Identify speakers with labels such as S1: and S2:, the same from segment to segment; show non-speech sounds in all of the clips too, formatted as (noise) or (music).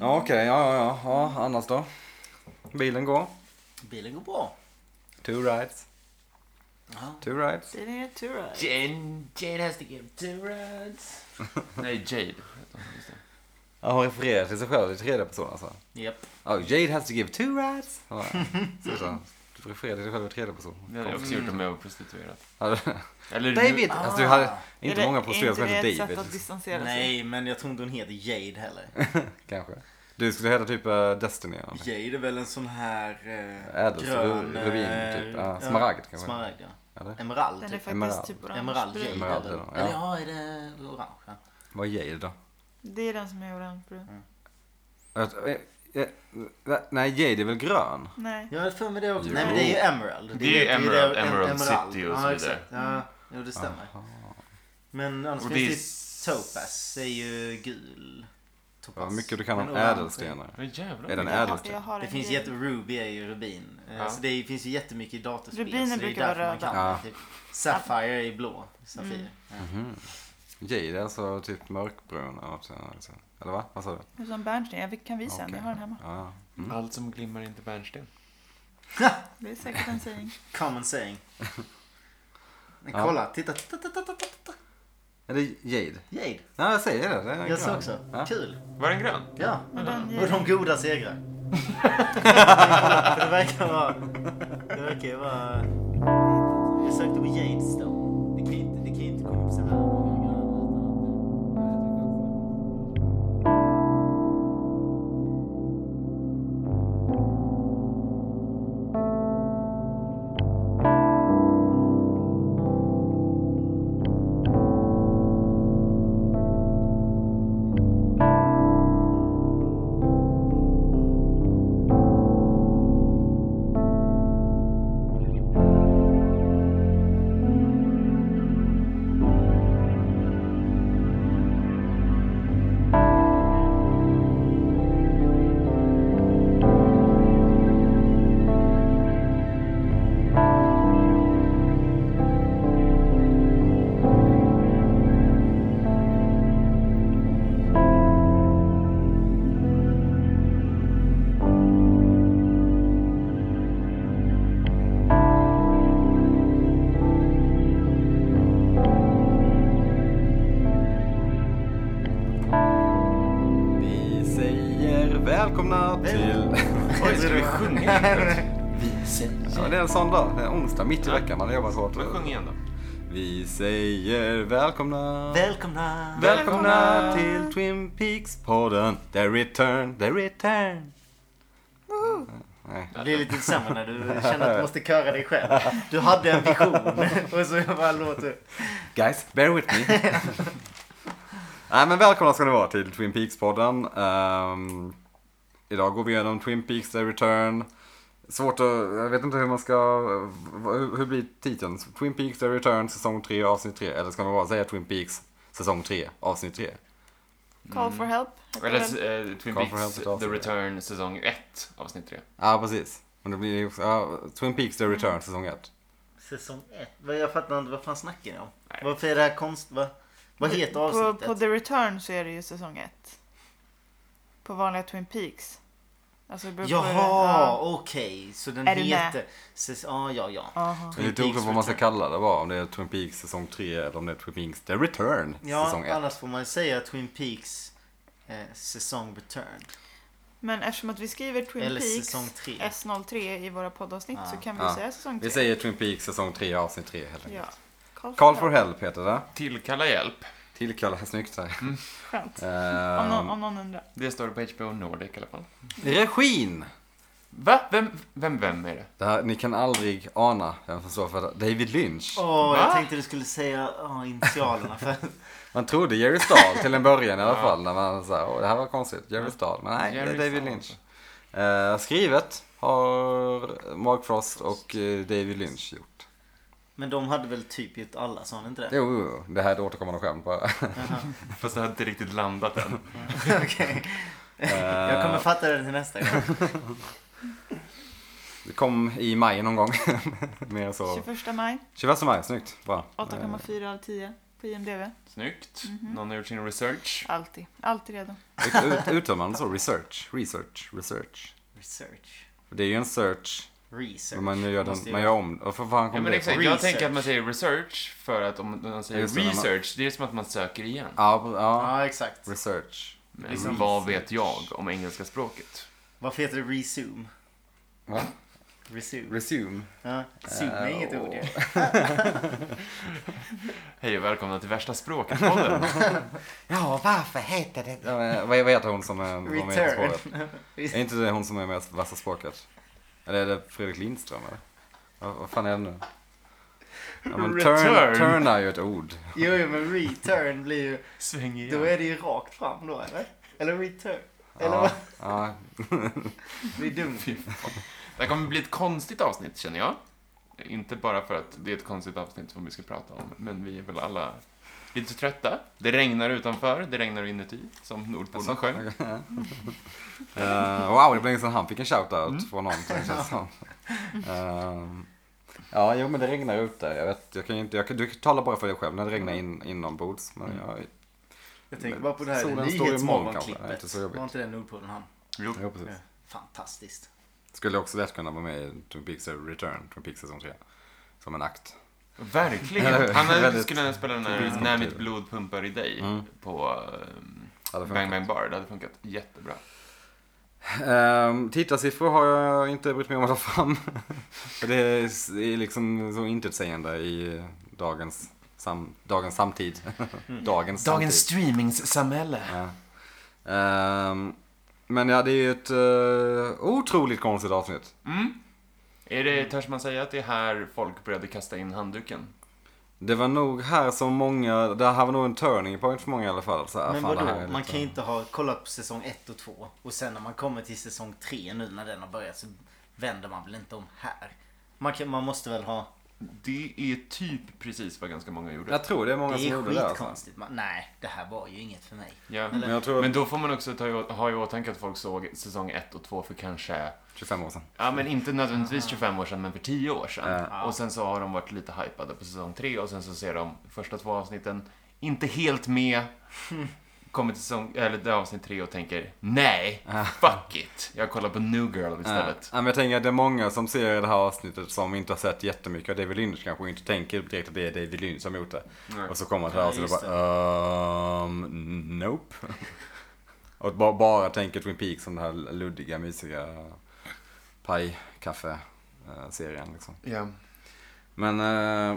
S1: Ja, okej. Ja, ja, ja, ja. Annars då? Bilen går.
S2: Bilen går bra.
S1: Two rides.
S2: Ja.
S1: Two rides.
S2: Den är tur.
S3: Jane, Jane has to give two rides. Nej, Jade. heter hon, just det.
S1: Ja, hon refererar till sig själv i tredje person alltså.
S2: Japp.
S1: Ja, Jade has to give two rides. Ja, (laughs) så, så. Du refererar till dig själv i tredje person.
S3: Det hade jag också gjort om jag var prostituerad.
S1: Ja,
S3: Eller
S1: (laughs) David!
S3: Nu,
S1: Alltså, du hade inte
S4: Ah. Är det-
S1: många prostituerade som
S4: Är inte det ett
S1: hette
S4: sätt
S1: David.
S4: att distansera sig?
S2: Nej, men jag tror inte hon heter Jade heller.
S1: Kanske. Du skulle heta typ eh, Destiny eller någonting.
S2: Jade är väl en sån här eh,
S1: Ädels- ru-
S2: grön...
S1: rubin,
S2: eh,
S1: typ. Ja, smaragd kanske.
S2: Smaragd, ja.
S1: Eller?
S2: Emerald,
S4: Den är
S2: typ.
S1: Emerald.
S4: faktiskt typ
S2: Emerald
S4: orangebrun.
S2: Jade.
S1: Emerald,
S2: eller?
S1: ja.
S2: Eller ja, är det orange? Ja.
S1: Vad är Jade då?
S4: Det är den som är orangebrun.
S1: Att- eh, eh, va- Nej, Jade är väl grön?
S4: Nej.
S2: Jag har för mig det också.
S1: Jo.
S2: Nej, men det är ju Emerald.
S3: Det är ju Emerald, Emerald City och så
S2: Ja,
S3: vidare.
S2: exakt.
S1: Mm.
S2: Ja, jo, det stämmer. Men annars
S3: Och det
S2: finns det ju Topaz. Det
S3: är-
S2: är ju gul. Topaz.
S1: Vad mycket du kan om
S2: Men orange-
S1: ädelstenar.
S3: Vad jävlar.
S1: Är den
S3: vilken-
S1: ädel?
S4: Jag har
S2: Det
S4: en
S2: finns
S4: grej.
S2: jätte... Ruby är ju rubin. Eh,
S3: Ja.
S2: Så det är- finns ju jättemycket i datorspel.
S4: Rubiner
S2: så det är
S4: brukar vara
S2: därför man
S4: röda. Mm.
S2: kan det,
S1: Ja.
S2: Typ. Sapphire är blå. Safir. Ja.
S1: Mhm. Jade är alltså typ mörkbrun. eller något sånt, alltså. Eller va? Vad sa du?
S4: Det är Som Berntsen, jag kan visa den.
S1: Okej.
S4: Jag har den hemma.
S1: Ja, ja. Mm.
S3: Allt som glimmar är inte bärnsten.
S4: Det är säkert en sägning.
S2: (laughs) Common saying. Men
S1: Ja.
S2: kolla, titta. titta, titta, titta, titta.
S1: Är det Jade?
S2: Jade.
S1: Ja, jag säger det. det är
S2: Jag sa
S1: grön.
S2: också.
S1: Ja.
S2: Kul.
S3: Var den grön?
S2: Ja.
S4: Men den
S2: Och
S4: ger...
S2: de goda segrar. det verkar vara... Det verkar ju vara... Jag sökte på Jadestone. Det kan ju inte, det kan ju inte komma upp så här många gånger.
S1: Vi säger välkomna till... (laughs)
S3: Oj, ska vi sjunga?
S2: (laughs) Vi säger...
S1: Ja, det är en sån dag. Det är onsdag, mitt i
S3: Ja.
S1: veckan. Man har jobbat hårt.
S3: Men sjung igen då.
S1: Vi säger välkomna.
S2: Välkomna!
S1: Välkomna till Twin Peaks-podden. The return, the return. Nej.
S2: Det blir lite sämre när du känner att du måste köra dig själv. Du hade en vision (laughs) och så bara låter...
S1: Guys, bear with me. Nej, men välkomna ska ni vara till Twin Peaks-podden. Ehm, idag går vi igenom Twin Peaks The Return. Svårt att, jag vet inte hur man ska, hur, hur blir titeln? Twin Peaks The Return säsong 3 avsnitt 3. Eller ska man bara säga Twin Peaks säsong 3 avsnitt 3?
S4: Call for help. heter
S3: Eller
S4: den.
S3: eh, Twin
S1: Kom för
S3: Peaks
S1: helvete,
S3: The
S1: avsnitt.
S3: Return säsong 1 avsnitt 3.
S1: Ja, precis. Men det blir ju också, ja, Twin Peaks The Return säsong 1.
S2: Säsong 1. Jag fattar inte, vad fan snackar ni om?
S3: Nej.
S2: Varför är det här konst... Va? Vad heter
S4: på, på
S2: avsnittet?
S4: The Return så är det ju säsong ett. På vanliga Twin Peaks. Alltså det beror på hur-
S2: Jaha,
S4: ja. okej.
S2: okej. Så den
S4: Är du
S2: heter... Ses- Ja, ja, ja.
S4: Jaha.
S1: Det är lite oklart vad man ska kalla det bara, om det är Twin Peaks säsong 3 eller om det är Twin Peaks The Return säsong
S2: Ja,
S1: 1.
S2: annars får man säga Twin Peaks eh, säsong return.
S4: Men eftersom att vi skriver Twin
S2: Eller
S4: Peaks
S2: säsong tre. Ah.
S4: S03 i våra poddavsnitt
S2: Ja.
S4: så kan vi
S1: Ja.
S4: säga säsong
S1: Ah.
S4: 3.
S1: Vi säger Twin Peaks säsong 3 avsnitt 3 helt enkelt.
S4: ja.
S1: Call for help heter det. Mm.
S3: Tillkalla hjälp.
S1: Tillkalla, snyggt här.
S4: Skönt. Om någon,
S1: Ehm,
S4: om någon undrar.
S3: Det står på HBO Nordic i alla fall.
S1: regin!
S3: Va? Vem, vem, vem är det?
S1: Det här, ni kan aldrig ana vem som står för det. David Lynch.
S2: Åh,
S3: Va?
S2: jag tänkte du skulle säga oh, initialerna. För, (laughs)
S1: Man trodde Jerry Stahl till en början (laughs) i alla fall. När man sa, Åh, det här var konstigt. Jerry Stahl. Men nej,
S3: Jerry
S1: det är David
S3: Stahl.
S1: Lynch. Eh, skrivet har Mark Frost och eh, David Lynch gjort.
S2: men de hade väl typ gjort alla, sa han inte det?
S1: Jo, jo, jo. det här är ett återkommande skämt bara.
S3: (laughs) Fast det har inte riktigt landat än.
S2: (laughs) Okej. jag
S1: Eh.
S2: kommer fatta det till nästa gång.
S1: Det kom i maj någon gång. (laughs) Mer så.
S4: 21 maj,
S1: 21 maj, snyggt. Bra.
S4: 8,4 av 10. på IMDB.
S3: Snyggt.
S4: Mhm.
S3: Någon har gjort sin research.
S4: Alltid. Alltid redo.
S1: Eh, Ut, ut, uttömmande så, research, research, research.
S2: Research.
S1: För det är ju en search,
S2: Research.
S1: men man gör,
S2: Måste
S1: den,
S2: ju
S1: man gör
S2: vara-
S1: om Varför fan
S3: Ja,
S1: kom
S3: men
S1: det ifrån?
S3: exakt. Jag
S2: Research.
S3: tänker att man säger research för att om man säger
S1: Just det, när man-
S3: research, det är som att man söker igen.
S1: Ja, ja,
S2: Ja, exakt.
S1: research.
S3: Men
S2: Liksom-
S3: vad vet jag om engelska språket?
S2: Varför heter det resume?
S1: Va?
S2: Resume.
S1: Resume.
S2: Ja, zoom är
S1: Eh,
S2: inget
S1: och-
S2: ord ju.
S3: Hej och välkomna till Värsta språket-podden.
S1: (laughs)
S2: (laughs)
S1: Ja, varför heter det... Ja, men, vad, vad heter hon som är var med På spåret?
S2: Return. (laughs)
S1: Är inte det hon som är med i Vassa språket? Eller är det Fredrik Lindström eller? Vad, vad fan är det nu? Ja, men turn,
S3: Return.
S1: turn är ju ett ord.
S2: Jo, jo, men return blir ju...
S3: Sväng igen.
S2: Då är det ju rakt fram då, eller? Eller return. Eller
S1: Ja,
S2: vad?
S1: ja.
S2: Det är dumt.
S3: Det här kommer bli ett konstigt avsnitt känner jag. Inte bara för att det är ett konstigt avsnitt som vi ska prata om, men vi är väl alla lite trötta. Det regnar utanför, det regnar inuti, som
S1: Alltså,
S3: Nordpolen sjöng.
S1: (laughs) Eh, wow, det blev länge sedan han fick en shoutout
S3: Mm.
S1: från någonting
S3: (laughs)
S1: känns det som. Ehm, ja, jo men det regnar ute. Jag vet, jag kan ju inte, jag kan, du talar bara för dig själv när det regnar
S3: Mm.
S1: in, inombords. Men jag,
S2: Jag tänker bara på det här
S1: Solen står i moln kanske. Det är inte
S2: nyhetsmorgonklippet.
S1: så jobbigt.
S2: Var inte det Nordpolen han?
S3: Jo,
S1: jo, precis.
S2: Fantastiskt.
S1: Skulle också lätt kunna vara med i Twin Peaks Return, Twin Peaks säsong 3. Som en akt. (laughs)
S3: verkligen. Han hade-
S1: Väldigt-
S3: skulle kunna spela den här
S1: typiskt.
S3: När mitt blod pumpar i dig
S1: Mm.
S3: på ehm,
S1: Hade funkat.
S3: Bang Bang Bar. Det hade funkat jättebra.
S1: Ehm, tittarsiffror har jag inte brytt mig om att ta fram. (laughs) För det är s- är liksom så intetsägande i dagens, sam, dagens samtid.
S3: Mm.
S1: dagens samtid.
S3: streamingssamhälle.
S1: Ja. Ehm, men ja, det är ju ett eh, otroligt konstigt avsnitt.
S3: Mm. Är det, törs man säga att det är här folk började kasta in handduken?
S1: Det var nog här som många, det här var nog en turning point för många i alla fall. Så, här,
S2: Men
S1: fan, det här är
S2: vadå? Man
S1: lite-
S2: kan ju inte ha kollat på säsong 1 och 2 och sen när man kommer till säsong 3 nu när den har börjat så vänder man väl inte om här? Man, kan, man måste väl ha...
S3: Det är typ precis vad ganska många gjorde.
S1: Jag tror det är många
S2: Det
S1: som
S2: är
S1: gjorde det. Alltså.
S2: skitkonstigt. Man, nej, det här var ju inget för mig.
S3: Ja.
S1: Men jag tror
S3: Men då får man också ta, i- ha i åtanke att folk såg säsong 1 och 2 för kanske,
S1: 25 år sedan.
S3: ja men inte nödvändigtvis 25 år sedan, men för 10 år sedan.
S2: Ja.
S3: Och sen så har de varit lite hypade på säsong 3 och sen så ser de första två avsnitten inte helt med. Kommer till säsong, eller det avsnitt 3 och tänker nej, fuck it. Jag kollar på New Girl istället.
S1: Ja, men jag tänker att det är många som ser det här avsnittet som inte har sett jättemycket av David Lynch kanske och inte tänker direkt att det är David Lynch som gjort det.
S3: Nej.
S1: Och så kommer det här
S2: Ja,
S1: avsnittet och
S2: just
S1: bara um, nope. (laughs) och bara, bara tänker Twin Peaks som den här luddiga, mysiga paj-kaffe-serien liksom.
S3: Ja.
S1: Men eh,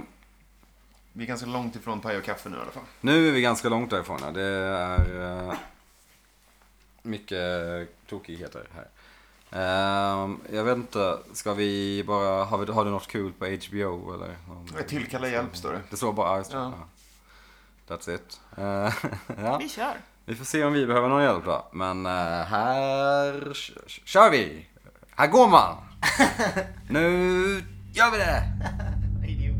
S3: Vi är ganska långt ifrån paj och kaffe nu i alla fall.
S1: nu är vi ganska långt därifrån. ja. Det är eh, mycket tokigheter här. Ehm, jag vet inte, ska vi bara, har, vi, har du något kul på HBO eller? Om,
S3: Tillkalla hjälp står det.
S1: Det står bara Armstrong.
S3: Ja.
S1: Ja. That's it. Eh, (laughs) ja.
S4: Vi kör.
S1: Vi får se om vi behöver någon hjälp då. Men eh, här k- kör vi! Här går man! nu gör vi det!
S2: Idiot.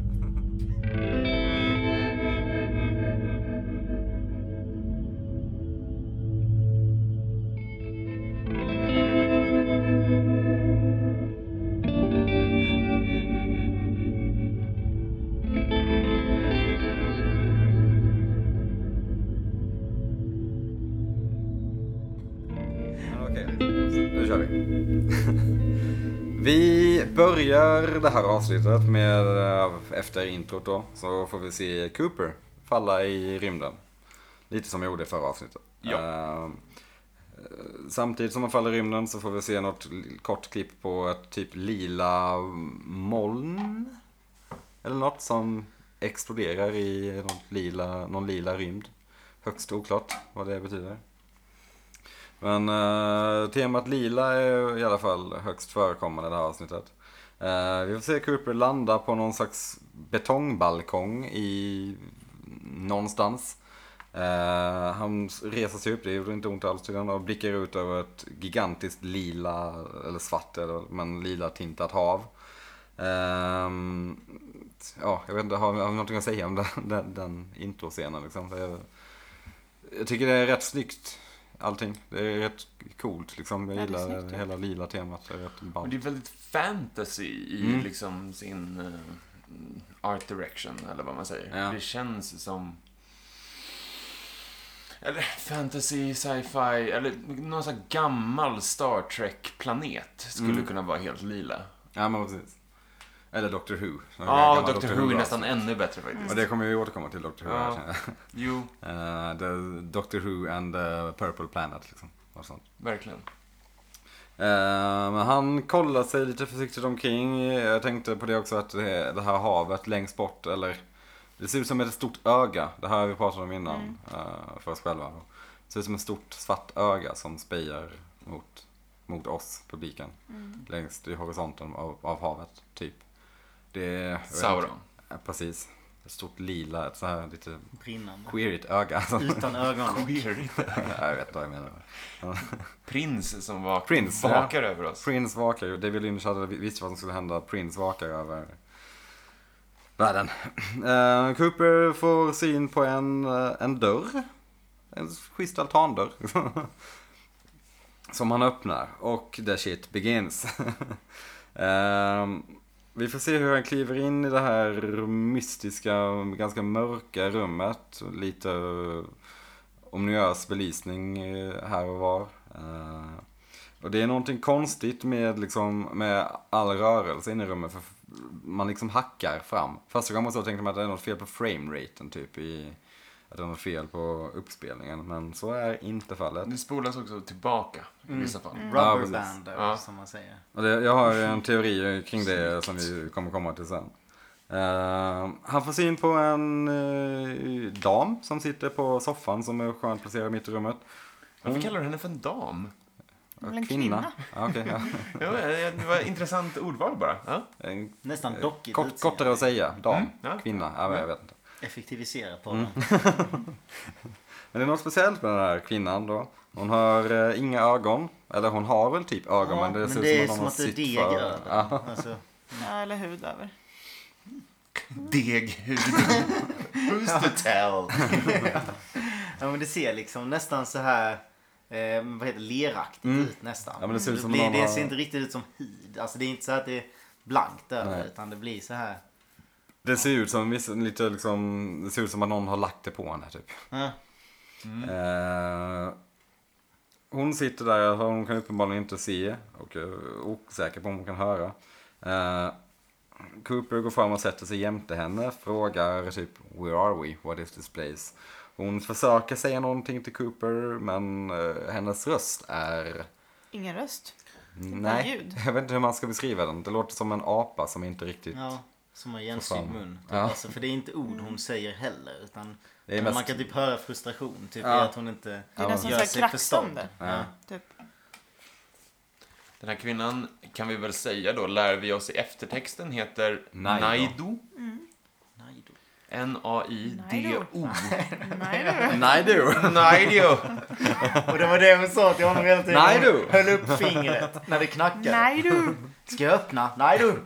S1: Men Okej, nu kör vi. (laughs) Vi börjar det här avsnittet med, eh, efter introt då, så får vi se Cooper falla i rymden. Lite som jag gjorde i förra avsnittet.
S3: Ja.
S1: Eh, Samtidigt som han faller i rymden så får vi se något l- kort klipp på ett typ lila moln. Eller något som exploderar i något lila, någon lila rymd. Högst oklart vad det betyder. Men eh, temat lila är i alla fall högst förekommande i det här avsnittet. Eh, vi får se Cooper landa på någon slags betongbalkong i någonstans. Eh, han reser sig upp, det gjorde inte ont alls tydligen, och blickar ut över ett gigantiskt lila, eller svart, eller, men lila tintat hav. Ehm, ja, jag vet inte, har, har vi någonting att säga om den, (laughs) den, den introscenen liksom? För Jag, jag tycker det är rätt snyggt, allting. Det är rätt coolt liksom. Jag
S4: Ja, det är
S1: gillar
S4: snyggt, ja.
S1: hela lila temat. Det är rätt
S3: Och
S1: ballt.
S3: det är väldigt fantasy i
S1: Mm.
S3: liksom sin eh, art direction, eller vad man säger.
S1: Ja.
S3: Det känns som Eller fantasy, sci-fi, eller någon sån här gammal Star Trek-planet skulle
S1: Mm.
S3: kunna vara helt lila.
S1: Ja, men precis. Eller Doctor Who.
S3: Ja,
S1: Någon gammal
S3: Doctor Who är
S1: bra.
S3: nästan ännu bättre faktiskt.
S1: Och det kommer vi återkomma till Doctor Who här
S3: Ja.
S1: känner jag.
S3: Jo,
S1: Eh, the Doctor Who and the Purple Planet liksom. Och sånt.
S3: verkligen.
S1: Eh, Men han kollar sig lite försiktigt omkring. Jag tänkte på det också att det det här havet längst bort, eller det ser ut som ett stort öga. Det här har vi pratat om innan
S4: Mm.
S1: eh, för oss själva. då. Det ser ut som ett stort svart öga som spejar mot, mot oss, publiken.
S4: Mm.
S1: Längst i horisonten av, av havet, typ. Det är... jag vet inte.
S3: Sauron.
S1: Ja, Precis. Ett stort lila, ett så här lite
S2: Brinnande.
S1: queerigt öga. (laughs)
S2: Utan ögon. (laughs)
S3: Queer.
S1: Ja, jag vet vad jag menar.
S3: Prins som var
S1: Prins, ja.
S3: vakar över oss.
S1: Prince vakar ju. David Lynch hade visst vad som skulle hända. Prince vakar över världen. (clears throat) Eh, Cooper får syn på en, eh, en dörr. En schysst altandörr. (laughs) som han öppnar och the shit begins. (laughs) Ehm, vi får se hur han kliver in i det här mystiska, ganska mörka rummet. Lite omniös belysning eh, här och var. Eh, och det är någonting konstigt med, liksom, med all rörelse inne i rummet. För man liksom hackar fram. Första gången så tänkte man att det är något fel på frameraten typ. I, att det är något fel på uppspelningen. Men så är inte fallet.
S3: Det spolas också tillbaka
S1: Mm.
S3: i vissa fall.
S1: Ja, precis.
S2: Rubberbander
S3: Ja.
S2: som man säger.
S1: Och det, jag har ju en teori kring det som vi kommer komma till sen. Eh, han får syn på en eh, dam som sitter på soffan som är skönt placerad mitt i rummet.
S3: Varför kallar du henne för en dam?
S4: Väl en kvinna.
S1: Ja, okej, ja.
S3: Ja, det var ett intressant ordval bara. Ja.
S1: En
S2: Nästan dockigt
S1: Eh, Kort,
S2: utseende.
S1: kortare att säga. Dam.
S3: Mm, ja.
S1: Kvinna. Ja, men jag vet inte.
S2: Effektivisera på
S1: Mm.
S2: den.
S1: Men det är något speciellt med den här kvinnan då. Hon har eh, inga ögon. Eller hon har väl typ ögon men det ser
S2: är
S1: ut som,
S2: som att
S1: att
S2: det är
S1: någon
S2: deg
S1: har sytt
S2: över.
S1: för... Ja.
S2: Alltså,
S4: Ja, eller hud över.
S3: Deghud. Who's to tell?
S2: ja, men det ser liksom nästan så här eh, vad heter det, leraktigt
S1: Mm.
S2: ut nästan.
S1: Ja, men det ser ut som
S2: blir,
S1: någon
S2: det
S1: har-
S2: ser inte riktigt ut som hud. Alltså det är inte så att det är blankt över
S1: Nej.
S2: utan det blir så här.
S1: Det ser ut som viss- lite liksom, det ser ut som att någon har lagt det på henne typ.
S2: Ja.
S1: Eh, hon sitter där, och hon kan uppenbarligen inte se och är osäker på om hon kan höra. Eh, Cooper går fram och sätter sig jämte henne, frågar typ Where are we? What is this place? Hon försöker säga någonting till Cooper men eh, hennes röst är...
S4: Ingen röst.
S2: Typ
S1: Nej,
S4: ljud.
S1: jag vet inte hur man ska beskriva den. Det låter som en apa som inte riktigt...
S2: Ja, som har igensydd
S1: fan.
S2: mun. Typ.
S1: Ja.
S2: Alltså, för det är inte ord hon säger heller. Utan
S1: Det är
S2: men man
S1: mest-
S2: kan typ höra frustration. Typ
S1: Ja.
S2: i att hon inte
S4: Det är nästan
S2: gör
S4: så här
S2: sig förstånd.
S4: kraxande.
S1: Ja. (laughs)
S4: Typ.
S3: Den här kvinnan, kan vi väl säga då, lär vi oss i eftertexten, heter
S1: Naido.
S3: Naido.
S2: Nej då.
S3: N-A-I-D-O.
S4: Nej du.
S1: Nej du!
S3: (laughs) Naido.
S2: Och det var det hon sa till honom hela tiden.
S1: Nej, du.
S2: Hon höll upp fingret när det knackade.
S4: Nej du.
S2: Ska jag öppna? Nej du.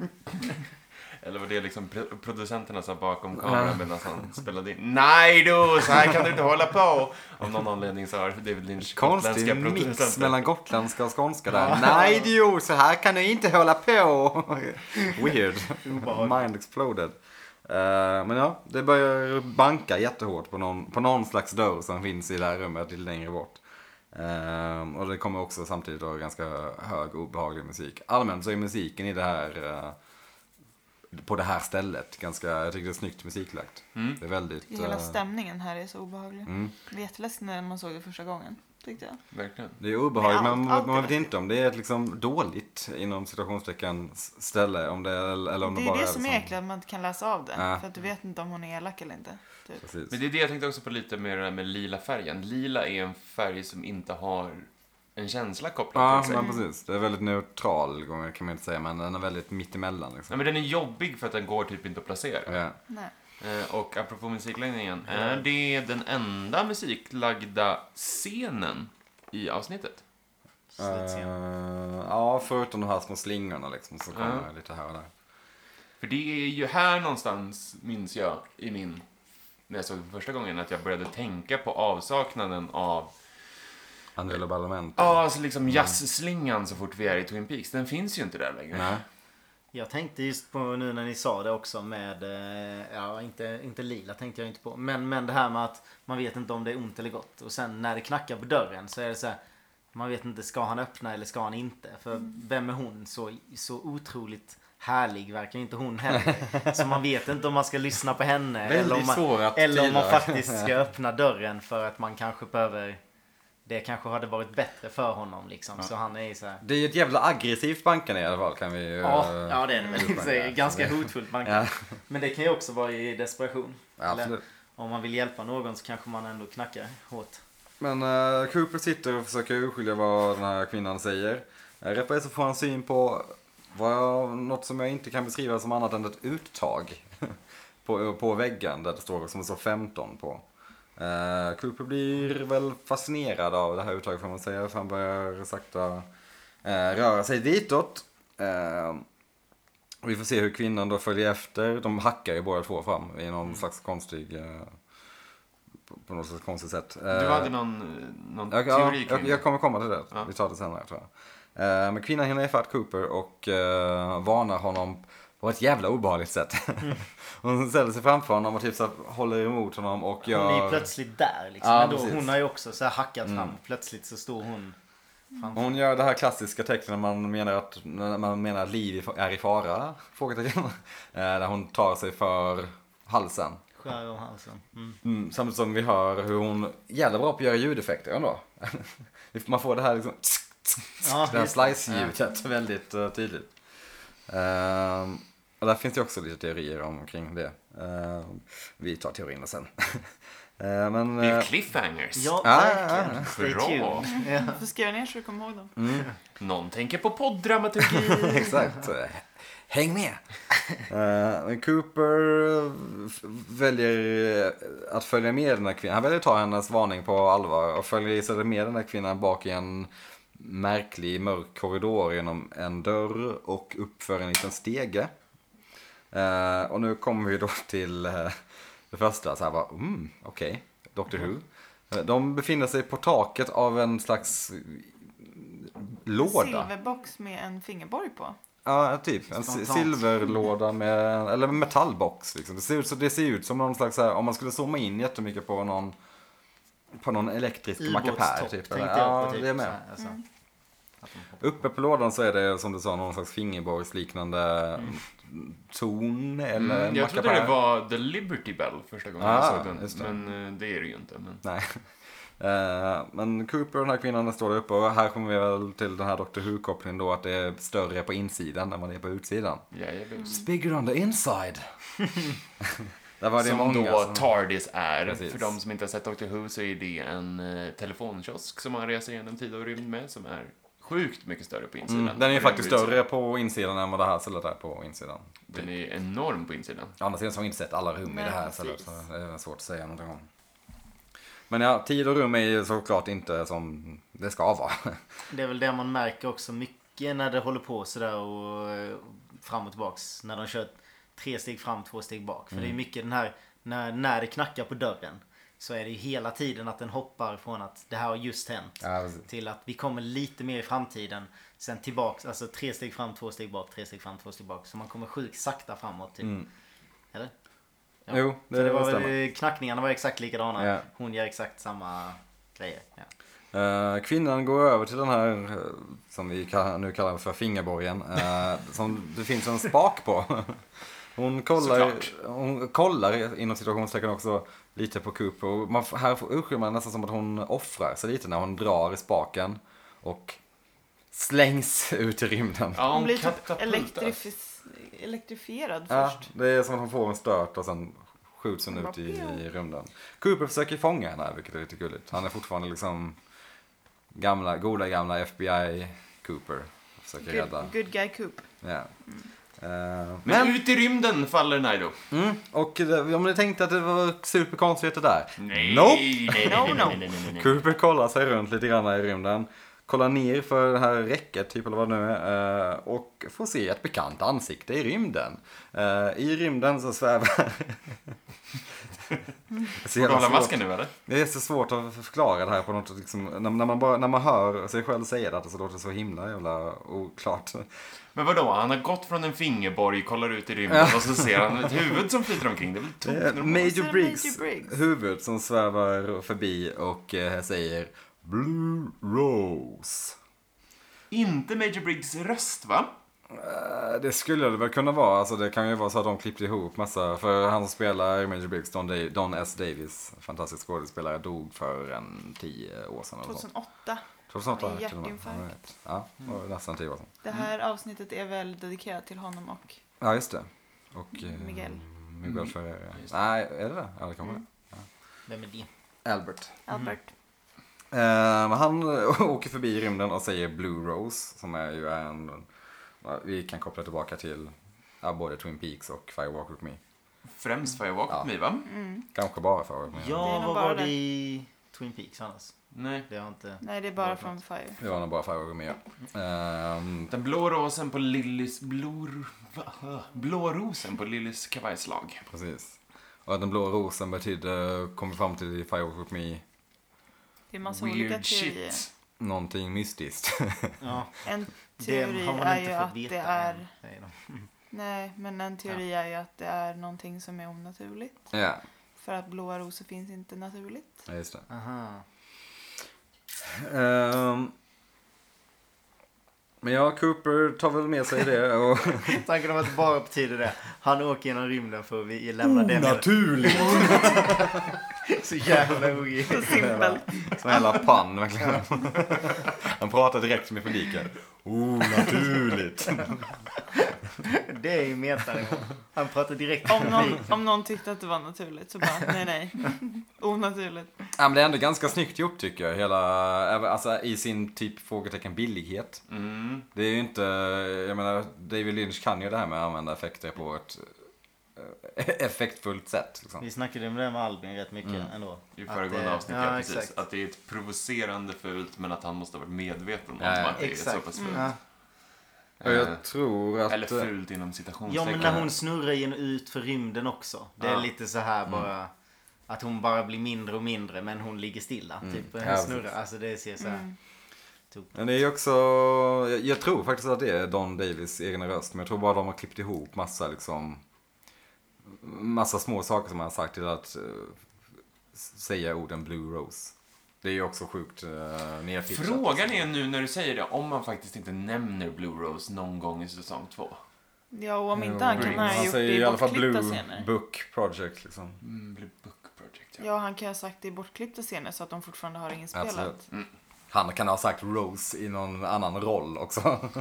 S3: Eller var det liksom pro- producenterna som bakom kameran medan
S1: (laughs)
S3: han spelade in? Nej du, så här kan du inte hålla på! Av någon anledning så har David Lynch
S1: Konstig
S3: gotländska
S1: mix
S3: producenter.
S1: mellan gotländska och skånska där. Nej du, så här kan du inte hålla på. Weird. (laughs)
S2: Obehagligt.
S1: Mind exploded. Eh, men ja, det börjar banka jättehårt på någon, på någon slags dörr som finns i det här rummet lite längre bort. Eh, och det kommer också samtidigt då ganska hög obehaglig musik. Allmänt så är musiken i det här eh, på det här stället ganska, jag tycker det är snyggt musiklagt.
S3: Mm.
S1: Det är väldigt...
S4: Hela
S1: eh,
S4: stämningen här är så obehaglig.
S1: mm.
S4: Det var jätteläskigt när man såg det första gången. Tyckte jag.
S3: Verkligen.
S1: Det är obehagligt,
S4: Men
S1: men
S4: allt-
S1: man,
S4: allt är
S1: man vet
S4: läskigt.
S1: inte om det är ett liksom dåligt inom situationstecken s- ställe. Om det, är- eller om det,
S4: det
S1: bara
S4: är det som
S1: liksom,
S4: är äckligt, att man inte kan läsa av det.
S1: Ja.
S4: För att du vet inte om hon är elak eller inte. Typ.
S1: Precis.
S3: Men det är det jag tänkte också på lite med det där med lila färgen. Lila är en färg som inte har en känsla kopplad
S1: Ja,
S3: till sig.
S1: men precis. Det är väldigt neutral gånger kan man inte säga, men den är väldigt mittemellan liksom.
S3: Nej, men den är jobbig för att den går typ inte att placera.
S1: Ja.
S4: Nej.
S3: Eh, Och apropå musikläggningen, är det den enda musiklagda scenen i avsnittet?
S2: Slutscen.
S1: Eh, ja, förutom de här små slingorna liksom, så kommer
S3: Ja.
S1: det lite här och där.
S3: För det är ju här någonstans, minns jag, i min... När jag såg det första gången, att jag började tänka på avsaknaden av...
S1: Angelo Badalamenti. Mm.
S3: Ja, alltså liksom jazzslingan så fort vi är i Twin Peaks. Den finns ju inte där längre.
S1: Nej.
S2: Jag tänkte just på nu när ni sa det också med, eh, ja inte, inte lila tänkte jag inte på, men, men det här med att man vet inte om det är ont eller gott. Och sen när det knackar på dörren så är det så här, man vet inte, ska han öppna eller ska han inte? För vem är hon? Så, så otroligt härlig verkar inte hon heller. Så man vet inte om man ska lyssna på henne eller om
S1: Väldigt
S2: man,
S1: svår att
S2: eller om man
S1: tyda.
S2: faktiskt
S1: (laughs)
S2: ska öppna dörren för att man kanske behöver, det kanske hade varit bättre för honom liksom. Så han är ju så här,
S1: Det är ju ett jävla aggressivt bankande i alla fall kan vi ju...
S2: Ja,
S1: eh,
S2: ja det är (laughs) det väl. i och för sig. Ganska hotfullt. Man kan.
S1: Ja.
S2: Men det kan ju också vara i desperation.
S1: Ja, absolut.
S2: om man vill hjälpa någon så kanske man ändå knackar hårt.
S1: Men eh, Cooper sitter och försöker urskilja vad den här kvinnan säger. Eh, Rätt vad det är så får han syn på vad jag, något som jag inte kan beskriva som annat än ett uttag (laughs) på, på väggen där det står som det står 15 på. Eh, Cooper blir väl fascinerad av det här uttaget får man säga för han börjar sakta eh, röra sig ditåt. Eh, vi får se hur kvinnan då följer efter. De hackar ju båda två fram i någon slags konstig... Eh, på- på något slags konstigt sätt.
S3: Du
S1: Eh,
S3: hade någon, någon
S1: jag,
S3: teori
S1: ja,
S3: kring
S1: jag,
S3: det.
S1: jag kommer komma till det.
S3: Ja.
S1: Vi tar det senare tror jag. Eh, Men kvinnan hinner ifatt Cooper och eh, varnar honom på ett jävla obehagligt
S2: (laughs)
S1: sätt. Hon ställer sig framför honom och typ så här, håller emot honom och gör...
S2: Hon är ju plötsligt där liksom.
S1: Ja,
S2: Men då,
S1: precis. Mm.
S2: hon har ju också så här hackat fram. Plötsligt så står hon framför.
S1: Hon gör det här klassiska tecknet när man menar att, när man menar att liv är i fara, frågetecken. (laughs) Eh, Där hon tar sig för halsen.
S2: Skär om halsen. Mm.
S1: Mm, samtidigt som vi hör hur hon, jävla bra på att göra ljudeffekter ändå. (laughs) Man får det här liksom,
S2: Ja,
S1: det här
S2: just det.
S1: slice-ljudet (laughs) väldigt eh, tydligt. Ehm, och där finns det också lite teorier omkring det. Ehm, vi tar teorierna sen. (laughs) Ehm, men,
S3: Det är ju
S1: eh,
S3: cliffhangers.
S2: Ja,
S1: Ah,
S2: verkligen.
S1: ah,
S2: Stay
S3: bra.
S2: tuned. Ja.
S4: Du får skriva ner så du kommer ihåg dem.
S3: Någon tänker på
S1: (laughs)
S3: poddramaturgi.
S1: exakt. Eh, Häng med! Eh, men Cooper eh, f- väljer eh, att följa med den här kvinnan. Han väljer att ta hennes varning på allvar och följer istället med den här kvinnan bak i en märklig mörk korridor genom en dörr och uppför en liten stege. Eh, och nu kommer vi då till eh, det första, så här bara, mm, okej, Doctor Who. Eh, De befinner sig på taket av en slags eh, låda.
S4: Silverbox med en fingerborg på.
S1: Ja, typ. En si-
S2: Spontant.
S1: silverlåda med, eller en metallbox liksom. Det ser ut, så, det ser ut som någon slags, så här, om man skulle zooma in jättemycket på någon, på någon elektrisk mackapär.
S2: Ubåtstopp
S1: Typ,
S2: tänkte
S1: eller,
S2: jag
S1: ja,
S2: på. Typ.
S1: det är
S2: så
S1: med. Mm.
S2: här, alltså. Att de hoppar.
S1: Uppe på lådan så är det som du sa någon slags fingerborgsliknande ton eller
S3: Mm, jag trodde
S1: mackapär.
S3: det var The Liberty Bell första gången
S1: Ah,
S3: jag såg den.
S1: just det.
S3: Men eh, det är det ju inte. Men...
S1: Nej. (laughs) Eh, Men Cooper och den här kvinnan står där uppe och här kommer vi väl till den här Dr. Who-kopplingen då att det är större på insidan än vad det är på utsidan.
S3: Jajabus.
S1: It's bigger on the inside. (laughs) där var det
S3: som
S1: många
S3: då
S1: som-
S3: Tardis är.
S1: Precis.
S3: För de som inte har sett Doctor Who så är det en eh, telefonkiosk som man reser genom tid och rymd med som är sjukt mycket större på insidan.
S1: Mm, den är ju
S3: Och på
S1: faktiskt
S3: utsidan.
S1: större på insidan än vad det här cellet är på insidan.
S3: Den är enorm på insidan.
S1: Å andra sidan så har vi inte sett alla rum
S4: Nej,
S1: i det här
S4: precis.
S1: cellet så det är svårt att säga någonting om. Men ja, tid och rum är ju såklart inte som det ska vara.
S2: Det är väl det man märker också mycket när det håller på sådär och eh, fram och tillbaks. När de kör tre steg fram, två steg bak. För
S1: Mm.
S2: det är mycket den här, när, när det knackar på dörren. Så är det ju hela tiden att den hoppar från att det här har just hänt.
S1: Ja, precis.
S2: till att vi kommer lite mer i framtiden. Sen tillbaks, alltså tre steg fram, två steg bak, tre steg fram, två steg bak. Så man kommer sjukt sakta framåt typ. Eller? Ja.
S1: Mm. Jo,
S2: Så
S1: det
S2: det var
S1: stämmer.
S2: väl, eh, knackningarna var exakt likadana.
S1: Ja.
S2: Hon gör exakt samma grejer. Ja.
S1: Eh, kvinnan går över till den här, eh, som vi kallar, nu kallar för fingerborgen, eh, som det finns en spak på. Hon kollar,
S3: Såklart.
S1: hon kollar inom situationstecken också lite på Cooper. Och man, får- här får- urskiljer man nästan som att hon offrar sig lite när hon drar i spaken och slängs (laughs) ut i rymden.
S3: Ja,
S4: Hon blir typ
S3: katapultas.
S4: elektrifis- elektrifierad
S1: Ja,
S4: först.
S1: det är som att hon får en stört och sen skjuts hon
S4: Hon
S1: ut
S4: bara,
S1: i,
S4: pio.
S1: i rymden. Cooper försöker fånga henne, vilket är lite gulligt. Han är fortfarande liksom gamla, goda gamla FBI Cooper. Försöker rädda.
S4: Good, good guy Coop.
S1: Ja. Eh,
S3: Men,
S1: men,
S3: ut i rymden faller Nido.
S1: mm, och det- om ni tänkte att det var superkonstigheter där.
S3: Nej,
S1: Nope. (laughs)
S3: nej, nej,
S4: No,
S3: nej,
S4: no.
S3: nej, nej, nej, nej.
S1: Cooper kollar sig runt lite grann i rymden. Kollar ner för det här räcket, typ eller vad det nu är. eh, Och får se ett bekant ansikte i rymden. Eh, I rymden så svävar... (laughs) Det är så
S3: Får du
S1: jävla
S3: hålla
S1: svårt.
S3: masken nu eller?
S1: Det är så svårt att förklara det här på något, liksom, när, när, man bara, när man hör sig själv säga det, att det så låter det så himla jävla oklart.
S3: Men vadå, han har gått från en fingerborg, kollar ut i rymden och så ser han
S1: (laughs)
S3: ett huvud som flyter omkring. Det är väl
S1: Det
S3: tokigt
S1: är
S3: normalt?
S1: Eh, Major
S4: Sir
S1: Briggs
S4: Major Briggs.
S1: huvud som svävar förbi och eh, säger Blue Rose.
S3: Inte Major Briggs röst va?
S1: Eh, Det skulle det väl kunna vara. Alltså det kan ju vara så att de klippte ihop massa. För han som spelar Major Briggs, Don, Da- Don S. Davis, fantastisk skådespelare, dog för en tio år sedan. eller sånt.
S4: 2008.
S1: 2008
S4: i
S1: till och med.
S4: hjärtinfarkt. Mm.
S1: Alright. Ja, det var nästan tio år sedan.
S4: Det här
S2: Mm.
S4: avsnittet är väl dedikerat till honom och
S1: Ja, just det. Och eh,
S2: mm.
S4: Miguel.
S1: Miguel Ferreira.
S3: Just
S1: Nej, är det det? Ja, det kan vara
S4: Mm.
S2: Vem är det?
S1: det. Albert.
S4: Albert.
S1: Eh, han (laughs) åker förbi rymden och säger Blue Rose, som är ju en... ja, Vi kan koppla tillbaka till ja, både Twin Peaks och Fire Walk With Me.
S3: Främst Firewalk
S1: Ja.
S3: ja. Me va?
S4: Mm.
S1: Kanske bara Fire Walk With Me.
S4: Det är
S2: Ja,
S4: nog
S2: vad
S4: bara
S2: var
S4: där.
S2: det i Twin Peaks annars?
S3: Nej.
S2: Det har inte...
S4: Nej, det är bara från Fire.
S1: Det var nog bara Fire Walk With Me, ja. Ehm,
S3: Den blå rosen på Lillys... Blå, va? blå rosen på Lillys kavajslag.
S1: precis. Och den blå rosen betyder, kom vi fram till i Fire Walk With Me,
S4: Det är massa olika
S3: Weird
S4: teorier.
S3: shit.
S1: någonting mystiskt. (laughs)
S2: Ja,
S4: En
S2: (laughs) det
S4: teori
S2: har man
S4: är ju
S2: inte fått
S4: att
S2: veta
S4: det är...
S2: än, säger de.
S4: Nej, men en teori är ju att det är någonting som är onaturligt.
S1: ja,
S4: För att blåa rosor finns inte naturligt.
S2: (laughs)
S1: ja, just det.
S2: Aha.
S1: Ehm, men ja, Cooper tar väl med sig det och... (laughs)
S2: Tanken om att det bara betyder det. Han åker genom rymden för att vi lämnar det med
S1: Naturligt!
S2: Så jävla ogivet.
S4: Så simpelt.
S1: (laughs) Sån jävla pann verkligen. Han pratar direkt med publiken. Oh, naturligt.
S2: Det är ju metanivå. Han pratar direkt
S4: Om någon, om någon tyckte att det var naturligt så bara,
S2: (laughs)
S4: nej, nej. Onaturligt.
S1: ja, men det är ändå ganska snyggt gjort tycker jag. Hela, alltså i sin typ frågetecken billighet.
S3: Mm.
S1: Det är ju inte, jag menar David Lynch kan ju det här med att använda effekter på ett eh, effektfullt sätt. Liksom.
S2: Vi snackade om det med Albin rätt mycket
S1: Mm.
S2: ändå.
S3: I
S2: Att
S3: föregående
S2: det-
S3: avsnitt, ja,
S2: ja,
S3: precis.
S2: exakt.
S3: Att det är ett provocerande fult, men att han måste ha varit medveten om
S1: Ja, ja.
S3: att det
S2: Exakt. Mm.
S3: är så pass fult.
S2: Ja.
S1: Och jag tror
S3: Eh, Eller
S1: att...
S3: fult inom
S2: ja
S3: citationstecken.
S2: men när hon snurrar in ut för rymden också. Det är
S3: Ja.
S2: lite så här
S1: Mm.
S2: bara. Att hon bara blir mindre och mindre men hon ligger stilla. Typ
S1: Mm. Ja,
S2: hon
S1: precis.
S2: snurrar. Alltså det ser så här.
S4: Mm.
S2: tokigt.
S1: Men det är ju också, jag, jag tror faktiskt att det är Don Davis egna röst, men jag tror bara de har klippt ihop massa liksom, massa små saker som han har sagt till att eh, s- säga orden Blue Rose. Det är ju också sjukt alltså. uh, nerfittat.
S3: Frågan är nu när du säger det, om man faktiskt inte nämner Blue Rose någon gång i säsong två.
S4: Ja, och om inte han kan
S3: Briggs.
S4: ha gjort
S1: säger
S4: det
S1: ju
S4: i
S1: i alla fall
S4: bortklippta
S1: Blue
S4: scener.
S1: Book Project liksom.
S3: Mm, Blue Book Project, ja.
S4: Ja, han kan ju ha sagt det i bortklippta scener så att de fortfarande har Mm. inspelat.
S1: Absolut. Han kan ha sagt Rose i någon annan roll också. (laughs)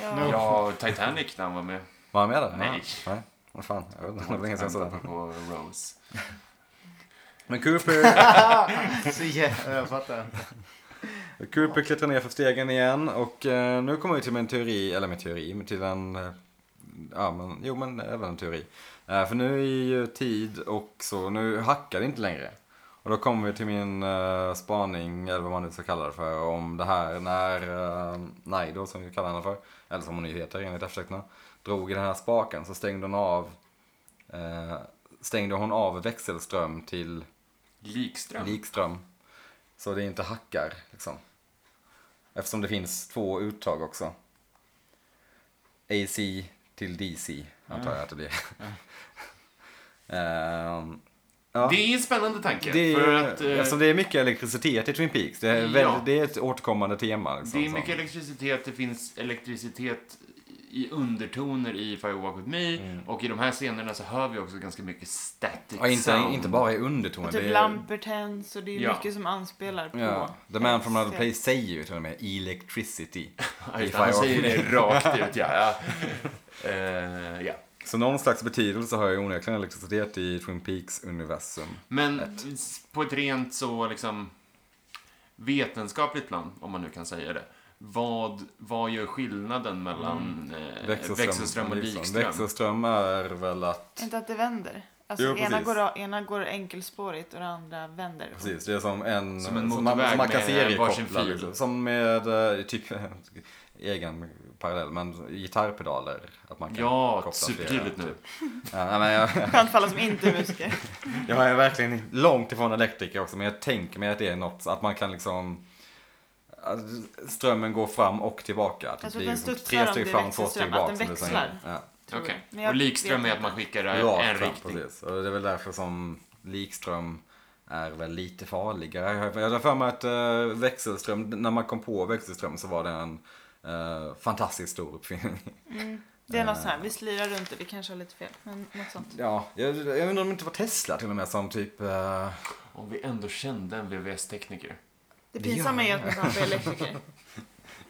S1: Mm.
S4: Ja.
S3: Ja, Titanic när han var med.
S1: Var han med där?
S3: Nej.
S1: Ja. Nej. Vad fan, jag vet inte. Det var länge sedan jag såg den.
S3: På Rose.
S1: Men Cooper,
S4: Mm.
S2: Så jävla, jag fattar inte.
S1: Cooper klättrar ner för stegen igen och eh, nu kommer vi till min teori, eller min teori, men till en, eh, ja men, jo men även en teori. Eh, för nu är ju tid och så, nu hackar det inte längre. Och då kommer vi till min eh, spaning, eller vad man nu ska kalla det för, om det här när eh, Naido, som vi kallar henne för, eller som hon nu heter enligt eftersökterna, drog i den här spaken så stängde hon av, eh, stängde hon av växelström till
S3: Likström.
S1: likström. Så det inte hackar liksom. Eftersom det finns två uttag också. AC till DC antar jag att det blir. (laughs) Ehm, ja.
S3: Det är en spännande tanke.
S1: Det är,
S3: för att, eh,
S1: eftersom det är mycket elektricitet i Twin Peaks. Det är,
S3: Ja.
S1: väldigt, det är ett återkommande tema. Liksom,
S3: det är
S1: så.
S3: mycket elektricitet, det finns elektricitet i undertoner i Fire Walk With Me och i de här scenerna så hör vi också ganska mycket static
S1: Mm. ja, inte,
S3: sound.
S1: inte bara i undertonen.
S4: Och typ
S1: det är-
S4: lampor tänds och det är
S3: Ja.
S4: mycket som anspelar på.
S1: ja, The man from another
S4: Se.
S1: place säger ju till och med electricity.
S3: Ja, just det,
S1: i Fire
S3: Han
S1: Walk
S3: säger
S1: With Me.
S3: det rakt
S1: (laughs)
S3: ut, ja. ja. Eh, ja.
S1: Så någon slags betydelse har ju onekligen elektricitet i Twin Peaks universum.
S3: Men s- på ett rent så liksom vetenskapligt plan, om man nu kan säga det. Vad, vad gör skillnaden
S1: Mm.
S3: mellan eh, växelström, och likström?
S1: Växelström är väl att...
S4: Inte att det vänder. Alltså
S1: Jo,
S4: ena,
S1: precis.
S4: går, av- ena går enkelspårigt och den andra vänder.
S1: Precis, det är som en...
S3: Som en
S1: man,
S3: motorväg
S1: som man kan
S3: med
S1: se det
S3: varsin
S1: kopplad,
S3: fil.
S1: liksom. Som med, eh, typ, (laughs) egen parallell, men gitarrpedaler. Att man kan
S3: Ja,
S1: koppla
S3: supertydligt
S1: flera,
S3: nu.
S1: typ. Ja, nej, men jag, (laughs)
S4: Skönt för alla som inte är
S3: (laughs)
S4: musiker.
S1: jag är verkligen långt ifrån elektriker också, men jag tänker mig att det är något, att man kan liksom... att Strömmen går fram och tillbaka. Att
S4: Jag
S1: det
S4: tror
S1: blir
S4: Alltså, att den
S1: liksom
S4: studsar
S1: tre
S4: om
S1: steg
S4: det är
S1: fram, två steg
S4: växelström,
S1: bak.
S4: att den
S1: som du säger.
S4: växlar.
S1: Ja.
S4: tror
S3: Okej.
S4: jag. Men jag
S3: Och likström
S4: vet
S3: är att
S4: inte.
S3: man skickar
S1: Rakt
S3: en
S1: fram,
S3: riktning.
S1: Precis. Och det är väl därför som likström är väl lite farligare. Jag har för mig att eh, växelström, när man kom på växelström så var det en eh, fantastiskt stor uppfinning.
S4: Det är något sånt här, vi slirar runt det, vi kanske har lite fel. Men något sånt.
S1: ja, jag, jag undrar om det inte var Tesla till och med som typ... eh,
S3: Om vi ändå kände en VVS-tekniker.
S4: Det
S1: Det
S4: pinsamma
S1: gör
S4: är att man har elektriker.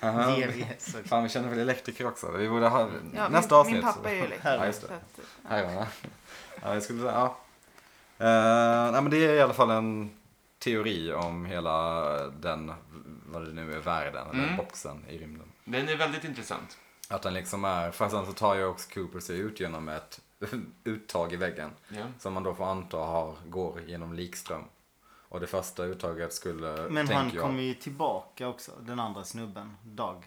S1: aha.
S2: VVS och
S1: Fan, vi känner väl elektriker också. Vi borde ha
S4: Ja,
S1: nästa
S4: min,
S1: avsnitt.
S4: Min pappa är ju
S1: (laughs) Ja,
S4: elektriker.
S1: just det.
S4: så att,
S1: Här var det. Ja, jag skulle säga, ja. Eh, nej, men det är i alla fall en teori om hela den, vad det nu är, världen, eller
S3: Mm.
S1: boxen i rymden.
S3: Den är väldigt intressant.
S1: Att den liksom är, för sen så tar ju också Cooper sig ut genom ett (laughs) uttag i väggen.
S3: Ja.
S1: Som man då får anta har, går genom likström. Och det första uttaget skulle,
S2: Men han
S1: tänker jag,
S2: kommer ju tillbaka också, den andra snubben, Dag.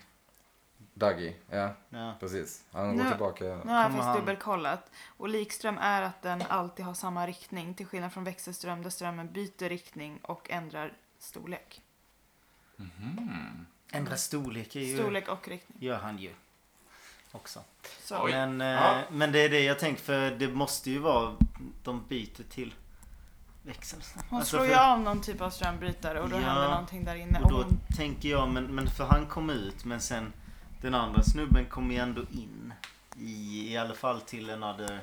S1: Daggy, ja
S2: Ja.
S1: precis. Han
S4: Nu-
S1: går tillbaka.
S4: nu har jag
S2: Kommer
S4: faktiskt
S2: han-
S4: dubbelkollat. Och likström är att den alltid har samma riktning till skillnad från växelström där strömmen byter riktning och ändrar storlek.
S3: Mhm.
S2: Ändra storlek är ju,
S4: Storlek och riktning.
S2: gör han ju också.
S4: Så.
S3: Oj.
S2: Men, eh,
S3: Ja.
S2: men det är det jag tänker för det måste ju vara de byter till växel.
S4: Hon
S2: Alltså,
S4: slår ju
S2: för-
S4: av någon typ av strömbrytare och då
S2: Ja.
S4: händer någonting där inne.
S2: Och
S4: Och
S2: då
S4: hon,
S2: tänker jag, men, men för han kom ut men sen den andra snubben kom ju ändå in. I, i alla fall till another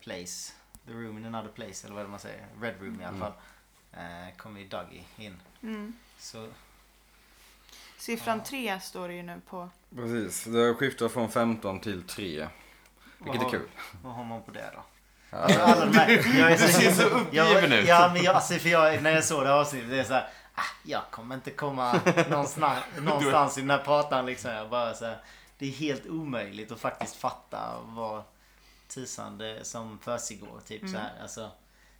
S2: place. The room in another place eller vad är det man säger. Red room
S1: Mm.
S2: i alla fall. Eh, kom ju Dougie in.
S4: mm.
S2: Så
S4: Siffran 3 står det ju nu på.
S1: Precis, det skiftar från 15 till 3. Vilket är
S2: Vad har-
S1: kul.
S2: Vad har man på det då?
S1: Ja.
S2: Alla de här, jag är
S3: (laughs) Du ser så uppgiven
S2: jag,
S3: ut.
S2: Ja, men jag, alltså, för jag, när jag såg det här avsnittet, det är så här, ah, jag kommer inte komma någonstans,
S3: (laughs)
S2: någonstans i den här pratan liksom. Jag bara så här, det är helt omöjligt att faktiskt fatta vad tusan det som försiggår, typ så
S3: Mm.
S2: här. Alltså,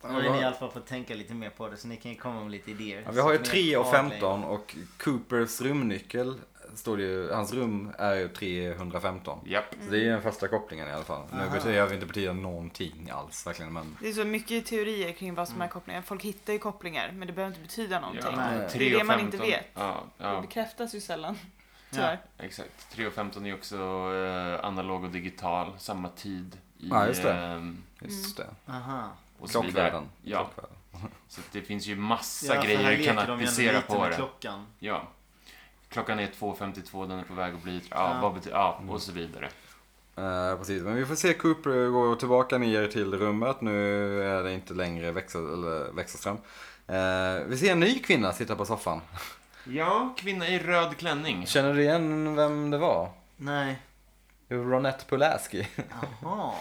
S2: nu har ni i alla fall fått tänka lite mer på det, så ni kan ju komma med lite idéer.
S1: Ja, vi har ju
S2: Så
S1: 3 och
S2: får ni-
S1: 15 och Coopers rumnyckel står det ju, hans rum är ju 315.
S3: Japp.
S4: Mm.
S1: Så det är ju den första kopplingen i alla fall. Nu betyder jag inte betyda någonting alls verkligen men
S4: Det är så mycket teorier kring vad som
S2: Mm.
S4: är kopplingar. Folk hittar ju kopplingar men det behöver inte betyda någonting.
S3: Ja,
S2: Nej.
S4: Det är det man
S3: 3.15.
S4: inte vet.
S3: Ja,
S4: Det
S3: ja,
S4: bekräftas ju sällan.
S2: Ja.
S4: Tyvärr.
S3: exakt. 3 och 15 är också eh, analog och digital, samma tid. I,
S1: Ja, just det.
S3: ehm,
S1: just
S2: Mm.
S1: det.
S2: Aha.
S3: och så vidare.
S1: Klockvärlden.
S3: Ja,
S1: Klockvärlden.
S3: så det finns ju
S2: Ja,
S3: massa
S2: för här
S3: grejer du kan
S2: leker de ju ändå
S3: applicera
S2: lite
S3: på
S2: med
S3: det.
S2: Klockan.
S3: Ja. Klockan är 2.52, den är på väg att bli... Ja,
S2: Ja.
S3: vad betyder... Ja, och så vidare.
S1: Eh, precis, men vi får se Cooper gå tillbaka ner till rummet. Nu är det inte längre växel, eller växelström. Eh, vi ser en ny kvinna sitta på soffan.
S4: Mm.
S3: Ja, kvinna i röd klänning.
S1: Känner du igen vem det var?
S2: Nej.
S1: Det var Ronette Pulaski.
S2: Jaha,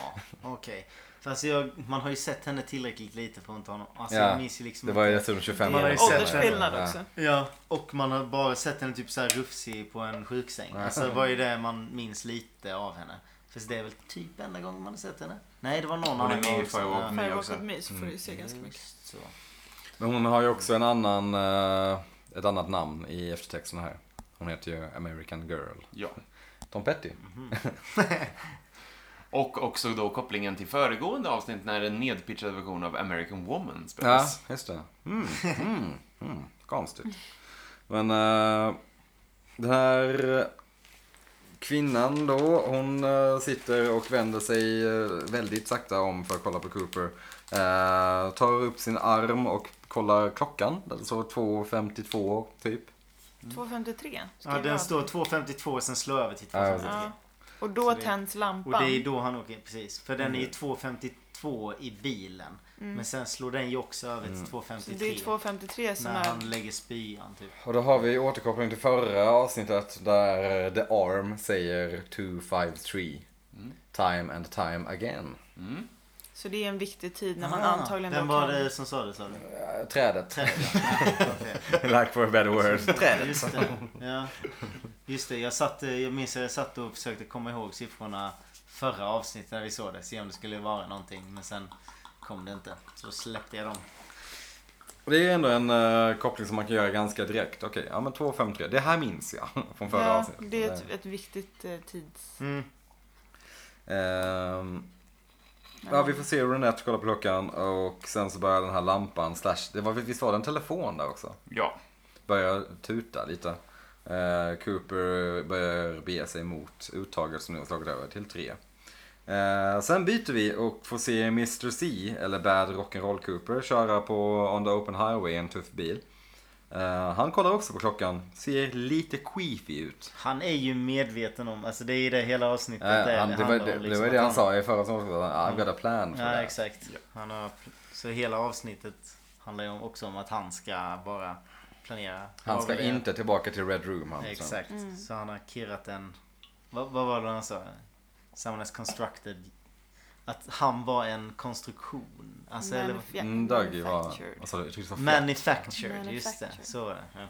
S2: okej. För alltså jag, man har ju sett henne tillräckligt lite för att inte ha någon... Alltså
S1: Ja,
S2: jag minns ju liksom
S1: Det var ju
S2: inte...
S1: dessutom 25
S2: Det är
S1: år
S2: en
S1: senare.
S4: Åldersskillnad också.
S2: Ja, och man har bara sett henne typ så här rufsig på en sjuksäng. Alltså det var ju det man minns lite av henne. För det är väl typ enda gången man har sett henne. Nej, det var någon
S3: är
S2: annan
S3: med i
S2: gång. också. Mm.
S3: Firewalk
S2: Ja.
S3: med
S4: Firewalk
S3: också.
S4: with me så får du ju se ganska mycket.
S2: Just Så.
S1: Men hon har ju också en annan, eh, ett annat namn i eftertexten här. Hon heter ju American Girl.
S3: Ja.
S1: Tom Petty.
S3: Och också då kopplingen till föregående avsnitt när en nedpitchad version av American Woman
S1: Ja,
S3: spelades.
S1: just det. Mm, mm, mm. Konstigt. Men eh, den här kvinnan då, hon eh, sitter och vänder sig eh, väldigt sakta om för att kolla på Cooper. Eh, tar upp sin arm och kollar klockan. Den står 2.52 typ.
S4: 2.53
S2: Mm. Ja,
S4: skriver
S2: den
S4: jag.
S2: står 2.52 och sen slår jag över till
S1: Ja,
S2: 2.53.
S4: Ja. Och då
S2: Så det-
S4: tänds lampan.
S2: Och det är då han åker, precis. För den är
S1: Mm.
S2: ju 2.52 i bilen. Men sen slår den ju också över
S1: Mm.
S2: till 2.53.
S4: Mm. så det är 2.53 som
S2: När
S4: är...
S2: han lägger spyan typ.
S1: Och då har vi återkoppling till förra avsnittet där The Arm säger 253. Time and time again.
S3: Mm.
S4: Så det är en viktig tid när man
S2: Ah,
S4: antagligen
S2: Vem
S4: då
S2: var
S4: kan...
S2: det som sa det sa du?
S1: Eh, Trädet.
S2: Trädet ja.
S1: (laughs)
S2: Okej.
S1: Lack for a better word. Trädet.
S2: Just det. Ja. Just det. Jag, satt, eh, jag minns att jag satt och försökte komma ihåg siffrorna förra avsnittet när vi såg det. Se om det skulle vara någonting. Men sen kom kom det inte. Så då släppte jag dem.
S1: Och det är ändå en eh, koppling som man kan göra ganska direkt. Okej, ja men 253, det här minns jag (laughs) från förra
S4: ja,
S1: avsnittet.
S4: det är typ- ett, ett viktigt eh, tids...
S1: Ehm, ja, vi får se hur Renette kollar på klockan och sen så börjar den här lampan, slash, det var, visst var det en telefon där också?
S3: Ja.
S1: Börjar tuta lite. Eh, Cooper börjar bege sig mot uttaget som nu har slagit över till tre. Eh, sen byter vi och får se Mr C, eller Bad Rock'n'Roll Cooper, köra på On the Open Highway i en tuff bil. Eh, han kollar också på klockan, ser lite queefy ut.
S2: Han är ju medveten om, alltså det är ju det hela avsnittet
S1: Ja,
S2: där
S1: ja, Eh, han, det, var,
S2: handlar
S1: det,
S2: om, liksom
S1: det var
S2: att
S1: det han sa i förra avsnittet. I've got a plan för
S2: Ja,
S1: det.
S2: exakt. Han har, så hela avsnittet handlar ju om- också om att han ska bara planera.
S1: Han ska
S2: avleda.
S1: inte tillbaka till Red Room. Han, sen.
S2: Exakt. Så han har kirrat en... Vad, vad var det han sa? Someone has constructed... Att han var en konstruktion. Alltså, eller,
S1: Mm, Dougie var... Vad sa du? Jag tyckte det var fett.
S2: manufactured. Just det,
S4: Manufactured.
S2: så var det. Ja.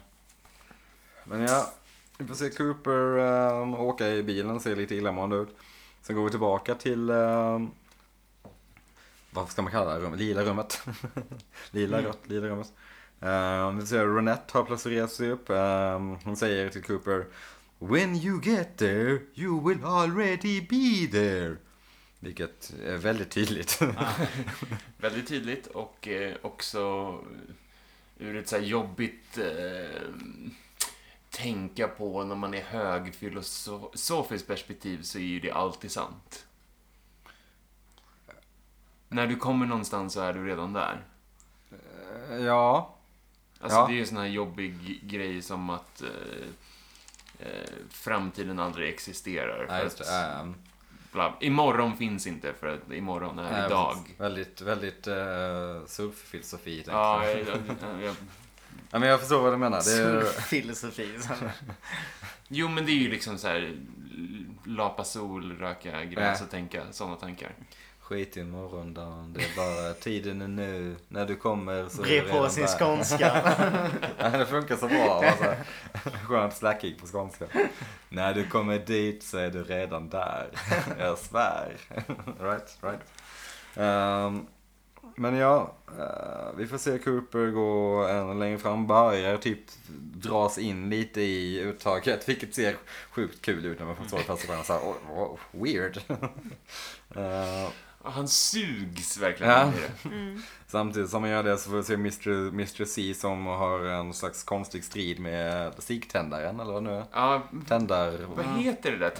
S1: Men ja, vi får se Cooper ehm, åka i bilen, ser lite illamående ut. Sen går vi tillbaka till, ehm, vad ska man kalla det här rummet? Lila rummet. (laughs) lila
S3: Mm.
S1: rött, lila rummet. Ehm, vi ser Renette har plötsligt rest sig upp. Ehm, hon säger till Cooper When you get there, you will already be there. Vilket är väldigt
S3: (laughs)
S1: tydligt.
S3: Väldigt tydligt och eh, också eh, ur ett så här jobbigt eh, tänka på när man är hög filosofiskt perspektiv så är ju det alltid sant. När du kommer någonstans så är du redan där.
S1: ja,
S3: Alltså
S1: Ja.
S3: det är ju en sån här jobbig grej som att eh, eh, framtiden aldrig existerar.
S1: Ja,
S3: För
S1: just det. Ehm,
S3: att,
S1: Ja, ja.
S3: bla, imorgon finns inte för att imorgon är
S1: Ja,
S3: Ehm, idag.
S1: precis. ehm, Väldigt, väldigt uh, surffilosofi. tänker
S3: Ja,
S1: jag.
S3: jag, jag, jag,
S1: ja, men jag förstår vad du menar. Det är,
S2: Filosofi.
S3: (laughs) Jo, men det är ju liksom så här lapa sol, röka gräs
S1: Ja.
S3: och tänka sådana tankar.
S1: skit i morgondagen, det är bara tiden är nu. När du kommer så är det
S2: Bre på
S1: redan
S2: sin
S1: där.
S3: (laughs)
S2: skånska.
S1: (laughs) Ja, det funkar så bra. Alltså. (laughs) Skönt slackig på skånska. När du kommer dit så är du redan där. (laughs) Jag svär. (laughs) Right, right. Ehm, men ja, eh, vi får se Cooper gå ännu längre fram. Börjar typ dras in lite i uttaget, vilket ser sjukt kul ut när man får stå i första skärmen så här, oh, oh, weird. (laughs) Ehm,
S3: Och han sugs verkligen
S1: Ja.
S3: in i det.
S1: Samtidigt som man gör det så får vi se Mr. Mr. C som har en slags konstig strid med stigtändaren eller vad nu är.
S3: Ja,
S1: Tändar...
S3: vad heter det där?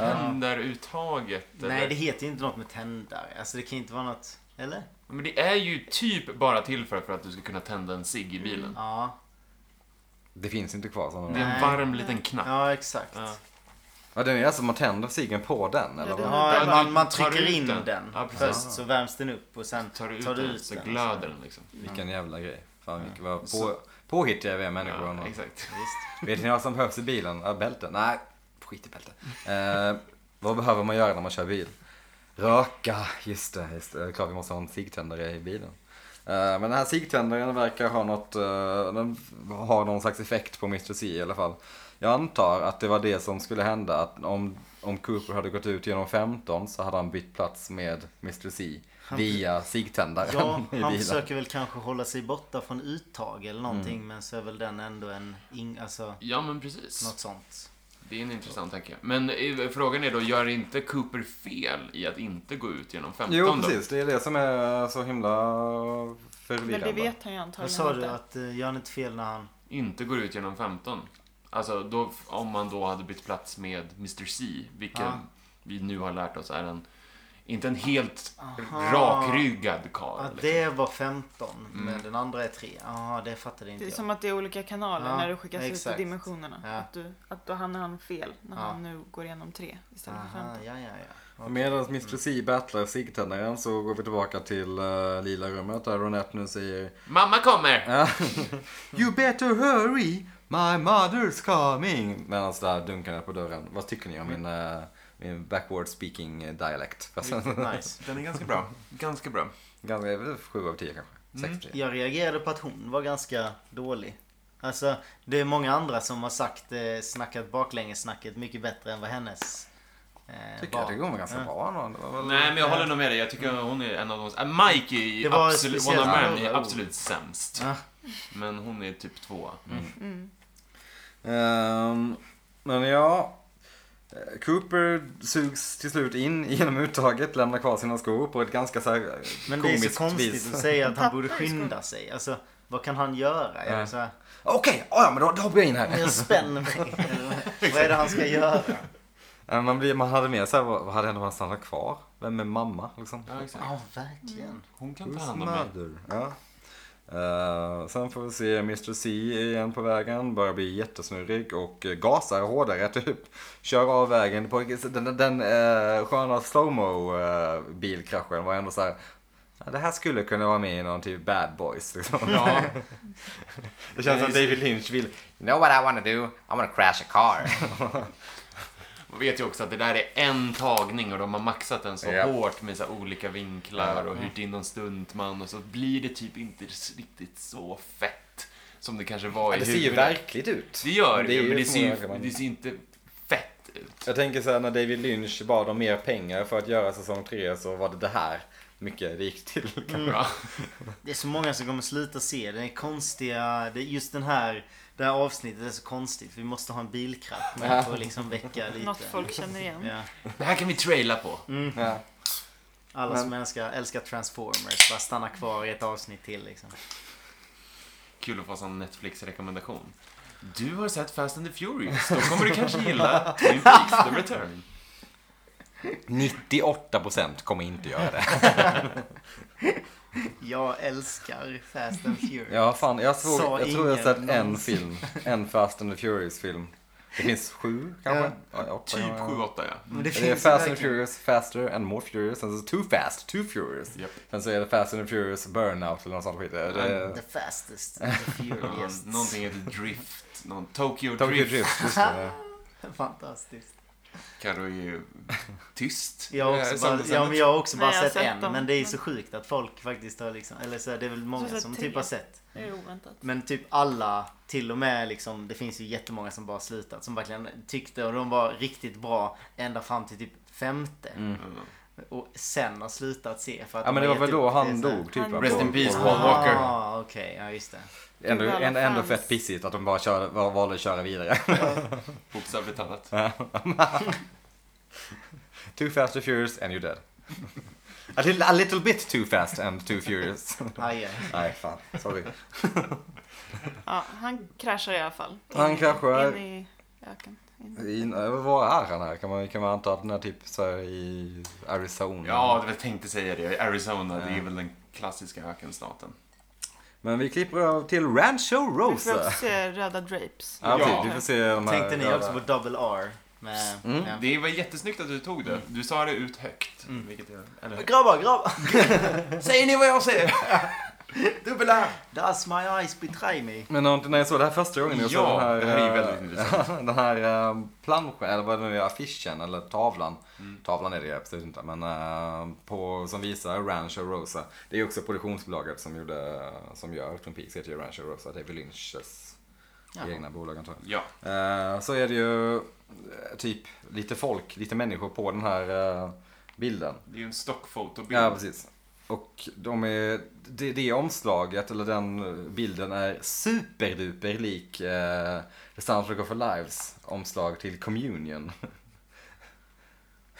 S3: Tändaruttaget?
S2: Nej, det heter ju inte något med tändare. Alltså det kan ju inte vara något... Eller?
S3: Men det är ju typ bara till för, för att du ska kunna tända en cigg i bilen.
S2: Ja.
S1: Det finns inte kvar sådana.
S3: Det är en
S2: Nej.
S3: varm liten knapp.
S2: Ja, exakt.
S3: Ja.
S1: Ja, den är alltså man tänder ciggen på den eller?
S4: Ja, det
S1: vad?
S4: har-
S2: Ja,
S3: Där
S2: man,
S3: du
S2: man
S3: tar
S2: trycker
S3: ut
S2: in
S3: den.
S2: den.
S3: Ja, precis.
S2: Först så värms den upp och sen
S3: Tar du ut, den, så glöder den liksom.
S1: Vilken jävla grej. Fan vilka vad på,
S3: Så-
S1: påhittiga vi är människor.
S3: Ja,
S1: ändå.
S3: exakt.
S1: Vet ni vad som behövs i bilen? Ja, bälte? Nej, skit i bälte. Eh, vad behöver man göra när man kör bil? Röka, just det. Just det. det är klart vi måste ha en cigtändare i bilen. Eh, men den här cigtändaren verkar ha något, eh, den har någon slags effekt på Mr. C i alla fall. Jag antar att det var det som skulle hända, att om, om Cooper hade gått ut genom 15 så hade han bytt plats med Mr. C via cigtändaren (laughs)
S2: Ja,
S1: i bilen.
S2: han försöker väl kanske hålla sig borta från uttag eller någonting men så är väl den ändå en... In, alltså,
S3: Ja, men precis.
S2: något sånt.
S3: Det är en intressant tanke. Men eh, frågan är då, gör inte Cooper fel i att inte gå ut genom 15
S1: Jo,
S3: då?
S1: precis. Det är det som är så himla
S4: Men
S1: förvirrande.
S4: det vet han ju
S2: Vad
S4: antagligen
S2: sa du?
S4: inte.
S2: Att uh, gör han inte fel när han...
S3: inte går ut genom 15. Alltså då, om man då hade bytt plats med Mr C, vilken
S2: Ja.
S3: vi nu har lärt oss är en, inte en helt
S2: Aha.
S3: rakryggad karl.
S2: Ja,
S3: liksom.
S2: det var 15 men den andra är 3. Ja, det fattade inte
S4: Det är
S2: jag.
S4: som att det är olika kanaler
S2: Ja,
S4: när du skickas ut
S2: exakt.
S4: i dimensionerna.
S2: Ja.
S4: Att, du, att då hann han fel när
S2: Ja.
S4: han nu går igenom tre istället för
S2: Aha,
S4: femton.
S2: ja, ja, ja.
S1: Medan Mr. C battlar sigtändaren så går vi tillbaka till eh, lila rummet där Ronette nu säger
S3: Mamma kommer!
S1: You better hurry, my mother's coming. Medan där dunkar det på dörren. Vad tycker ni om min, eh, min backward speaking eh, dialekt? (laughs)
S2: Nice.
S3: Den är ganska bra. Ganska bra.
S1: Ganska, 7 av 10 kanske. 6 av 10.
S2: Jag reagerade på att hon var ganska dålig. Alltså, det är många andra som har sagt eh, snackat baklängesnacket mycket bättre än vad hennes eh, eh,
S1: Tycker jag.
S2: barn.
S1: tycker hon var ganska
S2: Ja.
S1: bra. ändå. Det var väl-
S3: Nej, men jag håller nog med dig. Jag tycker hon är en av de... Äh, Mike är
S2: Det var Ah.
S3: absolut,
S2: speciellt
S3: Wonder Man är
S2: några ord.
S3: absolut sämst.
S2: Ja.
S3: Men hon är typ två.
S4: Mm.
S1: Ehm, men ja. eh, Cooper sugs till slut in genom uttaget, lämnar kvar sina skor på ett ganska så här
S2: Men det är så
S1: komiskt
S2: konstigt
S1: vis.
S2: att säga att
S4: Han
S2: han borde
S4: tappar ju skon.
S2: skynda sig. Alltså, vad kan han göra? Alltså, Är
S1: Ja.
S2: det så här,
S1: Okej, ja men då, då hoppar jag in här.
S2: "Men
S1: (laughs)
S2: jag spänner mig. Eller, vad är det han ska göra?
S1: Eh, Man, blir, man hade med sig, vad vad hade hänt om han stannade kvar? Vem är mamma liksom?
S3: Ja, exakt.
S2: Ja, verkligen.
S3: Hon kan ta
S1: Who's
S3: hand om mig.
S1: mother? Ja. Eh, sen får vi se Mr C igen på vägen. Börjar bli jättesnurrig och eh, gasar hårdare typ. Kör av vägen på den, den, den eh, sköna slowmo uh, bilkraschen var ändå så här. "Ja, Det här skulle kunna vara med i någon typ Bad Boys. Liksom. (laughs)
S3: Ja,
S1: Det känns som David Lynch vill. You know what I wanna do? I wanna crash a car.
S3: man vet ju också att det där är en tagning och de har maxat den så
S1: Ja.
S3: hårt med så här olika vinklar
S1: Ja.
S3: och hyrt in någon stuntman och så blir det typ inte riktigt så fett som det kanske var i
S1: det ser ju
S3: huvudet.
S1: verkligt ut.
S3: Det gör det
S1: är
S3: ju, men det ser
S1: förmodligen-
S3: ju det ser inte fett ut.
S1: Jag tänker så här när David Lynch bad om mer pengar för att göra säsong tre så var det det här mycket det gick
S3: (laughs)
S1: till.
S3: Ja.
S2: Det är så många som kommer sluta se den. är konstiga. Det är just den här, det här avsnittet är så konstigt. Vi måste ha en bilkrasch med för att liksom väcka lite.
S4: Något folk känner igen.
S2: (laughs) Ja.
S3: Det här kan vi traila på.
S1: Ja.
S2: Alla
S1: Men-
S2: som älskar, älskar Transformers bara stanna kvar i ett avsnitt till liksom.
S3: Kul att få en sån Netflix-rekommendation. Du har sett Fast and the Furious. Då kommer du kanske
S1: (laughs)
S3: gilla Twin Peaks The Return.
S1: 98% kommer inte göra det.
S2: Jag älskar Fast and Furious.
S1: Ja, fan, jag, såg,
S2: Sa
S1: jag tror jag har
S2: ingen
S1: sett en
S2: någonsin.
S1: film. En Fast and the Furious film. Det finns sju kanske? Ja, åtta,
S3: Typ
S1: ja, ja.
S3: 7-8 ja.
S2: Men
S1: Det är
S2: finns
S1: Fast and
S2: verkligen.
S1: Furious, Faster and More Furious, sen så Too Fast, Too Furious.
S3: Japp.
S1: Sen så är det Fast and the Furious Burnout eller något sånt skit. Det är,
S2: The fastest, the furious.
S3: Någon- Någonting heter Drift. Någon Tokyo,
S1: Tokyo
S3: Drift. (laughs)
S1: Drift, just det.
S2: Fantastiskt.
S3: Karo är ju tyst.
S2: Jag har
S3: Eh,
S2: också bara,
S3: söndag,
S2: (laughs) ja, men jag har också
S4: Nej,
S2: bara
S4: jag har
S2: sett,
S4: sett
S2: en.
S4: dem.
S2: Men det är så sjukt att folk faktiskt har liksom, eller så här, det är väl många
S4: sett
S2: som
S4: tre.
S2: typ har sett.
S4: Det är oväntat.
S2: Men typ alla, till och med liksom, det finns ju jättemånga som bara slutat. Som verkligen tyckte, och de var riktigt bra ända fram till typ femte.
S3: söndag. Mm.
S2: Och sen har slutat se. För att
S1: Ja
S2: de
S1: men det
S2: har
S1: var väl
S2: gett upp.
S1: då
S2: Det är
S1: han
S2: så här-
S1: dog typ.
S4: Han
S1: va,
S4: dog.
S3: Rest
S1: på-
S3: in peace,
S1: på-
S3: Paul Walker.
S2: Ah, okej. Ja, just det.
S1: Ändå,
S4: Gud, alla
S1: ändå, ändå
S4: fans.
S1: fett pissigt att de bara kör, val- valde att köra vidare. (laughs)
S3: Bokstavligt talat.
S1: too fast, too furious and you're dead. (laughs) A little, a little bit too fast and too furious. (laughs)
S2: Aj, aj.
S1: Nej, fan. Sorry.
S4: Ja, han kraschar i alla fall.
S1: Han
S4: In i-
S1: kraschar.
S4: In i öken. In.
S1: I, var är han här? Kan man, kan man anta att den är typ så här i Arizona?
S3: Ja, jag tänkte säga det. Arizona, det är
S1: Ja.
S3: väl den klassiska ökenstaten.
S1: Men vi klipper över till Rancho
S4: Vi får också
S1: Rosa.
S4: se röda drapes.
S1: Ja,
S3: Ja.
S1: precis. Vi får se de här
S2: Tänkte ni
S1: jävla-
S2: också på double R? Med,
S1: Mm.
S2: ja.
S3: Det var jättesnyggt att du tog det. Du sa det ut högt.
S2: Mm.
S3: Vilket jag, eller,
S2: Grabbar, grabbar!
S3: Säger ni vad jag säger? Dubbel R!
S2: Does my eyes betray me?
S1: Men när när jag såg det här första gången, jag
S3: Ja,
S1: såg den här,
S3: det här är ju
S1: eh,
S3: väldigt
S1: (laughs)
S3: intressant.
S1: den här eh, planschen, eller vad det nu är, affischen eller tavlan.
S3: Mm.
S1: Tavlan är det ju absolut inte, men eh, på, som visar Rancho Rosa. Det är ju också produktionsbolaget som, gjorde, som gör Twin Peaks, heter ju Rancho Rosa. Det är väl Lynchs
S2: Jaha.
S1: egna bolag antar jag.
S3: Ja.
S1: Eh, så är det ju eh, typ lite folk, lite människor på den här eh, bilden.
S3: Det är ju en stockfotobild.
S1: Ja, precis. Och de är, det, det omslaget, eller den bilden, är superduper lik eh, The Soundtrack of Our Lives omslag till Communion.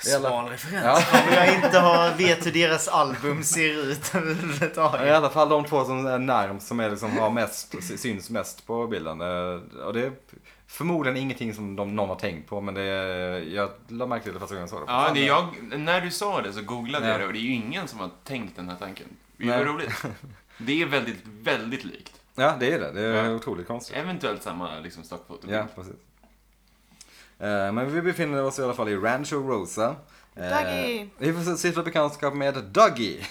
S1: Jävla-
S2: Smal referens.
S1: Ja,
S2: Om jag inte har, vet hur deras album ser ut
S1: i
S2: överhuvudtaget.
S1: alla fall de två som är närmst, som är liksom, har mest, syns mest på bilden. Eh, Och det är förmodligen ingenting som de, någon har tänkt på, men det är, jag la märke till det första gången jag såg det.
S3: Ja, det är jag, när du sa det så googlade
S1: Ja.
S3: jag det och det är ju ingen som har tänkt den här tanken. Det är
S1: Nej.
S3: ju
S1: (laughs)
S3: roligt. Det är väldigt, väldigt likt.
S1: Ja, det är det. Det är
S3: Ja.
S1: otroligt konstigt.
S3: Eventuellt samma liksom, stockfotobild.
S1: Ja, precis. Eh, Men vi befinner oss i alla fall i Rancho Rosa. Eh,
S4: Dougie!
S1: Vi får sitta bekantskap med Dougie.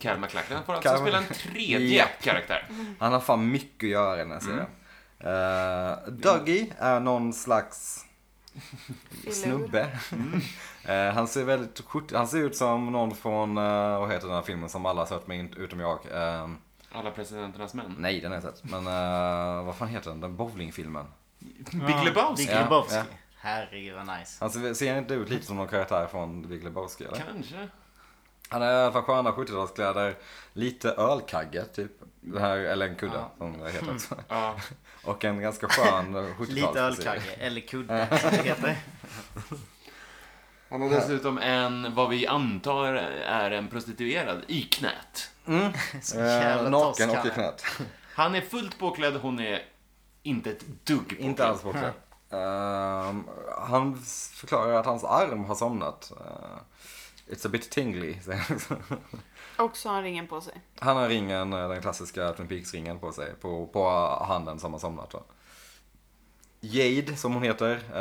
S3: Karl McLachlan Han får alltså
S1: Karl-
S3: spela en tredje
S1: Ja.
S3: karaktär.
S1: Han har fan mycket att göra i den här serien. Eh, Dougie är någon slags
S4: Filur.
S1: snubbe. (laughs) Eh, han, ser väldigt, skjort- han ser ut som någon från, eh, vad heter den här filmen som alla har sett men inte- utom jag. Eh,
S3: Alla presidenternas män.
S1: nej, den har jag sett. Men eh, vad fan heter den? Den bowlingfilmen.
S3: Big Lebowski.
S2: Big Lebowski.
S1: Ja,
S2: Herregud vad nice.
S1: Han Alltså, ser inte ut lite som någon karaktär från The Big Lebowski eller?
S3: Kanske.
S1: Han har i alla fall sköna 70-talskläder, lite ölkagge typ. Det här, eller en kudde
S3: Ja.
S1: som det heter också.
S3: Ja.
S1: Och en ganska skön 70-talsfrisyr.
S2: Mm. (laughs) Lite ölkagge, eller kudde som
S1: (laughs)
S2: det heter.
S3: Han har dessutom en, vad vi antar är en prostituerad, i knät.
S1: Mm.
S2: Så
S1: Eh,
S2: jävla
S1: naken och i
S2: toskalle.
S1: knät.
S3: Han är fullt påklädd, hon är inte ett dugg påklädd.
S1: Inte alls
S2: Mm.
S1: bortklädd. Ehm, han förklarar att hans arm har somnat. Eh, it's a bit tingly, säger han (laughs) också.
S4: Och så har han ringen på sig.
S1: Han har ringen, eh, den klassiska Twin Peaks-ringen på sig, på, på handen som har somnat. Då. Jade, som hon heter,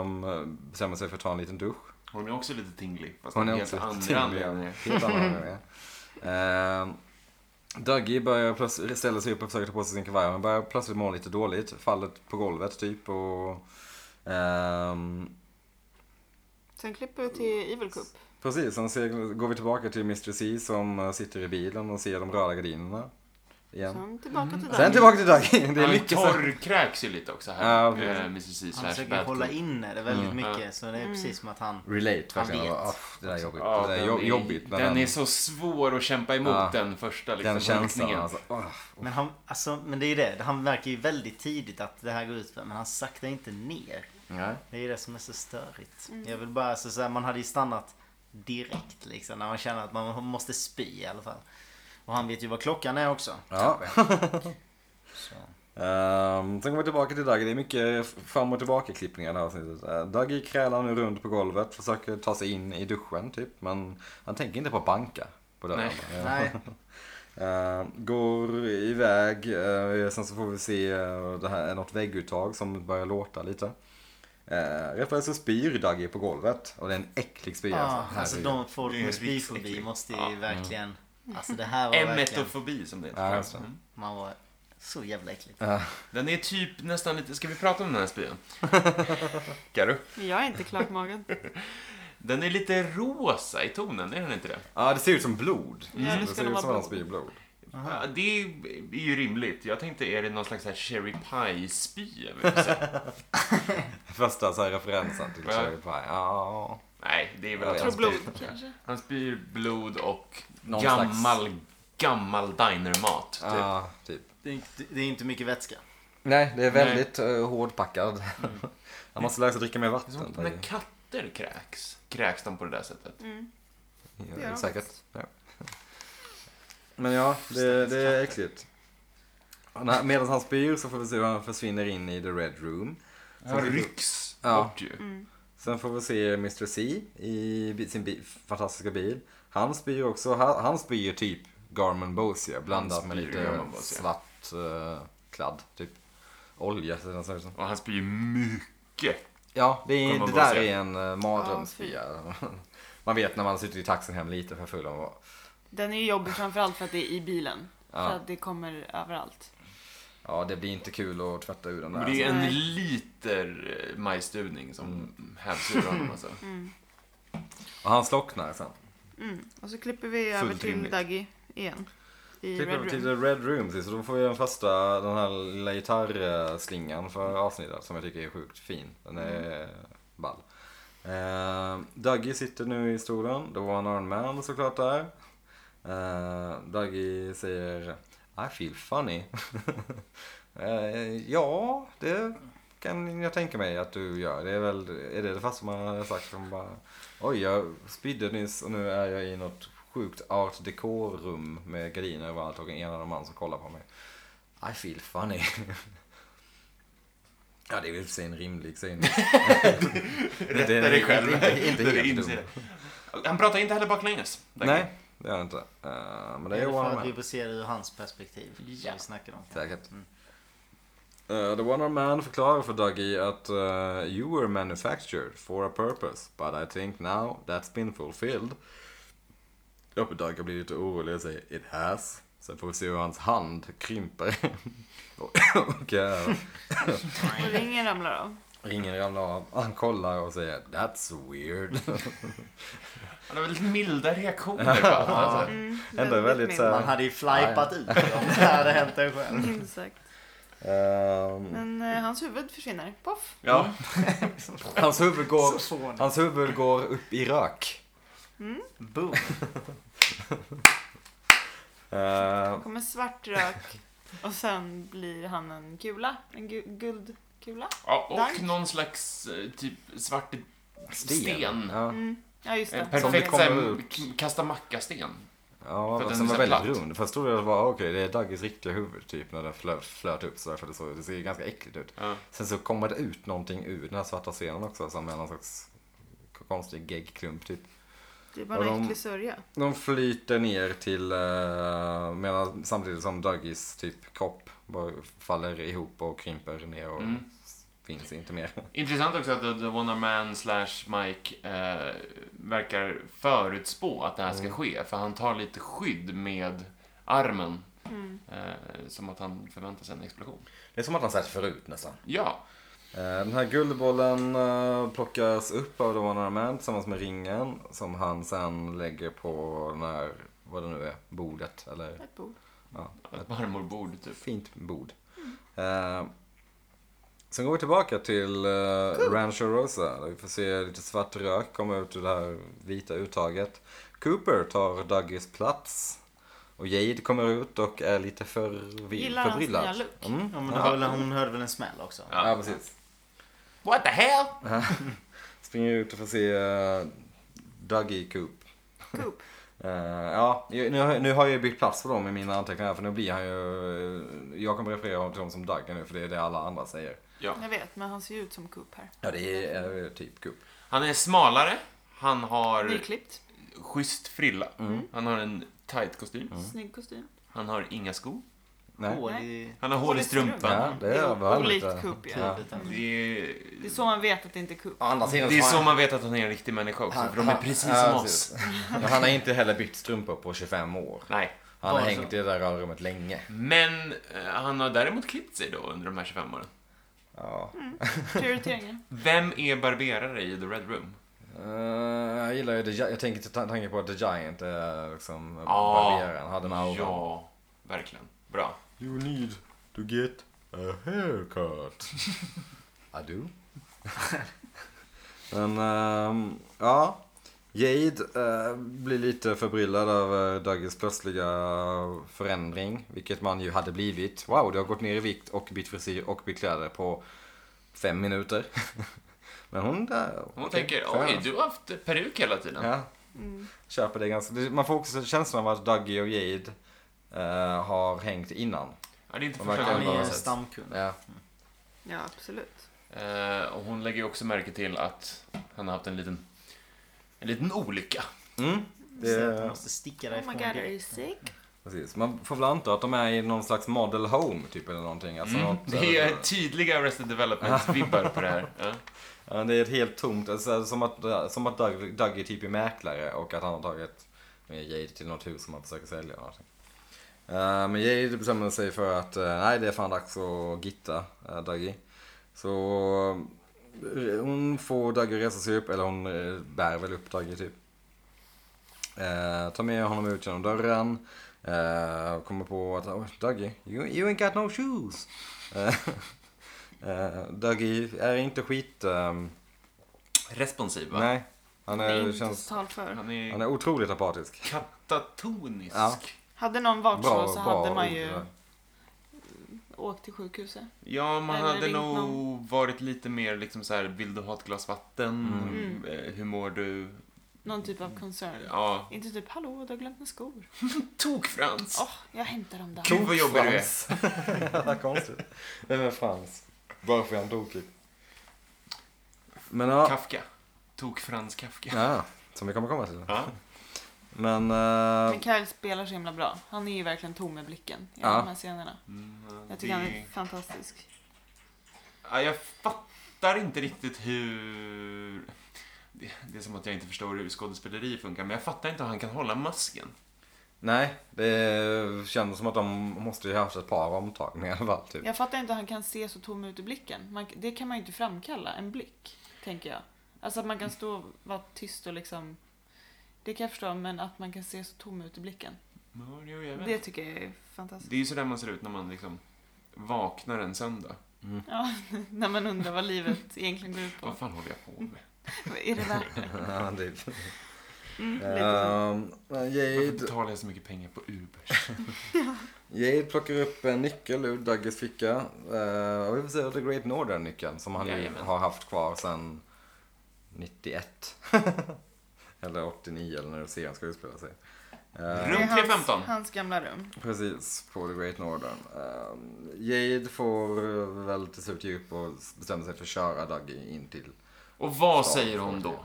S1: um, bestämmer sig för att ta en liten dusch.
S3: Hon är också lite tinglig, fast
S1: Hon
S3: hon
S1: är
S3: helt
S1: också
S3: andra
S1: tinglig av
S3: anledningar.
S1: helt andra anledningar. Ehm, Dougie börjar plötsligt ställa sig upp och försöker ta på sig sin kavaj. Han börjar plötsligt må lite dåligt, faller på golvet typ. Och, ehm,
S4: Sen klipper vi till Evil Cup.
S1: Mm. Precis, sen ser, går vi tillbaka till Mr. C som eh, sitter i bilen och ser de röda gardinerna. Igen.
S4: Sen tillbaka till
S1: Sen
S4: den.
S1: tillbaka till Dougie. Det är
S3: han
S1: mycket så...
S3: torrkräks ju lite också
S1: Ja,
S3: här.
S1: precis.
S3: eh, Mrs. C
S2: Han
S3: slash
S2: försöker
S3: Bad
S2: hålla
S3: Cop.
S2: inne det väldigt
S1: Mm.
S2: mycket. Så det är precis som att han...
S1: Relate
S2: Han
S1: verkligen.
S2: vet.
S1: Ah, det där är jobbigt.
S3: Ja,
S1: det där är
S3: den
S1: jobb, jobbigt. när
S3: Den är så svår att kämpa emot
S1: Ja.
S3: den första liksom,
S1: den känslan
S3: ryckningen.
S1: alltså. Ah.
S2: Men, han, alltså, men det är ju det, han verkar ju väldigt tidigt att det här går ut för, men han saktar inte ner.
S1: Nej.
S2: Det är ju det som är så störigt. Jag vill bara, alltså, så här, man hade ju stannat direkt liksom när man känner att man måste spy i alla fall. Och han vet ju vad klockan är också.
S1: Ja.
S2: Så.
S1: Ehm, sen kommer vi tillbaka till Dougie. Det är mycket fram och tillbaka klippningar i det här avsnittet. Eh, Dougie krälar nu runt på golvet, försöker ta sig in i duschen typ. Men han tänker inte på att banka på dörren.
S3: Nej.
S1: Eh, (laughs)
S2: Nej,
S1: Eh, går iväg, eh, sen så får vi se eh, det här, något vägguttag som börjar låta lite. Eh, rätt vad det är så spyr Dougie på golvet och det är en äcklig spya.
S2: ah, alltså
S1: Herregud.
S2: de folk
S3: Det är
S2: med
S3: riktigt
S2: spyfobi
S3: äckligt.
S2: måste ju
S3: Ja, Mm.
S2: verkligen, alltså det här var verkligen,
S3: Emetofobi som det
S1: Ja,
S3: heter.
S1: just det.
S3: Mm.
S2: man var så jävla äcklig.
S1: Eh,
S3: Den är typ nästan lite, ska vi prata om den här spyan?
S1: (laughs)
S3: Karo?
S4: Jag är inte klarkmagad.
S3: Den är lite rosa i tonen, är den inte det?
S1: Ja, det ser ut som blod.
S4: Ja, det
S1: det
S4: ska
S1: ser
S4: det
S1: ut
S4: vara
S1: som att han
S4: blod.
S1: spyr blod.
S3: Ja, Det är ju rimligt. Jag tänkte, är det någon slags så här cherry pie-spya? vill
S1: (laughs)
S3: jag säga.
S1: Första så här referensen till
S3: Ja.
S1: Cherry Pie. Ja.
S3: Nej, det är väl
S1: Jag
S3: att
S1: vet
S4: Tror
S3: han
S1: inte.
S3: spyr,
S4: blod kanske.
S3: han spyr blod och
S1: Någon
S3: gammal, gammal dinermat. Typ.
S1: Ja, typ.
S2: Det är, det är inte mycket vätska.
S1: Nej, Mm. det är väldigt eh, hårdpackad. (laughs) Han måste lära sig att dricka mer
S3: Det är som
S1: vatten.
S3: när katter kräks. Kräks de på det där sättet?
S4: Mm.
S1: Ja,
S4: Ja.
S1: Säkert. Ja. (laughs) Men ja, det, det är äckligt. Medan han spyr så får vi se hur han försvinner in i the red room.
S3: Han rycks
S1: Ja.
S3: bort ju.
S4: Mm.
S1: Sen får vi se Mr. C i bi- sin bi fantastiska bil. Han spyr också. Han, han spyr typ Garmin Bosia blandat med
S3: spyr
S1: lite
S3: Garmin Bosia.
S1: svart eh, kladd. Typ olja. Så den ser ut som.
S3: Och han spyr mycket.
S1: Ja, det, är,
S3: Garmin
S1: det där
S3: Bosia.
S1: är en uh, mardrömsspya. (laughs) Man vet när man sitter i taxin hem lite för full. och-
S4: Den är ju jobbig framförallt för att det är i bilen.
S1: Ja.
S4: För att det kommer överallt.
S1: Ja, det blir inte kul att tvätta ur den där.
S3: Men det är en
S4: Nej.
S3: liter eh, majsstuvning som hävs ur honom alltså.
S1: Mm. alltså. Och han slocknar sen.
S4: Mm. Och så klipper vi över
S1: Fullt
S4: till
S1: rimligt.
S4: Dougie igen. I
S1: Klipper
S4: Red
S1: över till
S4: Room.
S1: Typ- The Red Room, precis. Och då får vi den första, den här lilla gitarrslingan för avsnittet som jag tycker är sjukt fin. Den är
S4: Mm.
S1: ball. Eh, Dougie sitter nu i stolen, då var han Iron Man såklart där. Eh, Dougie säger I feel funny. (laughs) eh, ja, det kan jag tänka mig att du gör. Det är väl, är det det första man har sagt? Som bara, Oj, jag spydde nyss och nu är jag i något sjukt art decor-rum med gardiner överallt och en enad man som kollar på mig. I feel funny. ja, det är väl i och för sig en rimlig
S3: (laughs)
S1: sägning.
S3: Rätta
S1: är
S3: dig själv.
S1: inte- inte- inte
S3: (laughs) Det är
S1: helt
S3: insida. Han pratar inte heller baklänges.
S1: Nej, det är det inte. Eh, men
S2: Det
S1: det är
S2: är
S1: One
S2: för
S1: Arm
S2: att vi
S1: Man.
S2: får se det ur hans perspektiv.
S3: Ja.
S2: Som vi snackar om.
S1: Säkert.
S2: Mm.
S1: Eh, the One Arm Man förklarar för Dougie att eh, You were manufactured for a purpose but I think now that's been fulfilled. Och Dougie blir lite orolig och säger It has. Sen får vi se hur hans hand krymper. (laughs) och och eh,
S4: Och ringen ramlar av.
S1: ringen ramlar av. Han kollar och säger That's weird.
S3: Han har väldigt milda reaktioner på allt. Alltså.
S4: Mm,
S1: Ändå väldigt
S4: mild.
S1: så här- Mm.
S2: Man hade ju flajpat ut dem. Det hade hänt en själv.
S4: (laughs) Exakt.
S1: Ehm,
S4: Men eh, hans huvud försvinner. Poff!
S1: ja. hans, huvud går,
S2: Så fånigt.
S1: hans huvud går upp i rök.
S2: Boom.
S1: Ehm,
S4: Kommer
S1: (laughs)
S4: svart rök. Och sen blir han en kula. En gu- guldkula.
S3: Ja, och
S4: Dank.
S3: någon slags eh, typ svart sten.
S1: Ja.
S4: Mm. Ja, just
S3: En
S4: det.
S3: perfekt
S1: kommer
S3: såhär,
S1: ut.
S3: k- kasta macka-sten.
S1: Ja,
S3: För att
S1: och
S3: den
S1: sen
S3: är
S1: var
S3: så
S1: väldigt
S3: platt.
S1: rund. Först trodde jag att det var okej, det är Dagges riktiga huvud typ när den flöt, flöt upp så där, för det, såg, det ser ju ganska äckligt ut.
S3: Ja.
S1: Sen så kommer det ut någonting ur den här svarta scenen också som är någon slags konstig geggklump typ.
S4: Det är bara
S1: Och
S4: en
S1: de-
S4: äcklig sörja.
S1: De flyter ner till, eh, medan, samtidigt som Duggies typ kropp bara faller ihop och krymper ner och
S3: Mm.
S1: finns inte mer.
S3: Intressant också att The, the Wanna Man slash Mike eh, verkar förutspå att det här ska
S1: Mm.
S3: ske. För han tar lite skydd med armen.
S4: Mm.
S3: Eh, som att han förväntar sig en explosion.
S1: Det är som att han sett förut nästan.
S3: Ja,
S1: Eh, Den här guldbollen eh, plockas upp av The One Armed Man tillsammans med ringen som han sen lägger på den här, vad det nu är, bordet eller
S4: Ett bord.
S1: ja,
S3: ett marmorbord
S1: ett
S3: typ.
S1: fint bord. Eh, Sen går vi tillbaka till eh, Rancho Rosa där vi får se lite svart rök komma ut ur det här vita uttaget. Cooper tar Duggies plats och Jade kommer ut och är lite förvill-
S4: Gillar hans
S1: förbryllad.
S4: nya look.
S1: Mm.
S2: Ja, men då höll, hon hörde väl en smäll också?
S1: Ja, precis.
S3: What the hell?
S1: Springer ut och får se uh, Dougie Coop.
S4: Coop.
S1: (laughs) Eh, ja, ju- nu, har- nu har jag ju bytt plats för dem i mina anteckningar för nu blir han ju... eh, Jag kommer referera honom till dem som Dougie nu för det är det alla andra säger.
S3: Ja.
S4: Jag vet, men han ser ju ut som Coop här.
S1: Ja, det är eh, typ Coop.
S3: Han är smalare. Han har
S4: Nyklippt.
S3: schysst frilla.
S1: Mm.
S2: Mm.
S3: Han har en tight kostym.
S4: Snygg kostym.
S3: Han har inga skor.
S1: Nej.
S2: Hål i...
S3: Han har hål i
S4: Hål i strumpan.
S3: strumpan.
S1: Ja, det
S4: Det
S1: är
S4: är
S1: väl
S4: olikt
S1: lite-
S4: Coop, ja.
S1: ja.
S2: Tidigt där.
S3: Det är,
S4: Det är så man vet att det inte är Coop.
S1: Å andra sidan
S3: det är
S1: har
S3: så
S1: han-
S3: man vet att han är en riktig människa också, för de är precis som
S1: (laughs) ja,
S3: oss.
S1: precis. Men han har inte heller bytt strumpor på 25 år.
S3: Nej.
S1: Han har
S2: Bara så.
S1: hängt i det där rörrummet länge.
S3: Men eh, han har däremot klippt sig då under de här 25 åren.
S1: Ja.
S4: Prioriteringen.
S3: Vem är barberare i The Red Room?
S1: Eh, jag gillar ju The Gi- Jag tänker till ta- tanken på att The Giant är liksom
S3: Ja.
S1: barberaren. Han hade en aura.
S3: Ja, verkligen. Bra.
S1: You need to get a haircut. I do. (laughs) Men, ehm, ja. Jade eh, blir lite förbryllad över Duggies plötsliga förändring. Vilket man ju hade blivit. Wow, du har gått ner i vikt och bytt frisyr och bytt kläder på fem minuter. (laughs) Men hon där...
S3: Hon
S1: okej,
S3: tänker,
S1: fair
S3: oj,
S1: enough."
S3: du har haft peruk hela tiden.
S1: Ja. Köper det ganska... det- Man får också känslan av att Dougie och Jade eh, har hängt innan.
S3: Ja, det är inte
S1: De
S3: första
S1: verkar
S3: gången
S2: Han är
S3: jag har
S2: en
S1: bara-
S3: sett.
S2: stamkund.
S1: Ja.
S4: Ja, absolut.
S3: Eh, och hon lägger ju också märke till att han har haft en liten, en liten olycka.
S1: Mm.
S2: Säger att
S1: Det-
S2: han måste sticka
S4: Oh my
S2: därifrån.
S4: god, are
S2: direkt.
S4: you sick?
S1: Precis. Man får väl anta att de är i någon slags model home typ eller någonting. Alltså,
S3: Mm.
S1: något,
S3: Det är tydliga Arrested Development-vibbar på det här. Ja.
S1: (laughs) Ja, det är ett helt tomt, alltså, som att, som att Doug, Doug är typ är mäklare och att han har tagit med Jade till något hus som han försöker sälja. eller Någonting. Eh, men Jade bestämmer sig för att eh, nej det är fan dags att gitta uh, Dougie. Så eh, hon får Dougie resa sig upp, eller hon eh, bär väl upp Dougie typ. Eh, tar med honom ut genom dörren. eh, kommer på att oh, Dougie, you, you ain't got no shoes. Eh, (laughs) eh, Dougie är inte skit... ehm,
S3: Responsiv, va?
S1: Nej, han
S4: Det är
S1: är,
S4: inte
S1: känns,
S4: tal för.
S3: Han är
S1: han är otroligt apatisk.
S3: katatonisk.
S1: Ja.
S4: Hade någon varit så så hade man
S1: ord,
S4: ju
S1: ja.
S4: åkt till sjukhuset.
S3: Ja, man
S4: Eller
S3: hade
S4: ringt
S3: nog
S4: någon.
S3: varit lite mer liksom så här, vill du ha ett glas vatten?
S4: Mm.
S3: Eh, Hur mår du?
S4: Någon typ av concern.
S3: Ja.
S4: Inte typ, hallå, du har glömt mina skor.
S3: Tok Frans!
S4: Åh, jag hämtar dem där.
S3: Gud, vad jobbig du är.
S1: Frans. (laughs) Jävla konstigt. Vem är Frans? Varför är han tokig? Men ja.
S3: Kafka. Tok Frans Kafka.
S1: ja, som vi kommer komma till.
S3: Ja.
S1: Men, eh,
S4: Men Kyle spelar så himla bra. Han är ju verkligen tom med blicken i
S1: Ja.
S4: de här scenerna.
S3: Mm,
S4: Jag tycker
S3: det-
S4: han är fantastisk.
S3: Ja, jag fattar inte riktigt hur... Det, det är som att jag inte förstår hur skådespeleri funkar, men jag fattar inte hur han kan hålla masken.
S1: nej, det känns som att de måste ju ha haft ett par omtagningar i alla fall. Typ.
S4: Jag fattar inte hur han kan se så tom ut i blicken. Man, det kan man ju inte framkalla, en blick. Tänker jag. Alltså att man kan stå och vara tyst och liksom... Det kan jag förstå, men att man kan se så tom ut i blicken.
S3: Ja, jo, jag vet.
S4: Det tycker jag är fantastiskt.
S3: Det är ju sådär man ser ut när man liksom vaknar en söndag.
S4: Ja, (laughs) när man undrar vad livet egentligen går ut på.
S3: Vad fan håller jag på med?
S4: Är det värt det?
S1: (laughs) ja, det-
S4: Mm, lite så.
S1: Ehm,
S3: Varför
S1: Jade,
S3: betalar jag så mycket pengar på Uber?
S1: Jade plockar upp en nyckel ur Duggies ficka. Eh, och vi får se The Great Northern-nyckeln som han ju
S3: Jajamän.
S1: har haft kvar sedan 91. (laughs) eller 89 eller när serien ska utspela sig. Eh,
S3: Rum
S4: Det är hans-
S3: 315.
S4: Hans gamla rum.
S1: Precis, på The Great Northern. Ehm, Jade får eh, väl till slut ge upp och bestämma sig för att köra Dougie in till...
S3: Och vad
S1: Ja,
S3: säger hon då?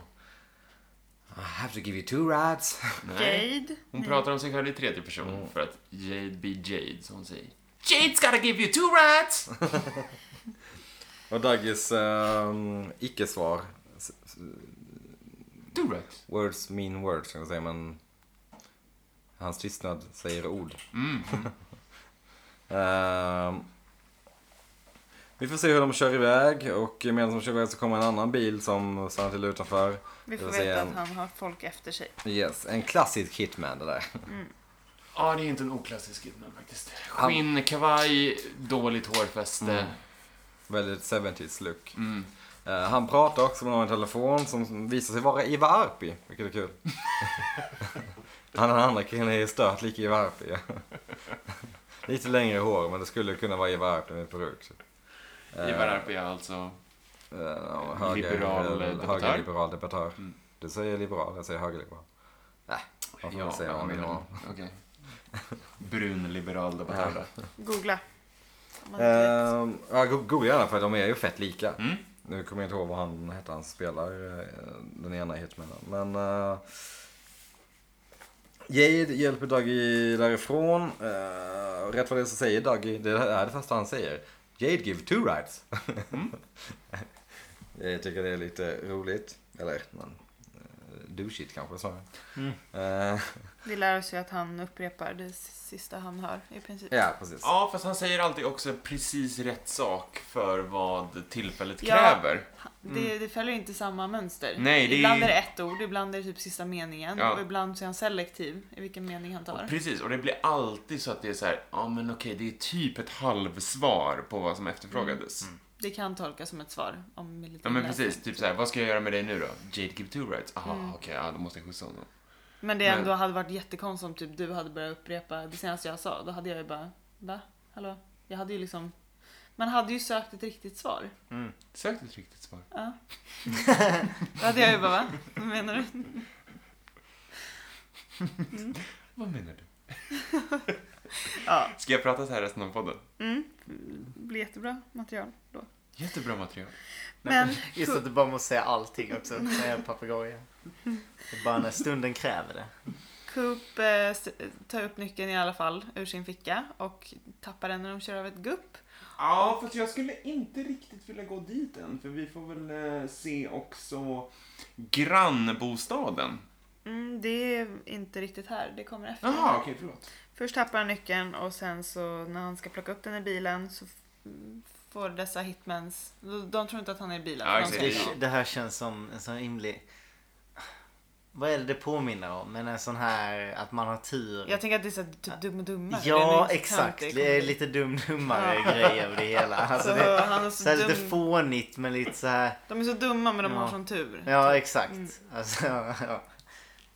S1: I have to give you two rides. (laughs)
S3: Nej.
S4: Jade.
S3: Hon Mm. pratar om sig själv i tredje person för att Jade be Jade, så hon säger. Jade's gotta give you two rats!
S1: Och Dougies ehm, icke-svar, s- s-
S3: Two rats?
S1: words mean words kan man säga, men hans tystnad säger ord.
S3: Mm.
S1: (laughs) Ehm, vi får se hur de kör iväg och medan de kör iväg så kommer en annan bil som stannar till utanför.
S4: Vi får
S1: Jag säger
S4: veta
S1: en-
S4: att han har folk efter sig.
S1: Yes, en klassisk hitman det där.
S3: Ja, det är inte en oklassisk hitman faktiskt. Skinn, kavaj, dåligt hårfäste.
S1: Väldigt 70s look.
S3: Mm.
S1: Eh, Han pratar också med någon i telefon som visar sig vara Iva Arpi, vilket är
S3: (laughs)
S1: kul. Han den andra killen är stört lik Iva Arpi. (laughs) Lite längre hår, men det skulle kunna vara Iva Arpi med peruk. Eh,
S3: Ivar Arpi är alltså...
S1: eh, ja, höger-
S3: Liberal
S1: eh,
S3: debattör.
S1: Högerliberal debattör.
S3: Mm.
S1: Du säger liberal, jag säger högerliberal. Nej, man får
S3: Ja,
S1: väl säga vad
S3: han
S1: man
S3: är
S1: vill.
S3: då- Okej. Brun liberal debattör där.
S4: Googla. Om man inte vet.
S1: Eh, Ja, go- googla gärna för de är ju fett lika.
S3: Mm.
S1: Nu kommer jag inte ihåg vad han hette, han spelar eh, den ena hitmannen. Men eh, Jade hjälper Dougie därifrån. Eh, rätt vad det är så säger Dougie, det är det första han säger. Jade give two rights.
S3: Mm.
S1: (laughs) jag tycker det är lite roligt. Eller man, eh, douchigt kanske snarare.
S2: Mm.
S1: Eh,
S4: Vi lär oss ju att han upprepar det sista han hör i princip.
S1: ja, precis.
S3: Ja, fast han säger alltid också precis rätt sak för vad tillfället
S4: Ja.
S3: kräver.
S4: Det, det följer inte samma mönster.
S3: Mm. Nej, det är-
S4: Ibland är det ett ord, ibland är det typ sista meningen
S3: Ja.
S4: och ibland så är han selektiv i vilken mening han tar.
S3: Precis, och det blir alltid så att det är så här, ja men okej, det är typ ett halvsvar på vad som efterfrågades.
S1: Mm.
S4: Det kan tolkas som ett svar om vi lite
S3: Ja men
S4: läser.
S3: precis, typ så här, vad ska jag göra med dig nu då? Jade give two rights? Aha, okej, ja, då måste jag skjutsa honom.
S4: Men det
S3: Men-
S4: ändå hade varit jättekonstigt om typ du hade börjat upprepa det senaste jag sa. Då hade jag ju bara, va? Hallå? Jag hade ju liksom, man hade ju sökt ett riktigt svar.
S3: Sök ett riktigt svar. (laughs)
S4: Ja. Då hade jag ju bara, va? Vad menar du?
S3: Vad menar du?
S4: Ja,
S3: Ska jag prata så här resten av podden?
S4: mm. Det blir jättebra material då.
S3: Jättebra material.
S4: Men,
S2: Just att du bara måste säga allting
S4: (laughs)
S2: också. Som en papegoja. Det är bara när stunden kräver det.
S4: Coop eh, s- tar upp nyckeln i alla fall ur sin ficka och tappar den när de kör över ett gupp.
S3: Ja, fast jag skulle inte riktigt vilja gå dit än, för vi får väl eh, se också grannbostaden.
S4: Mm, det är inte riktigt här, det kommer efter.
S3: Jaha, okej, förlåt.
S4: Först tappar han nyckeln och sen så när han ska plocka upp den i bilen så f- får dessa hitmans, de, de tror inte att han är i bilen.
S3: Ja,
S4: för de
S3: exakt.
S4: ska ju-
S2: Det, det här känns som en sån himlig... Vad är det det påminner om? Men en sån här att man har tur.
S4: Jag tänker att det är så här, typ dum och dummare. Det är
S2: Ja,
S4: nog inte så
S2: exakt.
S4: töntigt.
S2: Det är lite dum-dummare
S4: Ja.
S2: grejer över det
S4: (laughs)
S2: hela. Alltså,
S4: så,
S2: det,
S4: han är så
S2: så här lite
S4: dum.
S2: fånigt men lite så här...
S4: De är så dumma men de
S2: Ja.
S4: har sån tur.
S2: Ja, exakt.
S4: Mm.
S2: Alltså, (laughs) ja.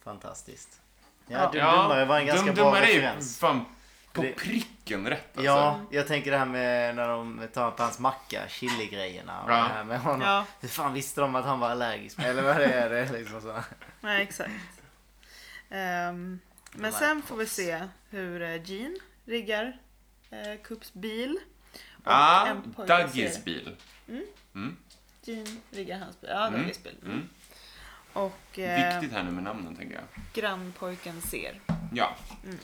S2: Fantastiskt. Ja,
S4: Ja.
S2: dum-dummare var en ganska bra
S3: Dumdummare är ju
S2: referens.
S3: fan på
S2: Det-
S3: pricken rätt alltså.
S2: Ja, jag tänker det här med när de tar på hans macka, chili-grejerna och
S3: Ja.
S2: det här med honom.
S4: Ja,
S2: Hur fan visste de att han var allergisk? Eller vad det är det liksom så.
S4: nej exakt. Ehm, men
S2: Lifehouse.
S4: sen får vi se hur eh, Jean riggar eh, Coops bil. Och
S3: Ah,
S4: en pojke
S3: Duggies
S4: ser-
S3: bil.
S4: Jean riggar hans bil. Ja,
S3: Mm.
S4: Duggies bil. Mm.
S3: Mm.
S4: Och eh,
S3: Viktigt här nu med namnen, tänker jag.
S4: grannpojken ser.
S3: Ja.
S4: Mm.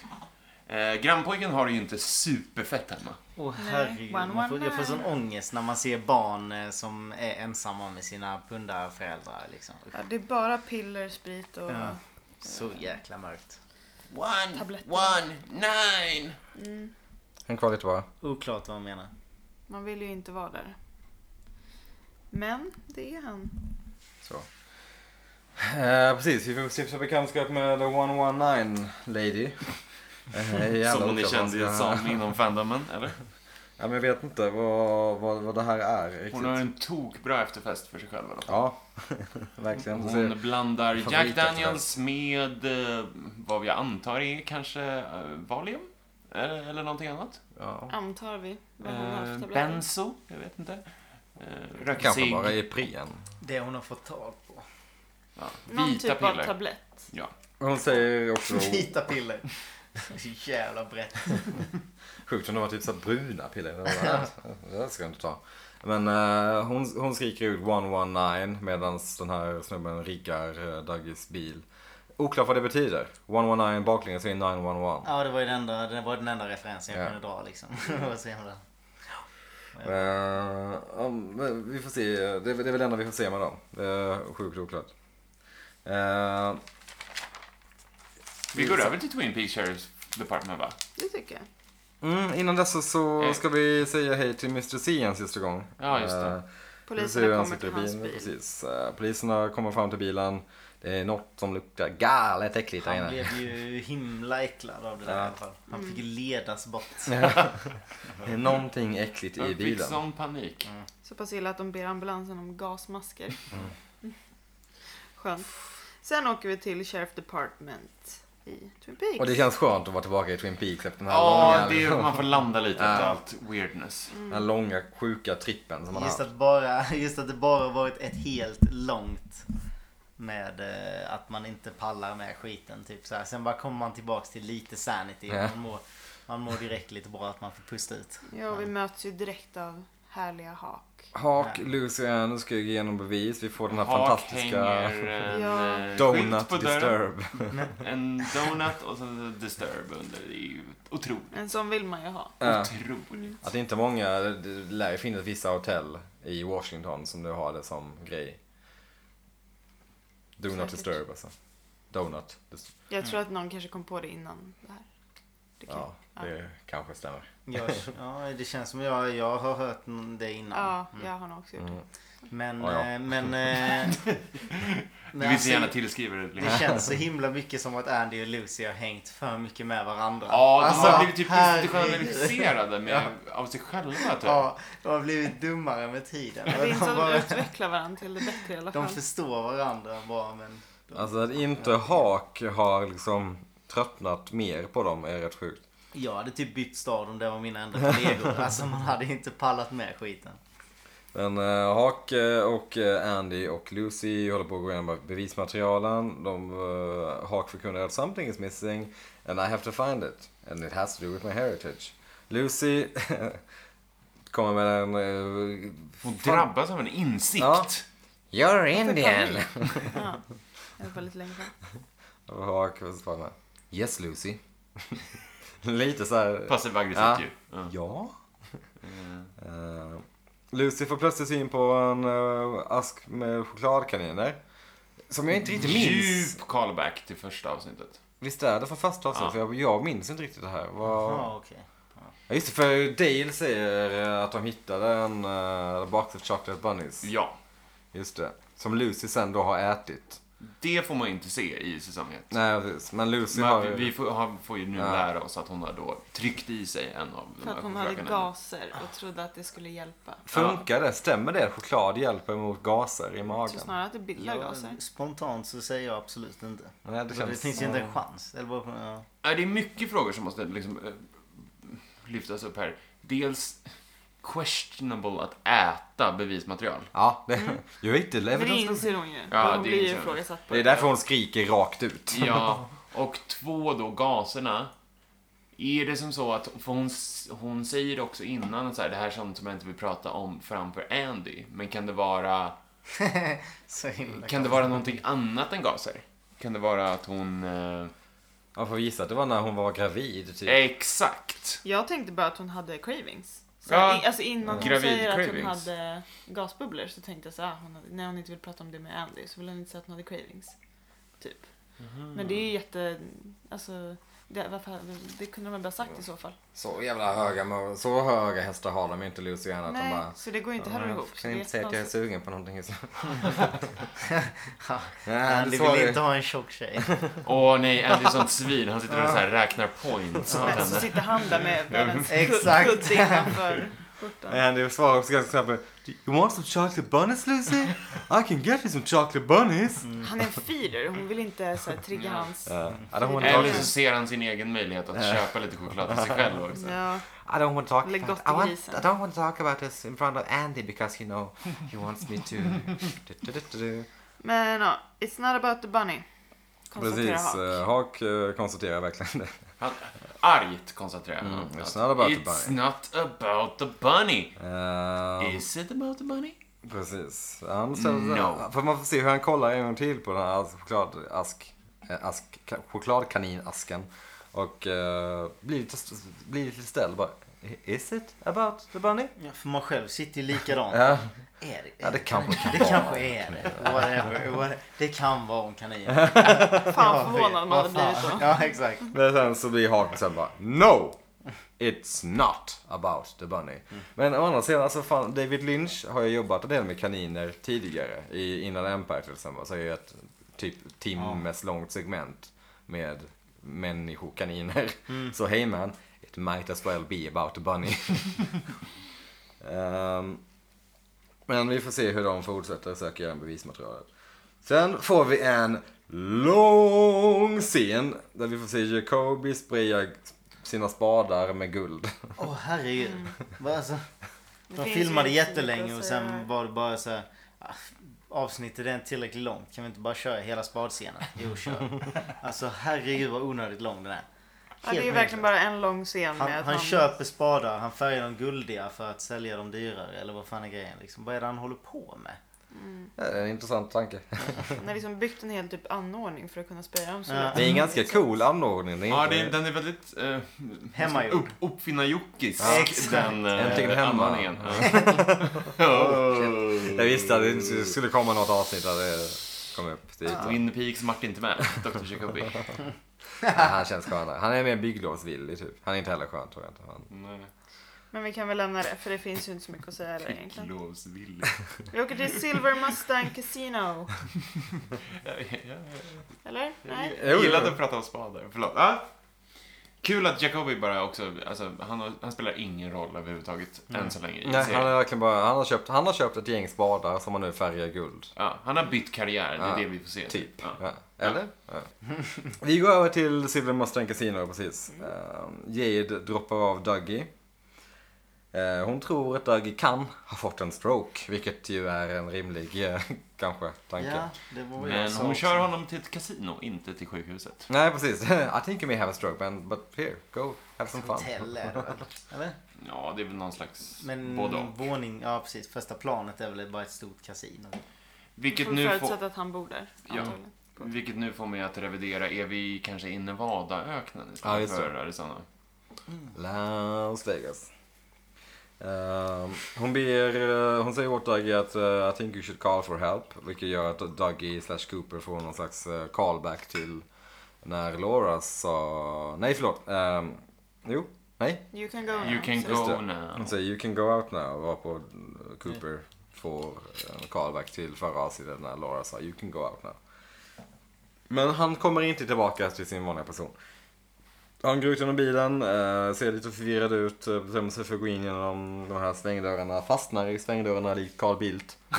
S3: Eh, grannpojken har det ju inte superfett hemma.
S2: Åh oh,
S4: Nej,
S2: herregud.
S4: one,
S2: Man får,
S4: one,
S2: jag får sån
S4: nine.
S2: ångest när man ser barn eh, som är ensamma med sina pundarföräldrar liksom.
S4: Ja, det är bara piller, sprit och...
S2: Ja. Så jäkla mörkt.
S3: One,
S4: Tabletter.
S3: one, nine!
S4: Mm,
S1: En kvar lite bara.
S2: Oklart vad han menar.
S4: man vill ju inte vara där. Men det är han.
S1: Så. Eh, precis, vi får stifta bekantskap med The 119 Lady. Eh, jävla
S3: Som hon är (laughs)
S1: oklart vad
S3: känd
S1: man ska-
S3: som inom fandomen, eller?
S1: Ja, men jag vet inte vad, vad, vad det här är riktigt.
S3: Hon har en tokbra efterfest för sig själv i alla fall.
S1: Ja, (laughs) verkligen. Så ser-
S3: Hon blandar Jack
S1: Alltså, Favorit
S3: Daniels med eh, vad vi antar är kanske eh, Valium? eh, Eller, eller någonting annat?
S1: Ja.
S4: Antar vi. Vad hon har för
S3: Eh,
S4: tabletter.
S3: benzo? Jag vet inte. Eh, Röker
S1: Kanske
S3: cigg.
S1: bara i prien.
S2: Det hon har fått tag på.
S3: Ja,
S4: Någon
S3: vita
S4: typ av
S3: piller.
S4: tablett.
S3: Ja.
S1: Hon säger också
S2: Vita piller. Så jävla brett.
S1: sjukt om det var typ så här bruna
S3: (laughs)
S1: piller. eller vad det är. Det där ska jag inte ta. Men eh, hon, hon skriker ut 119 medan den här snubben riggar eh, Daggies bil. Oklart vad det betyder. 119 baklänges är 911.
S2: Ja, det var ju den enda, det var den enda referensen jag
S1: Ja. kunde
S2: kunde dra liksom. (laughs) Det var så jävla...
S1: Eh, ja, men vi får se. Det är, det är väl det enda vi får se med dem. Det är sjukt oklart. Eh,
S3: Vi går över till Twin Peaks Sheriff's Department va?
S4: Det tycker jag.
S1: Mm, innan dess så- så
S3: Hej.
S1: ska vi säga hej till Mr C en sista gång.
S3: Ja, just det.
S1: Eh, vi ser hur
S4: Poliserna
S1: han
S4: kommer
S1: sitter
S4: till
S1: i
S4: hans
S1: bilen,
S4: bil.
S1: Precis. Eh, Poliserna kommer fram till bilen. Det är något som luktar galet äckligt där
S2: Han
S1: inne.
S2: blev ju himla äcklad av det där
S1: Ja.
S2: i alla fall. Han fick ju ledas bort.
S1: (laughs) Det är någonting äckligt i
S3: Jag fick
S1: bilen. Mm.
S3: sån panik.
S4: Så pass illa att de ber ambulansen om gasmasker. Mm. Skönt. Sen åker vi till Sheriff Department i Twin Peaks.
S1: Och det känns skönt att vara tillbaka i Twin Peaks efter den här,
S3: Ja,
S1: långa,
S3: det är, man får landa lite efter
S1: Ja. Mm.
S3: allt weirdness.
S1: den här långa sjuka trippen som man har
S2: Just
S1: haft.
S2: att, bara, (laughs) just att det bara varit ett helt långt med eh, att man inte pallar med skiten. Typ så här. Sen bara kommer man tillbaks till lite sanity.
S1: Ja.
S2: Man, mår, man mår direkt lite bra att man får pusta ut.
S4: Ja, vi möts ju direkt av härliga hak.
S1: Hak, Lucy och Anne ska ge genom bevis. Vi får den här
S3: Hak
S1: fantastiska
S3: hänger en
S4: Ja.
S3: eh, skylt
S1: Donut
S3: på dörren. (laughs)
S1: Disturb.
S3: En donut och sen disturb under. Det är ju otroligt.
S4: En sån vill man ju ha.
S1: Ja.
S3: Otroligt.
S1: Att det inte är många, det det lär ju finnas vissa hotell i Washington som du har det som grej. Do not
S4: Säkert.
S1: disturb alltså. Donut. dis-
S4: Jag tror att någon kanske kom på det innan det här. Det kan.
S1: Ja, det kanske stämmer.
S2: Jag, ja, det känns som jag, jag har hört n- det innan. Mm.
S4: Ja, jag har nog också gjort det.
S2: Men,
S1: Ja, ja.
S2: eh, men... eh,
S4: Mm.
S3: Du
S2: men
S3: vill så gärna
S2: alltså,
S3: tillskriva det. liksom.
S2: det känns så himla mycket som att Andy och Lucy har hängt för mycket med varandra.
S3: Ja, de
S2: Alltså,
S3: har blivit typ
S2: herregud.
S3: institutionaliserade med, av sig själva typ.
S2: Ja, de har blivit dummare med tiden.
S4: Det är inte
S2: (laughs)
S4: så
S2: De,
S4: att de
S2: bara,
S4: utvecklar varandra till det bättre i alla
S2: de
S4: fall.
S2: förstår varandra bra men...
S1: Alltså att inte Hak har liksom tröttnat mer på dem är rätt sjukt.
S2: Jag hade typ bytt stad om det var mina enda kollegor.
S1: (laughs)
S2: Alltså man hade inte pallat med skiten.
S1: Men eh, Hak eh, och eh, Andy och Lucy håller på att gå igenom bevismaterialen. De, eh, Hak förkunnar att something is missing and I have to find it. And it has to do with my heritage. Lucy (laughs) kommer med en... eh,
S3: Hon
S1: fan-
S3: drabbas av en insikt.
S1: Ja. You're Indian!
S4: Ja. Det var lite länge sedan.
S1: Och Hak svarar Yes Lucy. (laughs) Lite så här...
S3: Passiv
S1: Ja. Mm.
S3: aggressivt ju. Ja.
S1: Ja. (laughs) Eh, Lucy får plötsligt syn på en eh, ask med chokladkaniner. Som jag inte riktigt minns.
S3: Djup callback till första avsnittet.
S1: Visst är det från första avsnittet?
S3: Ja.
S1: För jag, jag minns inte riktigt det här. Vad-
S2: Ja, okej.
S1: Ja, just det, för Dale säger eh, att de hittade en uh, box of chocolate bunnies.
S3: Ja.
S1: Just det. Som Lucy sen då har ätit.
S3: Det får man ju inte se i säsong ett.
S1: Nej, precis. Men Lucy
S3: Men
S1: har...
S3: vi, vi får, har, får ju nu
S1: Ja.
S3: lära oss att hon har då tryckt i sig en av de
S4: För
S3: här
S4: att hon hade
S3: chokladkanerna.
S4: gaser och trodde att det skulle hjälpa.
S1: Funkar det? Stämmer det? att Choklad hjälper mot gaser i
S4: Så
S1: magen?
S4: snarare att det bildar
S2: Ja,
S4: gaser.
S2: Spontant så säger jag absolut inte.
S1: Nej, det
S2: Det,
S1: känns...
S2: finns ju inte en chans. Eller bara, ja. (laughs)
S3: Ja, Det är mycket frågor som måste liksom, eh, lyftas upp här. Dels questionable att äta bevismaterial.
S1: Ja, det... (laughs) You ate the
S4: Mm. Men det
S1: evidence, Lucy.
S4: inser hon ju.
S3: Ja,
S4: hon
S3: det
S4: blir ju
S3: inser hon.
S4: ifrågasatt på
S1: Det är därför hon skriker rakt ut.
S3: (laughs) Ja, och två då, gaserna. Är det som så att, för hon, s- hon säger också innan att så här, det här är sånt som jag inte vill prata om framför Andy. Men kan det vara,
S2: Så himla
S3: kan det vara någonting annat än gaser? Kan det vara att hon... Eh,
S1: (laughs) Man får gissa att det var när hon var gravid. Typ.
S3: exakt!
S4: Jag tänkte bara att hon hade cravings. Så
S3: Ja.
S4: i- Alltså innan hon
S3: Gravid
S4: säger att hon
S3: cravings.
S4: hade "Ah, gasbubblor så tänkte jag så här, hon, hade- när hon inte vill prata om det med Andy så vill hon inte säga att hon hade cravings. Typ. Men det är ju jätte... Alltså, det, varför, det kunde de väl bara sagt i så fall.
S1: Så jävla höga, mo- så höga hästar har de ju inte Luciana. att de
S4: Nej,
S1: bara...
S4: så det går ju inte heller
S1: "Ja,
S4: ihop. så
S1: Kan
S4: det är
S1: inte säga att jag är
S4: jättekonstigt.
S1: sugen på någonting. (laughs) Så.
S2: Ja,
S1: Nej,
S2: Andy
S1: du
S2: vill inte
S1: svarar
S2: ha en tjock tjej.
S3: Åh nej, Andy är sånt svin. Han sitter och så här räknar points åt
S4: Men så
S3: henne.
S4: sitter han där med, med en
S2: Exakt.
S4: kudd innanför skjortan.
S1: Andy svarar också ganska snabbt. You want some chocolate bunnies Lucy? I can get you some chocolate bunnies.
S4: Han är en feeder, hon vill inte så här, trigga hans...
S1: Uh, Mm. I don't want to
S3: Eller
S1: talk
S3: så ser han sin egen möjlighet att köpa lite choklad till sig själv också.
S4: Ja,
S1: I don't want to talk
S4: Lägg
S1: about
S4: gott i
S1: I, want,
S4: grisen.
S1: I don't want to talk about this in front of Andy because you know he wants me to...
S4: (laughs)
S1: Du, du, du, du, du.
S4: men ja, it's not about the bunny. Konstaterar
S1: Precis,
S4: Hawk.
S1: eh, Hawk eh, konstaterar verkligen (laughs) det.
S3: Han, argt konstaterar han.
S1: Mm,
S3: att
S1: it's not about the
S3: it's
S1: bunny."
S3: not about the bunny.
S1: Ehm,
S3: Is it about the bunny?
S1: precis. Han ställer,
S3: No.
S1: För man får se hur han kollar en gång till på den här chokladask, eh, ask, ka- chokladkaninasken. Och eh, blir, lite, st- blir lite ställd bara. Is it about the bunny?
S2: Ja, för man själv sitter ju likadant.
S1: Ja,
S2: Är det,
S1: ja det kanske kan
S2: det
S1: vara.
S2: kanske är det. Whatever, whatever. Det kan vara om kaniner.
S4: Fan förvånad man hade
S2: Vad fan.
S4: blivit då.
S2: Ja, exakt.
S1: Men sen så blir Hawk sen bara No! It's not about the bunny. Men å andra sidan, alltså fan, David Lynch har ju jobbat en del med kaniner tidigare. I Inland Empire till exempel. Så är ju ett typ timmes långt segment med människokaniner. Så hey man, it might as well be about the bunny. Ehm, men vi får se hur de fortsätter söka igenom bevismaterialet. Sen får vi en lång scen där vi får se Jacobi spraya sina spadar med guld. (laughs)
S2: Åh herregud. Bara så-
S4: Mm. Det
S2: de
S4: finns
S2: filmade
S4: ju inte så mycket
S2: jättelänge
S4: att
S2: och
S4: säga här.
S2: sen var det bara så här. "Ah, Avsnittet är inte tillräckligt långt. Kan vi inte bara köra hela spadscenen? Jo, kör.
S4: (laughs)
S2: Alltså herregud vad onödigt lång den är.
S4: Ja, det är ju
S2: Helt
S4: verkligen bara en lång scen
S2: Han,
S4: med att
S2: han köper spadar, han färgar dem guldiga för att sälja dem dyrare. Eller vad fan är grejen liksom? Vad är det han håller på med?
S1: Det är en intressant tanke.
S4: Han har liksom byggt en hel typ anordning för att kunna spraya dem så
S2: Ja.
S4: lätt.
S1: Det är en ganska cool anordning. Det är
S3: Ja,
S1: inte-
S3: det, är- den är väldigt... Eh,
S2: Hemmagjord.
S3: Upp, Uppfinnar-jockis.
S2: Ja, exakt.
S3: Den eh,
S1: Äntligen hemma.
S3: anmaningen. Ja.
S1: Jag visste att det skulle komma något avsnitt där det kom upp. Det är typ-
S3: Twin Peaks Martin till med.
S1: (laughs)
S3: Dr. Jacobi.
S1: han känns skönare. Han är mer bygglovsvillig typ. Han är inte heller skön tror jag inte. Han...
S3: Nej,
S4: Men vi kan väl lämna det för det finns ju inte så mycket att säga heller egentligen.
S3: Lovsvillig.
S4: Vi åker till Silver Mustang Casino.
S3: Jag- jag-
S4: Eller? Nej?
S1: Jo,
S3: Jag gillade
S1: jo.
S3: att prata om spadar. Förlåt. Ah. Kul att Jacobi bara också, alltså, han, har- han spelar ingen roll överhuvudtaget än så länge i
S1: Nej,
S3: serien.
S1: han, är verkligen bara, han, har köpt, han har köpt ett gäng spadar som han nu färgar guld.
S3: Ja, han har bytt karriär, det är
S1: Ja,
S3: det vi får se.
S1: Typ.
S3: Ja.
S1: Ja. Eller? Ja. Vi går över till Silver Mustang Casino precis. Ehm, Jade droppar av Dougie. Eh, Hon tror att Dougie kan ha fått en stroke, vilket ju är en rimlig eh, kanske tanke.
S2: Ja, det var vad jag
S3: Men
S2: sa
S3: hon
S2: också.
S3: kör honom till ett kasino, inte till sjukhuset.
S1: Nej precis, (laughs) I think you may have a stroke man, but here, go, have some fun.
S2: Hotell är det väl? Eller?
S3: Ja, det är väl någon slags
S2: Men
S3: både och.
S2: våning, ja precis. Första planet är väl bara ett stort kasino.
S3: Vilket
S4: Får
S3: nu, får,
S4: förutsätta att han bor där.
S3: Ja.
S4: antagligen.
S3: vilket nu får mig att revidera, är vi kanske i Nevadaöknen
S1: Ja,
S3: istället
S1: just
S3: för
S1: det.
S3: Arizona?
S1: Las Vegas. Ehm, hon, ber, eh, hon säger åt Dougie att eh, I think you should call for help. Vilket gör att Dougie slash Cooper får någon slags eh, callback till när Laura sa... Nej förlåt. ehm, jo, nej.
S4: You can go
S3: You
S4: now,
S3: can
S4: så-
S1: Just
S3: go
S1: det.
S3: now.
S1: Hon säger you can go out now. Varpå eh, Cooper får en callback till förra avsnittet när Laura sa you can go out now. Men han kommer inte tillbaka till sin vanliga person. Han går ut genom bilen, eh, ser lite förvirrad ut, eh, bestämmer sig för att gå in genom de här svängdörrarna, fastnar i svängdörrarna likt Carl Bildt.
S3: Va?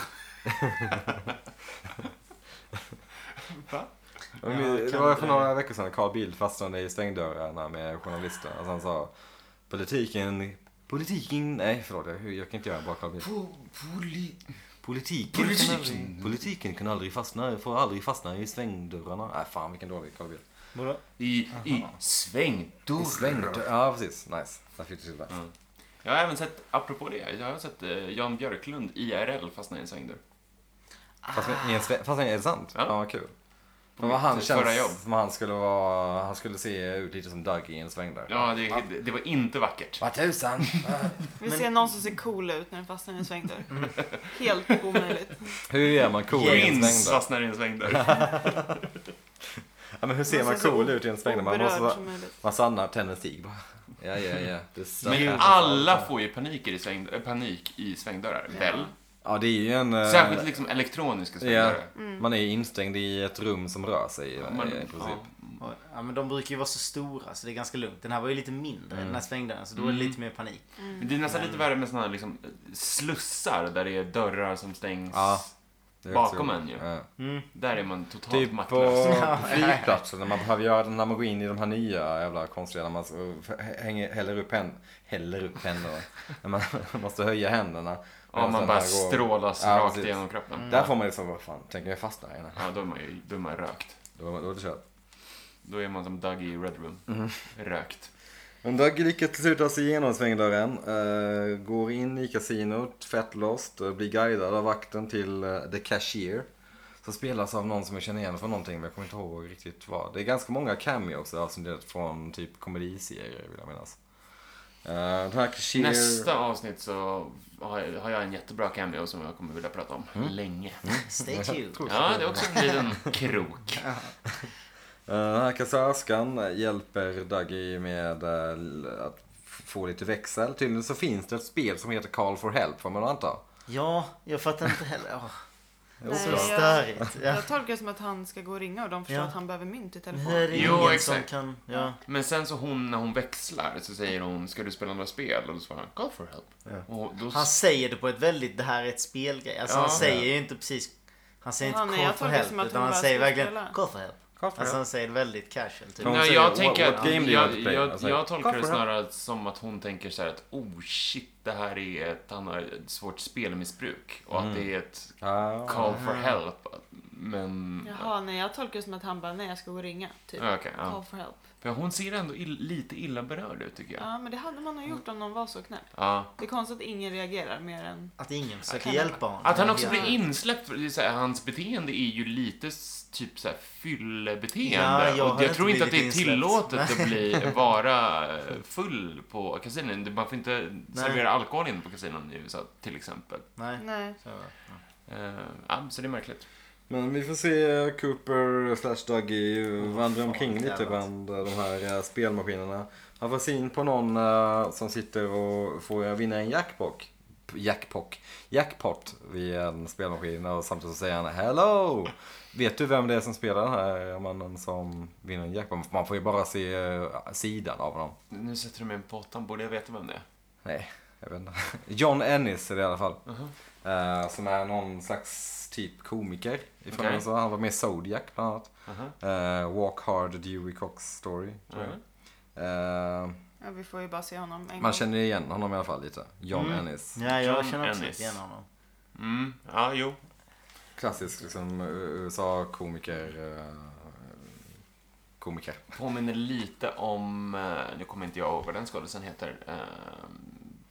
S1: Ja,
S2: Ja,
S1: men det
S2: kan
S1: var
S2: inte-
S1: för några veckor sedan Carl Bildt fastnade i svängdörrarna med journalister och han sa politiken, politiken, nej förlåt jag, jag kan inte göra bara Carl Bildt. Politiken,
S3: Politiken.
S1: Kan aldrig, politiken kan aldrig fastna, får aldrig fastna i svängdörrarna. Nej fan vilken dålig Carl Bildt.
S2: Vadå?
S3: I, i svängdörr.
S1: I svängdörrar. Ja precis, nice. Där fick du till det.
S3: Mm. Jag har även sett, apropå det, jag har sett eh, Jan Björklund IRL fastna i en svängdörr.
S1: Fast, i en svä- fast är det sant?
S3: Ja.
S1: Ja, vad kul. Men
S3: mitt
S1: vad han
S3: förra jobb.
S1: känns som han skulle vara, han skulle se ut lite som Doug i en svängdörr.
S3: Ja, det, det, det var inte vackert.
S1: Vad tusan!
S4: Vi ser någon som ser cool ut när den fastnar i en svängdörr. Helt omöjligt.
S1: (laughs) Hur är man cool i en (laughs)
S3: Prince
S1: svängdörr?
S3: fastnar i en svängdörr.
S1: Ja, men hur ser
S4: Man
S1: man
S4: ser så
S1: cool
S4: o-
S1: ut i en sväng? Man,
S4: oberörd
S1: måste, bara-
S4: som möjligt.
S1: man stannar, tänder en cigg bara. (laughs) Ja, ja, ja. Det stackars-
S3: Men alla får ju panik i, sväng, äh, panik i svängdörrar,
S4: Ja.
S3: väl?
S1: Ja, det är ju en... eh,
S3: Särskilt liksom elektroniska
S1: ja,
S3: svängdörrar.
S4: Mm.
S1: man är ju instängd i ett rum som rör sig eh,
S3: Man-
S1: i princip.
S2: Och, ja, men de brukar ju vara så stora så det är ganska lugnt. Den här var ju lite mindre, den här svängdörren, så då är det
S3: Mm.
S2: lite mer panik.
S3: Men det är nästan lite värre med såna här liksom, slussar där det är dörrar som stängs.
S1: Ja. Det är
S3: Bakom
S1: också-
S3: en ju.
S1: Ja.
S2: Mm.
S3: Där är man totalt
S1: Typ
S3: (laughs) maktlös.
S1: på flygplatsen när man behöver göra det när man går in i de här nya jävla konstiga när man så- hänger, häller upp händerna. Häller upp händerna.
S3: (laughs)
S1: när man (laughs) måste höja händerna.
S3: Ja,
S1: Medan
S3: man
S1: den
S3: bara
S1: här går-
S3: strålas
S1: Ja,
S3: rakt
S1: precis.
S3: igenom kroppen.
S1: Där får man liksom, vad fan, tänker jag fastna här inne?
S3: Ja, då är man ju då är man rökt.
S1: Då, då är det kört.
S3: Då är man som Doug i Red Room.
S1: Mm.
S3: Rökt.
S1: Men Doug lyckas till slut ta sig igenom svängdörren, eh, går in i kasinot, fett lost, eh, blir guidad av vakten till eh, The Cashier. Som spelas av någon som jag känner igen från någonting men jag kommer inte ihåg riktigt vad. Det är ganska många cameos avsnittet från typ komediserier vill jag minnas. Eh, den här cashier...
S3: Nästa avsnitt så har jag, har jag en jättebra cameo som jag kommer vilja prata om
S1: Mm.
S3: länge.
S2: Stay
S4: (laughs)
S2: tuned.
S3: Ja, det är också en liten krok.
S1: Eh, Den här kassörskan hjälper Dougie med eh, att få lite växel. Tydligen så finns det ett spel som heter Call for Help får man anta.
S2: Ja, jag fattar inte heller. Åh,
S4: Nej,
S2: så
S4: jag-
S2: störigt.
S4: (laughs)
S2: Ja.
S4: Jag tolkar det som att han ska gå och ringa och de förstår
S2: Ja.
S4: att han behöver mynt i
S2: Nu är
S4: telefonen.
S2: det
S3: Jo,
S2: ingen
S3: exakt.
S2: som kan... Ja.
S3: Men sen så hon, när hon växlar, så säger hon Ska du spela några spel? Och då svarar han Call for help. Och då,
S2: Han säger det på ett väldigt, det här är ett spelgrej. Alltså
S3: Ja.
S2: han säger ju inte precis, han säger
S4: Ja,
S2: inte
S4: nej,
S2: call
S4: jag
S2: for
S4: tolkar det
S2: help
S4: som att
S2: utan
S4: hon
S2: han
S4: bara
S2: säger
S4: ska
S2: verkligen
S4: spela.
S2: call for help.
S1: Call for
S2: Alltså
S1: help.
S2: han säger det väldigt casual typ.
S1: Hon
S3: Nej,
S1: säger,
S3: jag
S1: "What-
S3: tänker
S1: what
S3: att,
S1: game do you want
S3: jag,
S1: to play?"
S3: jag,
S1: Alltså,
S3: jag
S1: "Call
S3: tolkar det
S1: for help."
S3: snarare som att hon tänker så här att oh shit, det här är ett, han har ett svårt spelmissbruk och
S1: Mm.
S3: att det är ett
S1: Ah.
S3: call for help. Men...
S4: Jaha, nej jag tolkar det som att han bara, nej jag ska gå och ringa. Typ.
S3: Ja, Mm. Okej,
S4: Call
S3: ja.
S4: for help.
S3: För hon ser ändå ill, lite illa berörd ut tycker jag.
S4: Ja, men det hade man nog gjort om någon var så knäpp.
S3: Ja.
S4: Det är konstigt att ingen reagerar mer än...
S2: Att ingen försöker
S4: Kan-
S2: hjälpa honom.
S3: Att han också
S2: Ja.
S3: blir insläppt, för det är så här, hans beteende är ju lite s- typ så här
S2: Ja,
S3: fyllebeteende.
S2: jag har
S3: och jag
S2: inte
S3: tror inte att det är
S2: blivit insläppt.
S3: tillåtet
S2: (laughs)
S3: att bli, vara eh, full på kasinon. Det- Man får inte servera alkohol inne på kasinon i USA till exempel.
S2: Nej.
S4: Nej.
S2: Så,
S3: Eh, ja, så det är märkligt.
S1: Men vi får se Cooper slash Dougie vandra
S2: fan,
S1: omkring lite
S2: jävlar.
S1: bland de här eh, spelmaskinerna. Han får syn på någon eh, som sitter och får vinna en jackpot. Jackpot. Jackpot vid en spelmaskin och samtidigt så säger han Hello! Vet du vem det är som spelar den här mannen som vinner en jackpot? Man får ju bara se eh, sidan av honom.
S3: Nu sätter du mig på åttan, borde jag veta vem det är?
S1: Nej, jag vet inte. (laughs) John Ennis är det i alla fall. Eh, som är någon slags typ komiker. Ifrån
S3: Okej.
S1: USA. Han var med i Zodiac bland annat.
S3: Aha.
S1: Eh, Walk Hard, Dewey Cox Story. tror jag.
S3: Mhm.
S1: Eh,
S4: Ja, vi får ju bara se honom en gång.
S1: man känner igen honom i alla fall lite. John
S2: Mm.
S1: Ennis.
S2: Ja, jag
S3: John
S2: känner också
S3: Ennis.
S2: lite igen honom.
S3: Mm, ja, jo.
S1: Klassisk liksom, eh, USA-komiker. eh, komiker.
S3: Påminner lite om, eh, nu kommer inte jag ihåg vad den skådisen heter, eh,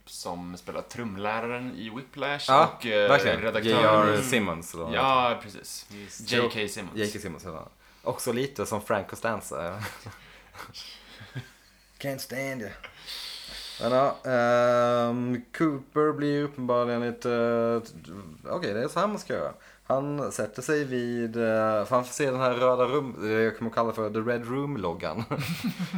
S3: som spelar trumläraren i Whiplash
S1: Ja,
S3: och eh,
S1: Verkligen. J.R.
S3: redaktören.
S1: Simmons. Eller vad han
S3: Ja, precis.
S2: Just.
S3: J.K. Simmons.
S1: heter. J.K. Simmons heter han. Också lite som Frank Costanza. (laughs) Can't stand you. Men ja, ehm, Cooper blir uppenbarligen lite... eh, Okej, det är så här man ska göra. Han sätter sig vid... eh, För han får se den här röda rum... eh, Jag kommer kalla för The Red Room-loggan.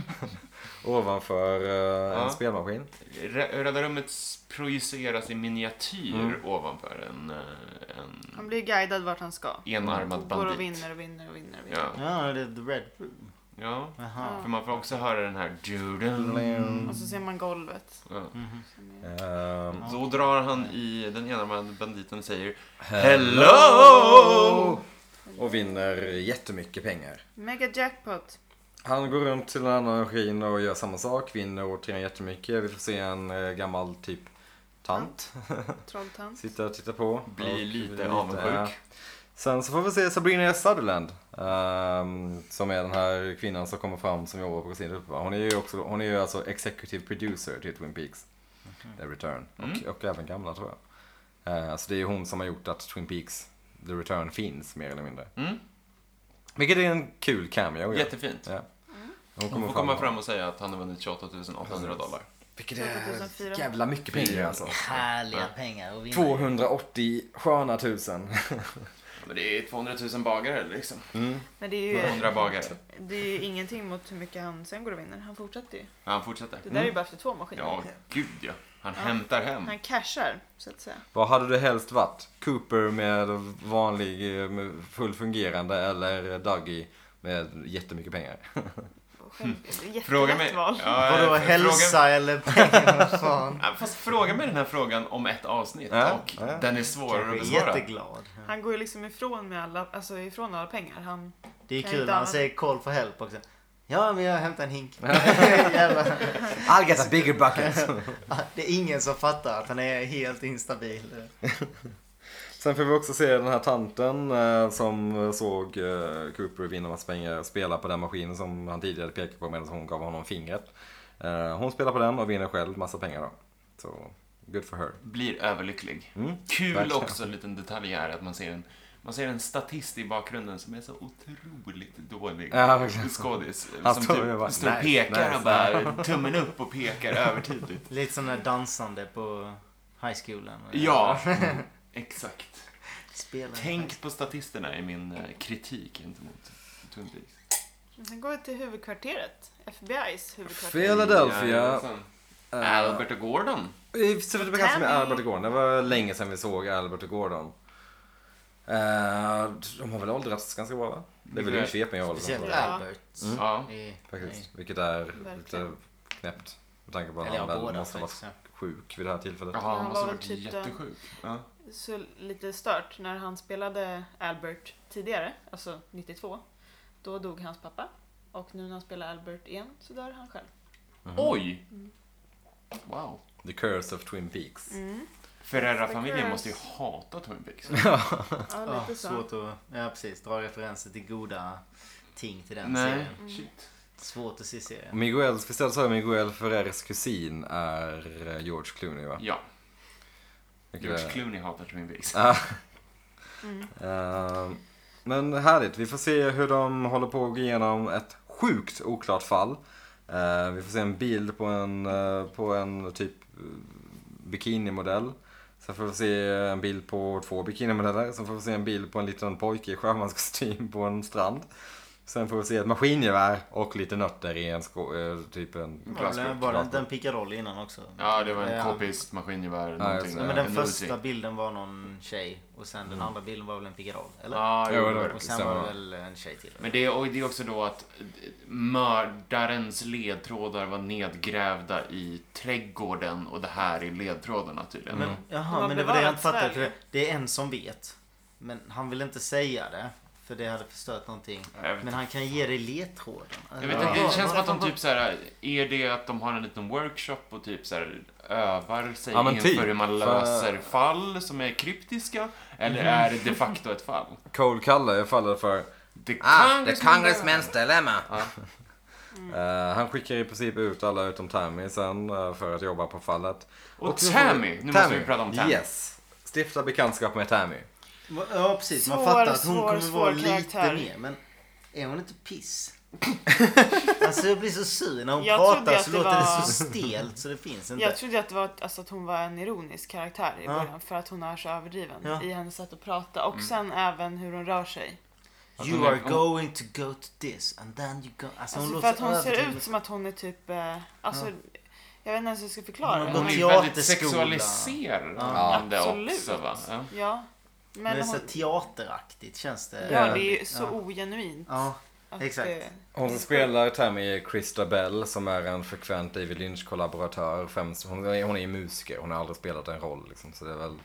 S1: (laughs) Ovanför eh, en
S3: Ja.
S1: spelmaskin.
S3: Re- Röda rummet projiceras i miniatyr
S1: Mm.
S3: ovanför en, eh, en
S4: Han blir guidad vart han ska.
S3: enarmad
S4: Går och
S3: bandit.
S4: vinner och vinner och vinner. Och vinner.
S3: Ja,
S2: Ja, det är The Red Room.
S3: ja.
S2: Jaha.
S3: För man får också höra den här...
S1: Mm.
S3: Judel.
S4: Och så ser man golvet.
S3: Ja.
S1: Ehm,
S3: Då drar han i den enarmade banditen och säger Hello!
S1: Och vinner jättemycket pengar.
S4: Mega jackpot.
S1: Han går runt till en annan maskin och gör samma sak. Vinner återigen jättemycket. Vi får se en eh, gammal typ tant.
S4: Trolltant.
S1: Sitta och titta på.
S3: Blir
S1: Och
S3: lite avundsjuk.
S1: ja. Sen så får vi se Sabrina Sutherland. ehm, som är den här kvinnan som kommer fram som jobbar på Casino Uppenbar. Hon är ju också, hon är ju alltså executive producer till Twin Peaks.
S3: Mhm.
S1: The Return.
S3: Mm.
S1: Och, och även gamla tror jag. Eh, så det är ju hon som har gjort att Twin Peaks The Return finns mer eller mindre.
S3: Mm.
S1: Vilket är en kul cameo. ja.
S3: Jättefint.
S1: Ja.
S3: Hon får komma fram och säga att han har vunnit 28 800 dollar.
S1: Vilket
S4: 2004.
S1: är jävla mycket pengar alltså.
S2: Härliga pengar att vinna.
S1: 280 sköna tusen.
S3: Men det är 200 000 bagare liksom.
S1: Mm.
S4: Men det är ju,
S3: 200 bagare.
S4: det är ju ingenting mot hur mycket han sen går och vinner. Han fortsätter ju.
S3: Ja, han fortsätter.
S4: Det där
S1: Mm.
S4: är ju bara för två maskiner.
S3: Mm. Ja, gud ja. Han hämtar hem.
S4: Han cashar, så att säga.
S1: Vad hade du helst varit? Cooper med vanlig, eh, med full fungerande eller Dougie med jättemycket pengar?
S4: Själv- det är ett
S3: Hm. Fråga
S4: Jättelätt
S3: mig...
S4: val.
S3: Ja, eh,
S2: Vadå
S3: fråga-
S2: hälsa eller pengar? Vad fan?
S3: Ja, Fast fråga mig den här frågan om ett avsnitt
S1: Ja,
S3: och
S1: ja.
S3: den är svårare att
S2: Kanske
S3: besvara.
S2: jätteglad.
S4: Han går ju liksom ifrån med alla, alltså ifrån alla pengar. Han,
S2: Det är
S4: Kan
S2: kul
S4: inte
S2: när han
S4: annat.
S2: säger call for help också. Ja, men jag hämtar en hink. Jävlar.
S1: I'll get a bigger bucket!
S2: Det är ingen som fattar att han är helt instabil.
S1: (laughs) Sen får vi också se den här tanten eh, som såg eh, Cooper vinna massa pengar spela på den maskinen som han tidigare pekade på medan hon gav honom fingret. Eh, hon spelar på den och vinner själv massa pengar då. Så, good for her.
S3: Blir överlycklig.
S1: Mm.
S3: Kul
S1: Verkligen.
S3: också, en liten detalj här, att man ser en, man ser en statist i bakgrunden som är så otroligt dålig.
S1: Ja, verkligen.
S3: Skådis.
S1: Han
S3: som
S1: står ju bara,
S3: typ står och
S1: nice,
S3: pekar
S1: nice.
S3: och bara tummen upp och pekar övertydligt.
S2: Lite som när dansande på high schoolen. Mm.
S3: Ja, exakt.
S2: Spelar.
S3: Tänk på statisterna i min eh, kritik gentemot Twin Peaks.
S4: han går till huvudkvarteret. FBI's huvudkvarter.
S1: Philadelphia. eh,
S3: Albert och Äh, Gordon.
S1: Vi ser det ganska med
S4: Tammy.
S1: Albert och Gordon. Det var länge sedan vi såg Albert och Gordon. Eh, de har väl åldrats ganska bra va? Det är väl
S3: Mycket.
S1: Linköping jag håller på.
S2: Mm. Speciellt
S4: Ja.
S2: Albert.
S3: Mm. Ja.
S2: Det-
S1: Faktiskt. Vilket är lite
S4: Verkligen.
S1: knäppt. Med tanke på att
S2: Eller
S1: han
S2: ja,
S1: väl
S2: båda
S1: måste vara
S2: faktiskt. ja.
S1: sjuk vid det här tillfället.
S3: Jaha,
S4: Han
S3: han måste
S4: var
S3: ha
S4: väl
S3: varit
S4: typ den-
S3: jättesjuk. Ja.
S4: Så lite stört, när han spelade Albert tidigare, alltså 92, då dog hans pappa. Och nu när han spelar Albert igen så dör han
S2: (laughs)
S4: själv.
S3: Oj! Wow.
S1: Mhm. The Curse of Twin Peaks.
S3: Ferrera-familjen
S4: Stackars.
S3: måste ju hata Twin (laughs) Peaks.
S4: Ja,
S2: Ja,
S4: lite så.
S2: Ah, svårt att... Ja, precis. Dra referenser till goda ting till den
S3: Nej,
S2: serien.
S3: shit.
S2: Svårt att se serien.
S1: Miguel, speciellt så är Miguel Ferreres kusin är eh, George Clooney va?
S3: Ja,
S1: Vilket
S3: George
S1: är-
S3: Clooney hatar Twin Peaks.
S1: Ah. Eh, men härligt, vi får se hur de håller på att gå igenom ett sjukt oklart fall. Eh, vi får se en bild på en, eh, på en typ eh, bikinimodell. Sen får vi se en bild på två bikinimodeller. Sen får vi se en bild på en liten pojke i sjömanskostym på en strand. Sen får vi se ett maskingevär och lite nötter i en sko- eh, typ en
S2: Var det
S3: Glassbrott.
S2: var det inte en pickadoll innan också?
S3: Ja, det var en
S2: Ja.
S3: kopist, maskingevär,
S1: just
S3: någonting.
S1: det.
S2: Nej, men
S3: där.
S2: den
S3: En
S2: första
S3: Uzi.
S2: bilden var någon tjej och sen den andra bilden var väl en pickadoll? Eller?
S3: Ja,
S1: Jo,
S3: jo,
S1: det
S3: det
S1: var
S3: var
S1: det.
S2: och sen var
S1: samma.
S2: det väl en tjej till?
S3: Men det, och det är också då att eh, mördarens ledtrådar var nedgrävda i trädgården och det här är ledtrådarna tydligen.
S1: Mm.
S2: Men,
S4: De
S2: jaha,
S4: har
S2: men det var det jag inte
S4: bevarat
S2: fattade. För
S4: Sverige.
S2: det- det är en som vet. Men han vill inte säga det. För det hade förstört någonting.
S3: Jag vet
S2: Men han kan ge dig ledtråden.
S3: Jag vet inte, det känns som att de typ så här, är det att de har en liten workshop och typ så här, övar sig
S1: Ja, men
S3: inför
S1: typ.
S3: hur man
S1: För- Mm.
S3: löser fall som är kryptiska? Eller är det de facto ett fall?
S1: Cole Kalle faller för
S3: The
S1: Ah, the
S3: Congressman-
S1: congressman's dilemma. Eh, han skickar i princip ut alla utom Tammy sen eh, för att jobba på fallet.
S3: Och
S1: så-
S3: Tammy, nu måste vi prata om Tammy.
S1: Yes. Stifta bekantskap med Tammy.
S2: Ja precis, man
S4: Svår,
S2: fattar att hon
S4: svår,
S2: kommer
S4: svår
S2: vara lite
S4: karaktär.
S2: mer. Men är hon inte piss? (laughs) alltså jag blir så sur. När hon
S4: Jag trodde
S2: pratar
S4: att
S2: så
S4: det
S2: låter
S4: var-
S2: det så stelt så det finns inte.
S4: Jag trodde att, det var, ett- alltså, att hon var en ironisk karaktär i
S2: Ja.
S4: början för att hon är så överdriven
S2: Ja.
S4: i hennes sätt att prata och sen även hur hon rör sig.
S3: Att
S1: Alltså,
S2: You
S3: hon är-
S2: are going to go to this and then you go... Alltså,
S4: Alltså,
S2: hon
S4: för
S2: låter
S4: att hon ser
S2: överdrivet.
S4: ut som att hon är typ, eh, alltså, jag vet inte ens hur jag ska
S2: Hon
S4: förklara
S2: har
S4: det.
S2: gått
S3: Hon är
S4: men-
S3: ju
S2: Teaterskola.
S3: väldigt sexualiserande
S4: Absolut.
S3: också va? Ja.
S4: Ja,
S2: Men
S4: men
S2: det är
S4: hon,
S2: så teateraktigt känns det.
S4: ja, det är ju så ogenuint.
S2: Ja,
S4: att eh,
S2: exakt.
S4: det-
S1: Hon som spelar Tammy är Christa Bell som är en frekvent David Lynch-kollaboratör. Främst, hon, är- hon är ju musiker, hon har aldrig spelat en roll liksom, så det är väl...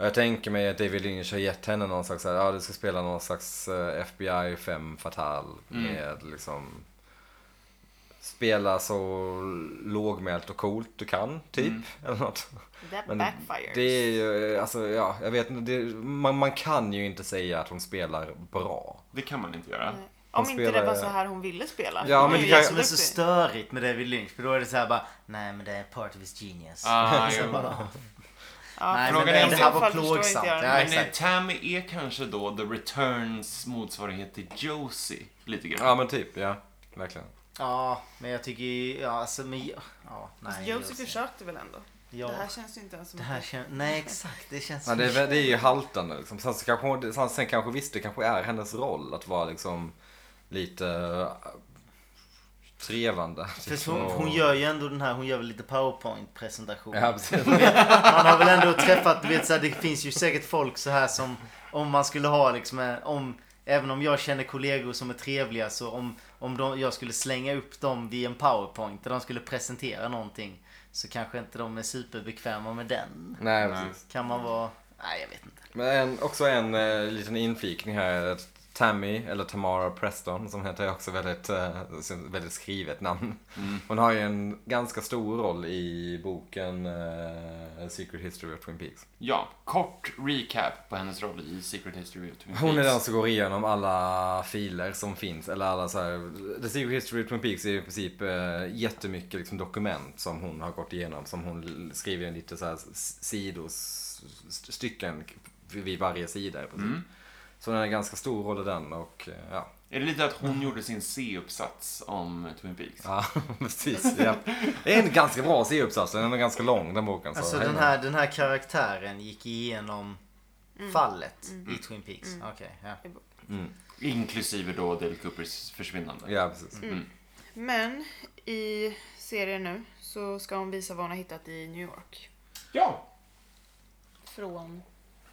S1: Jag tänker mig att David Lynch har gett henne någon slags, så här, ja du ska spela någon slags eh, FBI 5 fatal med liksom... Spela så lågmält och coolt du kan, typ. Eller något.
S4: That
S1: Men
S4: backfires.
S1: Det är ju, eh, alltså ja, jag vet inte, det- man, man kan ju inte säga att hon spelar bra.
S3: Det kan man inte göra.
S4: Nej.
S1: Hon
S4: Om inte
S1: spelar-
S4: det var så här hon ville spela.
S1: Ja,
S4: Hon
S1: men
S4: är
S1: det
S4: ju
S1: kan-
S2: Det som är så
S4: jätteduktig.
S2: störigt med David Lynch för då är det så här bara Nej men det är part of his genius.
S3: (laughs) Ah,
S2: Sen
S3: jo.
S2: bara,
S4: Ja.
S2: Nej men
S3: Frågan
S2: det,
S3: är om
S2: det
S3: det-
S2: här
S4: i
S2: var
S4: alla fall förstår jag inte
S2: plågsamt.
S4: jag det.
S2: Ja,
S3: Men eh,
S2: exakt.
S3: Tammy är kanske då The Returns motsvarighet till Josie, lite grann.
S1: Ja men typ, ja. Verkligen.
S2: Ja men jag tycker ju, ja alltså men ja, nej.
S4: Fast Josie
S2: Josie.
S4: försökte väl ändå?
S2: Ja,
S4: Det här känns ju inte ens som
S2: det här känns... Nej, exakt. Det känns...
S1: Ja, det, är, väl- det är ju haltande liksom. Sen, så kanske, hon- sen, sen kanske visst, det kanske är hennes roll att vara liksom lite äh, trevande.
S2: För
S1: liksom,
S2: hon,
S1: och-
S2: hon gör ju ändå den här, hon gör väl lite powerpoint-presentation.
S1: Ja,
S2: (laughs)
S1: precis.
S2: Man har väl ändå träffat, du vet så här, det finns ju säkert folk så här som om man skulle ha liksom, eh, om, även om jag känner kollegor som är trevliga så om, om de, jag skulle slänga upp dem vid en powerpoint där de skulle presentera någonting så kanske inte de är superbekväma med den.
S1: Nej, precis.
S2: Kan man vara, nej jag vet inte.
S1: Men en, också en eh, liten infikning här. är att Tammy, eller Tamara Preston, som heter är också väldigt, eh, som- väldigt skrivet namn.
S2: Mm.
S1: Hon har ju en ganska stor roll i boken eh, Secret History of Twin Peaks.
S3: Ja, kort recap på hennes roll i Secret History of Twin Peaks.
S1: Hon är den som går igenom alla filer som finns. Eller alla så här, The Secret History of Twin Peaks är i princip eh, jättemycket liksom, dokument som hon har gått igenom. Som hon l- skriver en lite så här s- sidostycken vid varje sida. i princip.
S3: Mm.
S1: Så den är en ganska stor roll i den och eh, ja. (laughs)
S3: Är det lite att hon gjorde sin C-uppsats om Twin Peaks?
S1: Ja, precis. Ja. Det är en ganska bra C-uppsats. Den är ganska lång den boken. Så
S2: Alltså
S1: hej
S2: den
S1: då.
S2: här, den här karaktären gick igenom fallet i Twin Peaks. Okej, ja.
S3: Inklusive då Dale Coopers försvinnande.
S1: Mm.
S3: Mm.
S1: Ja, precis.
S4: Mm. Men i serien nu så ska hon visa vad hon har hittat i New York.
S3: Ja,
S4: Från...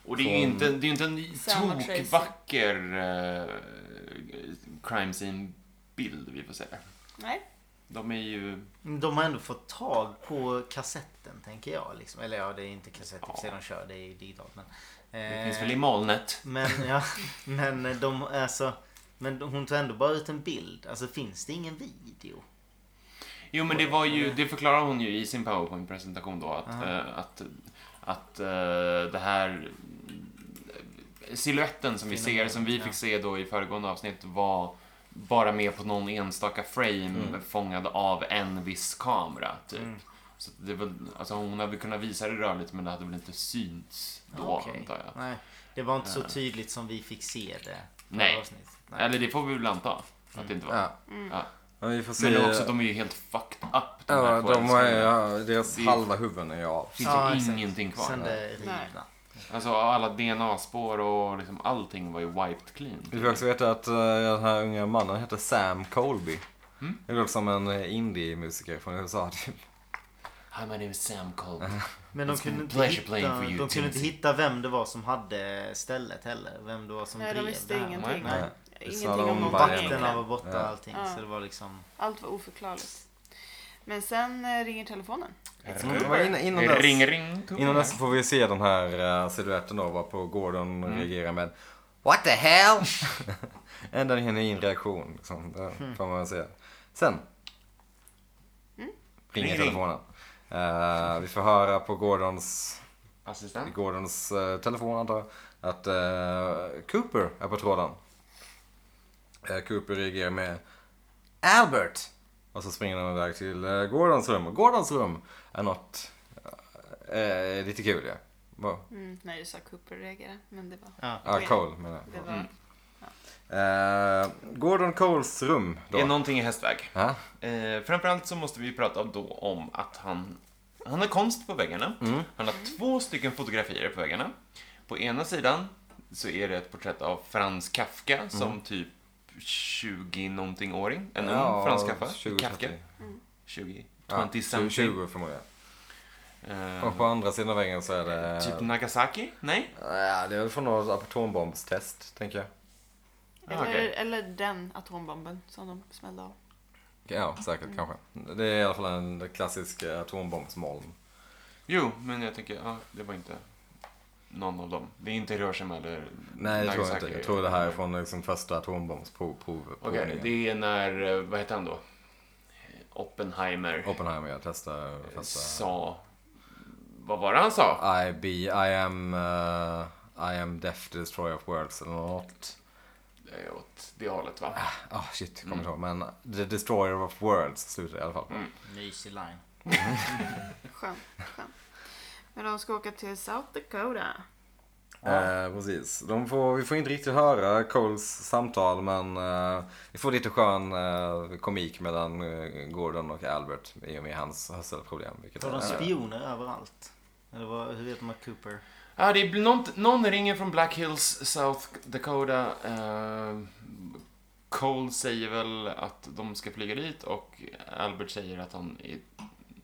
S3: Och det är ju
S1: Från-
S3: inte, det är ju inte en
S4: Sam och Tracy.
S3: tokvacker eh, crime scene-bild vi får se.
S4: Nej.
S3: De är ju...
S2: Mm, De har ändå fått tag på kassetten tänker jag. Liksom. Eller ja, det är inte kassett i och för sig de kör. Det är ju digitalt. Men,
S3: Det
S2: eh,
S3: finns väl i molnet?
S2: men, ja, men de alltså. Men de- hon tog ändå bara ut en bild. Alltså finns det ingen video?
S3: Jo, men det var ju... Det förklarar hon ju i sin powerpoint-presentation då att...
S2: Aha.
S3: eh, att, att eh, det här... eh, Siluetten som vi
S2: Fenomenet,
S3: ser, som vi
S2: ja.
S3: fick se då i föregående avsnitt var bara med på någon enstaka frame
S2: Mm.
S3: fångad av en viss kamera, typ. Så det är väl, alltså hon hade kunnat visa det rörligt men det hade väl inte synts då,
S2: Okej.
S3: antar jag.
S2: Nej, det var inte så tydligt som vi fick se det. förra
S3: Eh. Nej.
S2: avsnittet. Nej. Mm.
S3: Eller det får vi väl anta. Att det inte var.
S1: Ja.
S4: Mm.
S3: Ja.
S1: Men vi får se.
S3: Men också, de är ju helt fucked up. De
S1: ja,
S3: här två
S1: de har,
S3: älsklingarna.
S1: ja, deras
S3: Det-
S1: halva huvuden är ju av.
S3: Det finns
S2: Ja,
S3: ju
S2: exakt.
S3: ingenting kvar.
S2: Sen det rivna.
S4: Nej.
S3: Alltså alla DNA-spår och liksom allting var ju wiped clean.
S1: Vi får också veta att eh, den här unga mannen heter Sam Colby.
S3: Mm.
S1: Det låter som en eh, indie-musiker från USA. typ.
S3: Hi, my name is Sam Colby.
S2: Men de
S3: It's been
S2: kunde,
S3: a
S2: inte
S3: pleasure playing
S2: hitta,
S3: for you,
S2: de kunde inte
S3: Timothy.
S2: hitta vem det var som hade stället heller. Vem det var som
S4: Nej, de
S2: drev
S4: visste
S2: det här. Nej.
S4: ingenting.
S1: Nej.
S4: Ingenting
S1: sa de
S4: om
S1: bara
S4: någonting
S1: en.
S2: Vakterna var
S4: egentligen.
S2: borta och
S1: Ja.
S2: allting.
S4: Ja.
S2: Så det var liksom...
S4: Allt var oförklarligt. Men sen eh, ringer telefonen.
S1: Mm. Men Innan, innan,
S3: Ring,
S1: dess,
S3: ring.
S1: innan dess får vi se den här uh, siluetten då, varpå Gordon
S3: Mm.
S1: reagerar med What the hell? (laughs) Ända in i en reaktion. Liksom.
S3: Mm.
S1: Det får man säga. Sen ringer
S3: Ring, ring.
S1: telefonen. Eh, vi får höra på Gordons i
S3: Assistent.
S1: Gordons eh, telefon antar jag. Att eh, Cooper är på tråden. Eh, Cooper reagerar med Albert. Och så springer han iväg till eh, Gordons rum. Och Gordons rum är något eh, lite kul ju. Ja.
S4: Mm, nej, jag sa Cooper reagerade. Men det var...
S2: Ja.
S1: Ah, Cole Mm. menar jag.
S4: Det var...
S1: Eh, Gordon Coles rum då.
S3: Det är någonting i hästväg.
S1: Ja,
S3: Eh, framförallt så måste vi prata då om att han, han har konst på väggarna.
S1: Mm.
S3: Han har två stycken fotografier på väggarna. På ena sidan så är det ett porträtt av Frans Kafka
S1: Mm.
S3: som typ 20-någonting-åring. En ung
S1: Ja,
S3: Frans Kafka.
S1: 20,
S3: Kafka.
S1: 30.
S3: 20.
S1: Ja,
S3: 20
S1: 20,
S3: something.
S1: 20 förmodligen.
S3: Eh,
S1: Och på andra sidan väggen så är det...
S3: typ Nagasaki? Nej?
S1: Ja, det är väl från något atombombstest, tänker jag.
S3: Ah,
S4: Eller,
S3: okej.
S4: eller den atombomben som de smällde av.
S1: Ja, säkert kanske. Det är i alla fall en klassisk eh, atombombsmoln.
S3: Jo, men jag tänker, ja, det var inte någon av dem. Det är inte Hiroshima eller
S1: Nej, det tror jag
S3: Nagasaki.
S1: inte. Jag tror det här är från liksom första atombombsprovningen.
S3: Okej, det är när, eh, vad heter han då? Oppenheimer.
S1: Oppenheimer, jag testar första.
S3: sa... Vad var det han sa?
S1: I, be, I am... eh, I am death destroyer of worlds eller något.
S3: Eh, Åt det hållet va?
S1: Ah, shit, jag kommer inte ihåg. Men the destroyer of worlds slutar i alla fall.
S2: Mysig line.
S4: Skönt, skönt. Men de ska åka till South Dakota.
S1: Eh, precis. De får, vi får inte riktigt höra Coles samtal men eh, vi får lite skön eh, komik mellan eh, Gordon och Albert i och med hans hörselproblem. Vilket
S2: Har de
S1: är-
S2: spioner överallt? Eller vad, hur vet man Cooper?
S3: Ja, Ah, det blir någon, någon ringer från Black Hills, South Dakota. Eh, Cole säger väl att de ska flyga dit och Albert säger att han är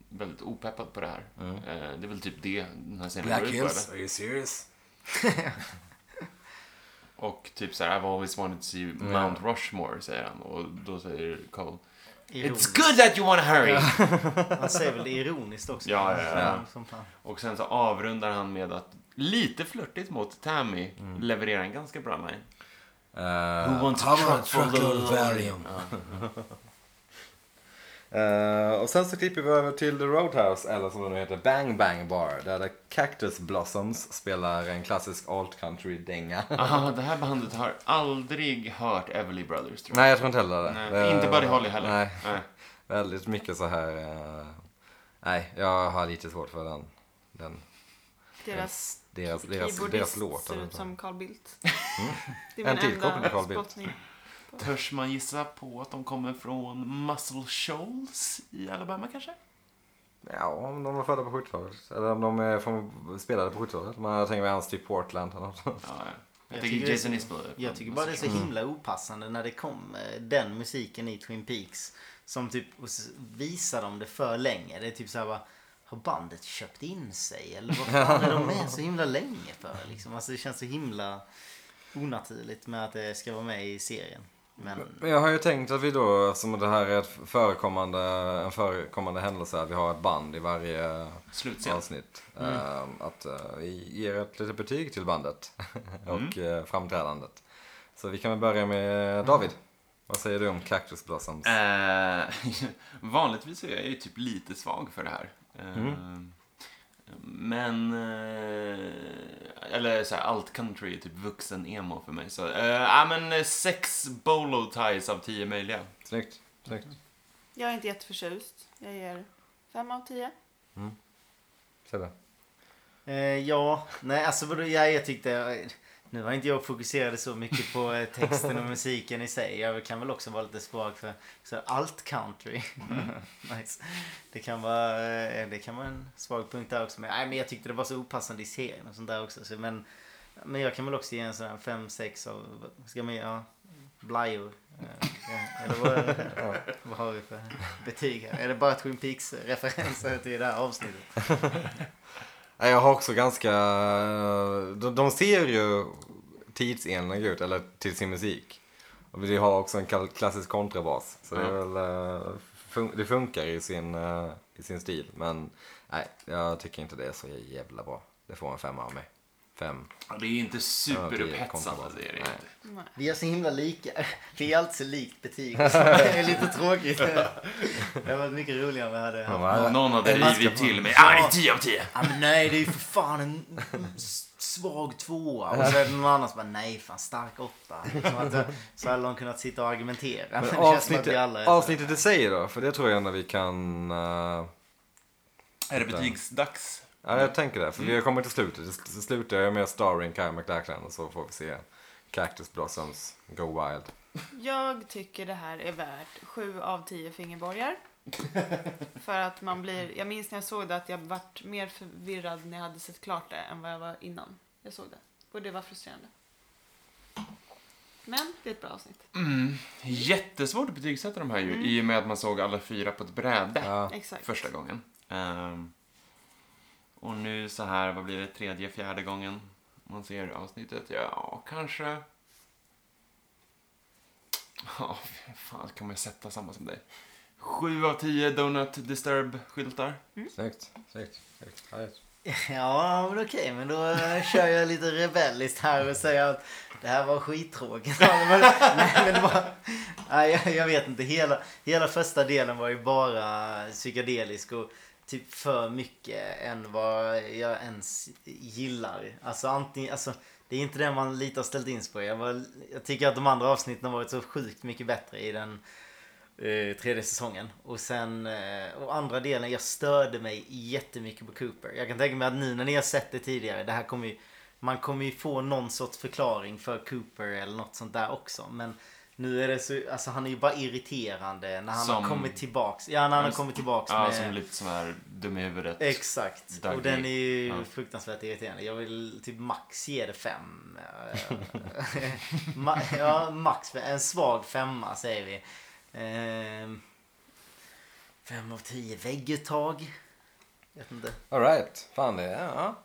S3: väldigt opeppad på det här.
S1: Mm.
S3: Eh, det är väl typ det den här scenen
S1: Black
S3: går ut på,
S1: Hills,
S3: eller?
S1: are you serious?
S3: Och typ så här, I've always wanted to see Mount Rushmore, säger han. Och då säger Cole, It's
S2: Ironiskt.
S3: good that you wanna hurry!
S2: Han säger väl det ironiskt också.
S3: Ja, ja, ja.
S2: Som- Som fan.
S3: Och sen så avrundar han med att lite flörtigt mot Tammy
S2: Mm.
S3: leverera en ganska bra line.
S1: Eh,
S3: Who wants
S1: how
S3: a
S1: about
S3: truckload of
S1: Valium?
S3: Ja.
S1: (laughs) Eh, och sen så klipper vi över till The Roadhouse, eller som den nu heter, Bang Bang Bar. Där The Cactus Blossoms spelar en klassisk alt country-dänga.
S3: Aha, det här bandet har aldrig hört Everly Brothers tror
S1: (laughs)
S3: jag.
S1: Nej, jag tror inte heller det.
S3: Nej,
S1: det
S3: inte Buddy Holly heller.
S1: Nej,
S3: Nej.
S1: väldigt mycket så här... eh, nej, jag har lite svårt för den. den
S4: Deras
S1: deras, deras,
S4: keyboardist
S1: deras låt. alltså.
S4: ser
S1: eller
S4: ut
S1: så.
S4: som Carl Bildt. Det
S1: En till koppling till Carl Bildt.
S4: spottning.
S3: Törs man gissa på att de kommer från Muscle Shoals i Alabama kanske?
S1: Ja, om de var födda på 70-talet. Eller om de är från, spelade på 70-talet. Men jag tänker mig hans typ Portland eller något.
S3: Ja, ja. jag,
S2: Jag
S3: tycker
S2: tycker-
S3: Jason Isbell är
S2: Jag
S3: från
S2: tycker bara det är
S3: Muscle
S2: så himla opassande när det kom eh, den musiken i Twin Peaks. Som typ och s- visar dem det för länge. Det är typ såhär bara. Har bandet köpt in sig? Eller vad fan är de med så himla länge för? Liksom? Alltså det känns så himla onaturligt med att det ska vara med i serien. Men
S1: Men jag har ju tänkt att vi då, eftersom det här är ett förekommande, en förekommande händelse, att vi har ett band i varje
S3: Shoals. Slutscen.
S1: avsnitt. eh, att eh, vi ger ett litet betyg till bandet (laughs) och eh, framträdandet. Så vi kan väl börja med David. Vad säger du om Cactus Blossoms?
S3: Eh, (laughs) vanligtvis är jag ju typ lite svag för det här. Eh, Men... Eh, eller så här, allt country är typ vuxen-emo för mig. Så, eh, ja, men eh, sex bolo ties av tio möjliga.
S1: Snyggt. Snyggt.
S4: Jag är inte jätteförtjust. Jag ger fem av tio.
S1: Sebbe.
S2: Eh, ja, nej alltså vadå, jag, jag tyckte... Nu var inte jag fokuserade så mycket på eh, texten och musiken i sig. Jag kan väl också vara lite svag för så här, allt country. (laughs) nice. Det kan vara eh, det kan vara en svag punkt där också. Men, nej, men jag tyckte det var så opassande i serien och sånt där också. Så, men, men jag kan väl också ge en sån här 5-6 av... Ska man ge? Ja, blajor. Eh, ja, Eller vad, ja, vad har vi för betyg här? Är det bara Twin Peaks-referenser till det här avsnittet?
S1: Nej, Jag har också ganska... eh, De, de ser ju tidsenliga ut, eller till sin musik. Och vi har också en kall- klassisk kontrabas. Så det, är väl, eh, fun- det funkar i sin, eh, i sin stil. Men nej, jag tycker inte det är så jävla bra. Det får en femma av mig. Fem.
S3: Ja, Det är inte superupphetsande,
S1: kontrabas.
S3: det är det
S1: Nej.
S3: inte.
S4: Nej.
S2: Vi är så himla lika. (laughs) Vi är alltså likt betyg. Det är lite tråkigt. Det hade varit mycket roligare om vi hade haft.
S3: Om någon hade
S2: Älskar
S3: rivit
S2: honom.
S3: till mig. Ah, det är 10 av 10!
S2: Ja, men nej, det är ju för fan en s- svag tvåa. Och så är det någon annan som bara, nej fan stark åtta. Liksom att, eh, så hade de kunnat sitta och argumentera. Men (laughs) det
S1: Men
S2: känns som att vi
S1: avsnittet,
S2: alla är så-
S1: avsnittet i sig då? För det tror jag ändå vi kan... eh,
S3: Är det betygsdags?
S1: ja, jag tänker det. För vi har kommit till slutet. Det sl- slutar ju med Starring Kyle MacLachlan och så får vi se Cactus Blossoms Go Wild.
S4: Jag tycker det här är värt sju av tio fingerborgar. För att man blir, jag minns när jag såg det att jag vart mer förvirrad när jag hade sett klart det än vad jag var innan jag såg det. Och det var frustrerande. Men det är ett bra avsnitt.
S3: Mm. Jättesvårt att betygsätta de här ju, i och med att man såg alla fyra på ett bräde
S1: Ja.
S4: Exakt.
S3: första gången. Ehm, och nu så här, vad blir det, tredje, fjärde gången man ser avsnittet? Ja, kanske... Ja, fy fan, kan man sätta samma som dig? Sju av tio Donut Disturb-skyltar.
S1: Snyggt, snyggt, snyggt. Härligt.
S2: Ja, men okej, men då eh, kör jag lite rebelliskt här och säger att det här var skittråkigt. Ja, men, nej, men det var, nej, jag, jag vet inte. Hela, hela första delen var ju bara psykedelisk och typ för mycket än vad jag ens gillar. Alltså antingen, alltså det är inte det man lite har ställt in sig på. Jag, var, jag tycker att de andra avsnitten har varit så sjukt mycket bättre i den eh, tredje säsongen. Och sen, eh, och andra delen, jag störde mig jättemycket på Cooper. Jag kan tänka mig att nu när ni har sett det tidigare, det här kommer ju Man kommer ju få någon sorts förklaring för Cooper eller något sånt där också. Men nu är det så, alltså han är ju bara irriterande när han
S3: Som-
S2: har kommit tillbaks. Ja, när han har kommit tillbaks
S3: Ja,
S2: med...
S3: som lite sån här dum i huvudet.
S2: Exakt.
S3: Dagny.
S2: Och den är ju
S3: Ja.
S2: fruktansvärt irriterande. Jag vill typ max ge det fem. Eh, (laughs) ma- ja, max. fem. En svag femma säger vi. Ehm, Fem av tio vägguttag. Vet inte.
S1: Alright, fan det är... Ja.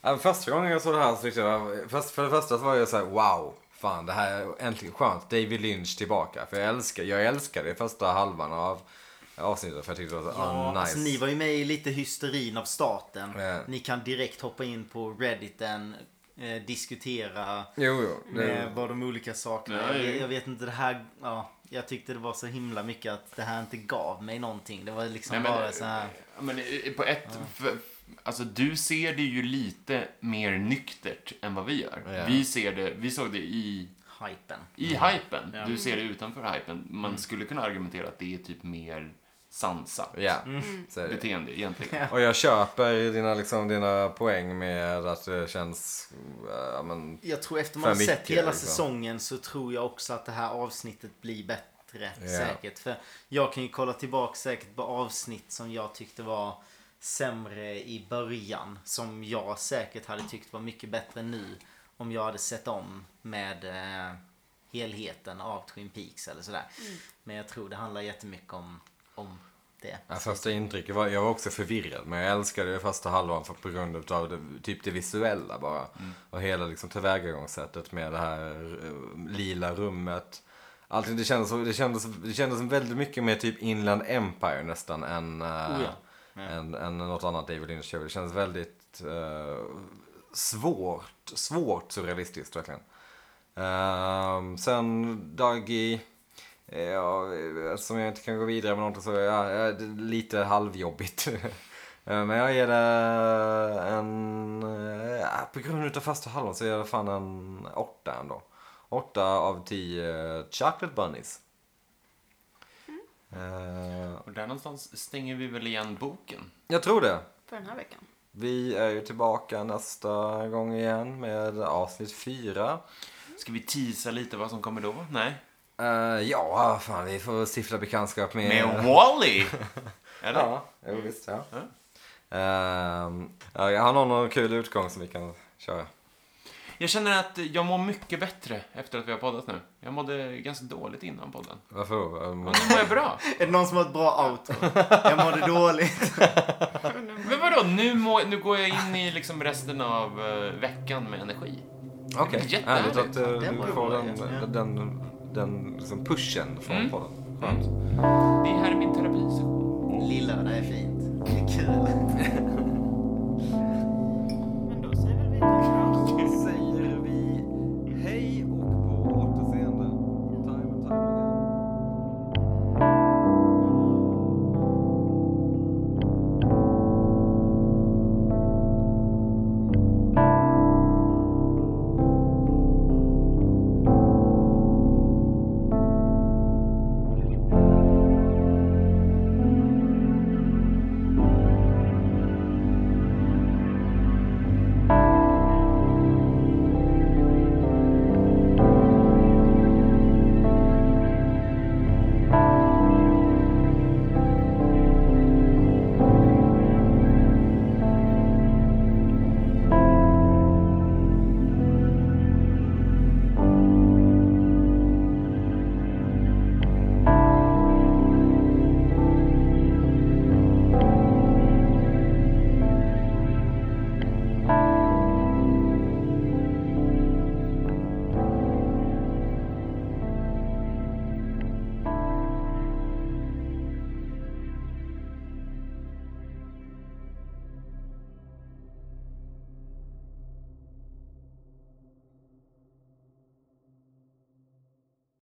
S1: Ja, men Första gången jag såg det här så tyckte jag... Först, för det första så var jag så här: wow. Fan det här är äntligen skönt. David Lynch tillbaka. För jag älskar, jag älskar det första halvan av avsnittet. För jag tyckte det var så,
S2: Ja,
S1: ah, nice.
S2: alltså, ni var ju med i lite hysterin av staten.
S1: Ja.
S2: Ni kan direkt hoppa in på redditen, eh, diskutera
S1: Jo, jo. Det...
S2: med vad de olika sakerna.
S3: Nej.
S2: Jag, vet- jag vet inte, det här... Ja, jag tyckte det var så himla mycket att det här inte gav mig någonting. Det var liksom
S3: Nej, men,
S2: bara så här...
S3: Ja, men i- på ett... För, alltså, du ser det ju lite mer nyktert än vad vi gör.
S1: Ja.
S3: Vi, ser det, vi såg det i,
S2: Hypen.
S3: i hypen.
S2: Ja.
S3: Du ser det utanför hypen. Man skulle kunna argumentera att det är typ mer sansat
S1: Ja,
S4: Mm,
S1: så är det.
S3: beteende egentligen.
S1: Och jag köper ju dina, liksom, dina poäng med att det känns... Äh, men,
S2: Jag tror efter
S1: För
S2: man har
S1: mycket,
S2: sett hela
S1: liksom.
S2: säsongen så tror jag också att det här avsnittet blir bättre.
S1: Ja.
S2: Säkert. För jag kan ju kolla tillbaka säkert på avsnitt som jag tyckte var sämre i början. Som jag säkert hade tyckt var mycket bättre nu. Om jag hade sett om med eh, helheten av Twin Peaks eller sådär. Men jag tror det handlar jättemycket om, om det.
S1: ja, första intrycket var... Jag var också förvirrad, men jag älskade det första halvan för, på grund av det, typ det visuella bara.
S2: Mm.
S1: Och hela liksom, tillvägagångssättet med det här eh, lila rummet. Allting, det, kändes, så- det, kändes, det kändes väldigt mycket mer typ Inland Empire nästan än, eh,
S2: Oh ja. Ja.
S1: än, än något annat David Lynch show. Det kändes väldigt eh, svårt, svårt surrealistiskt verkligen. Ehm, sen Dagi. eh, Ja, eh, eftersom jag inte kan gå vidare med någonting så är ja, ja, det är lite halvjobbigt. (laughs) Eh, Men jag ger det en... eh, ja, På grund utav första halvan så ger jag det fan en åtta ändå. Åtta av tio chocolate bunnies. Eh,
S3: Och där någonstans stänger vi väl igen boken.
S1: jag tror det.
S4: för den här veckan. (laughs)
S1: Vi är ju tillbaka nästa gång igen med avsnitt fyra.
S3: Ska vi teasa lite vad som kommer då? Nej.
S1: Eh, ja, fan vi får stifta bekantskap med...
S3: Med Wally! Eller?
S1: Ja, jo, visst ja.
S3: Ja.
S1: Ehm, ja, jag har någon, någon kul utgång som vi kan köra.
S3: Jag känner att jag mår mycket bättre efter att vi har poddat nu. Jag mådde ganska dåligt innan podden.
S1: Varför? Um,
S3: Men nu mår jag bra.
S2: Är det någon som har ett bra outro? (laughs) Jag mådde dåligt.
S3: Men vadå, nu, må, nu går jag in i liksom resten av eh, veckan med energi.
S1: Okej,
S3: jättehärligt.
S1: ärligt att eh,
S2: Den
S1: du
S2: borde
S1: får
S2: vara
S1: den,
S2: det, ja.
S1: den, den, liksom pushen från
S3: Mm.
S1: podden. Skönt.
S3: Det här är min terapisession.
S2: Lillördag är fint. Det är kul.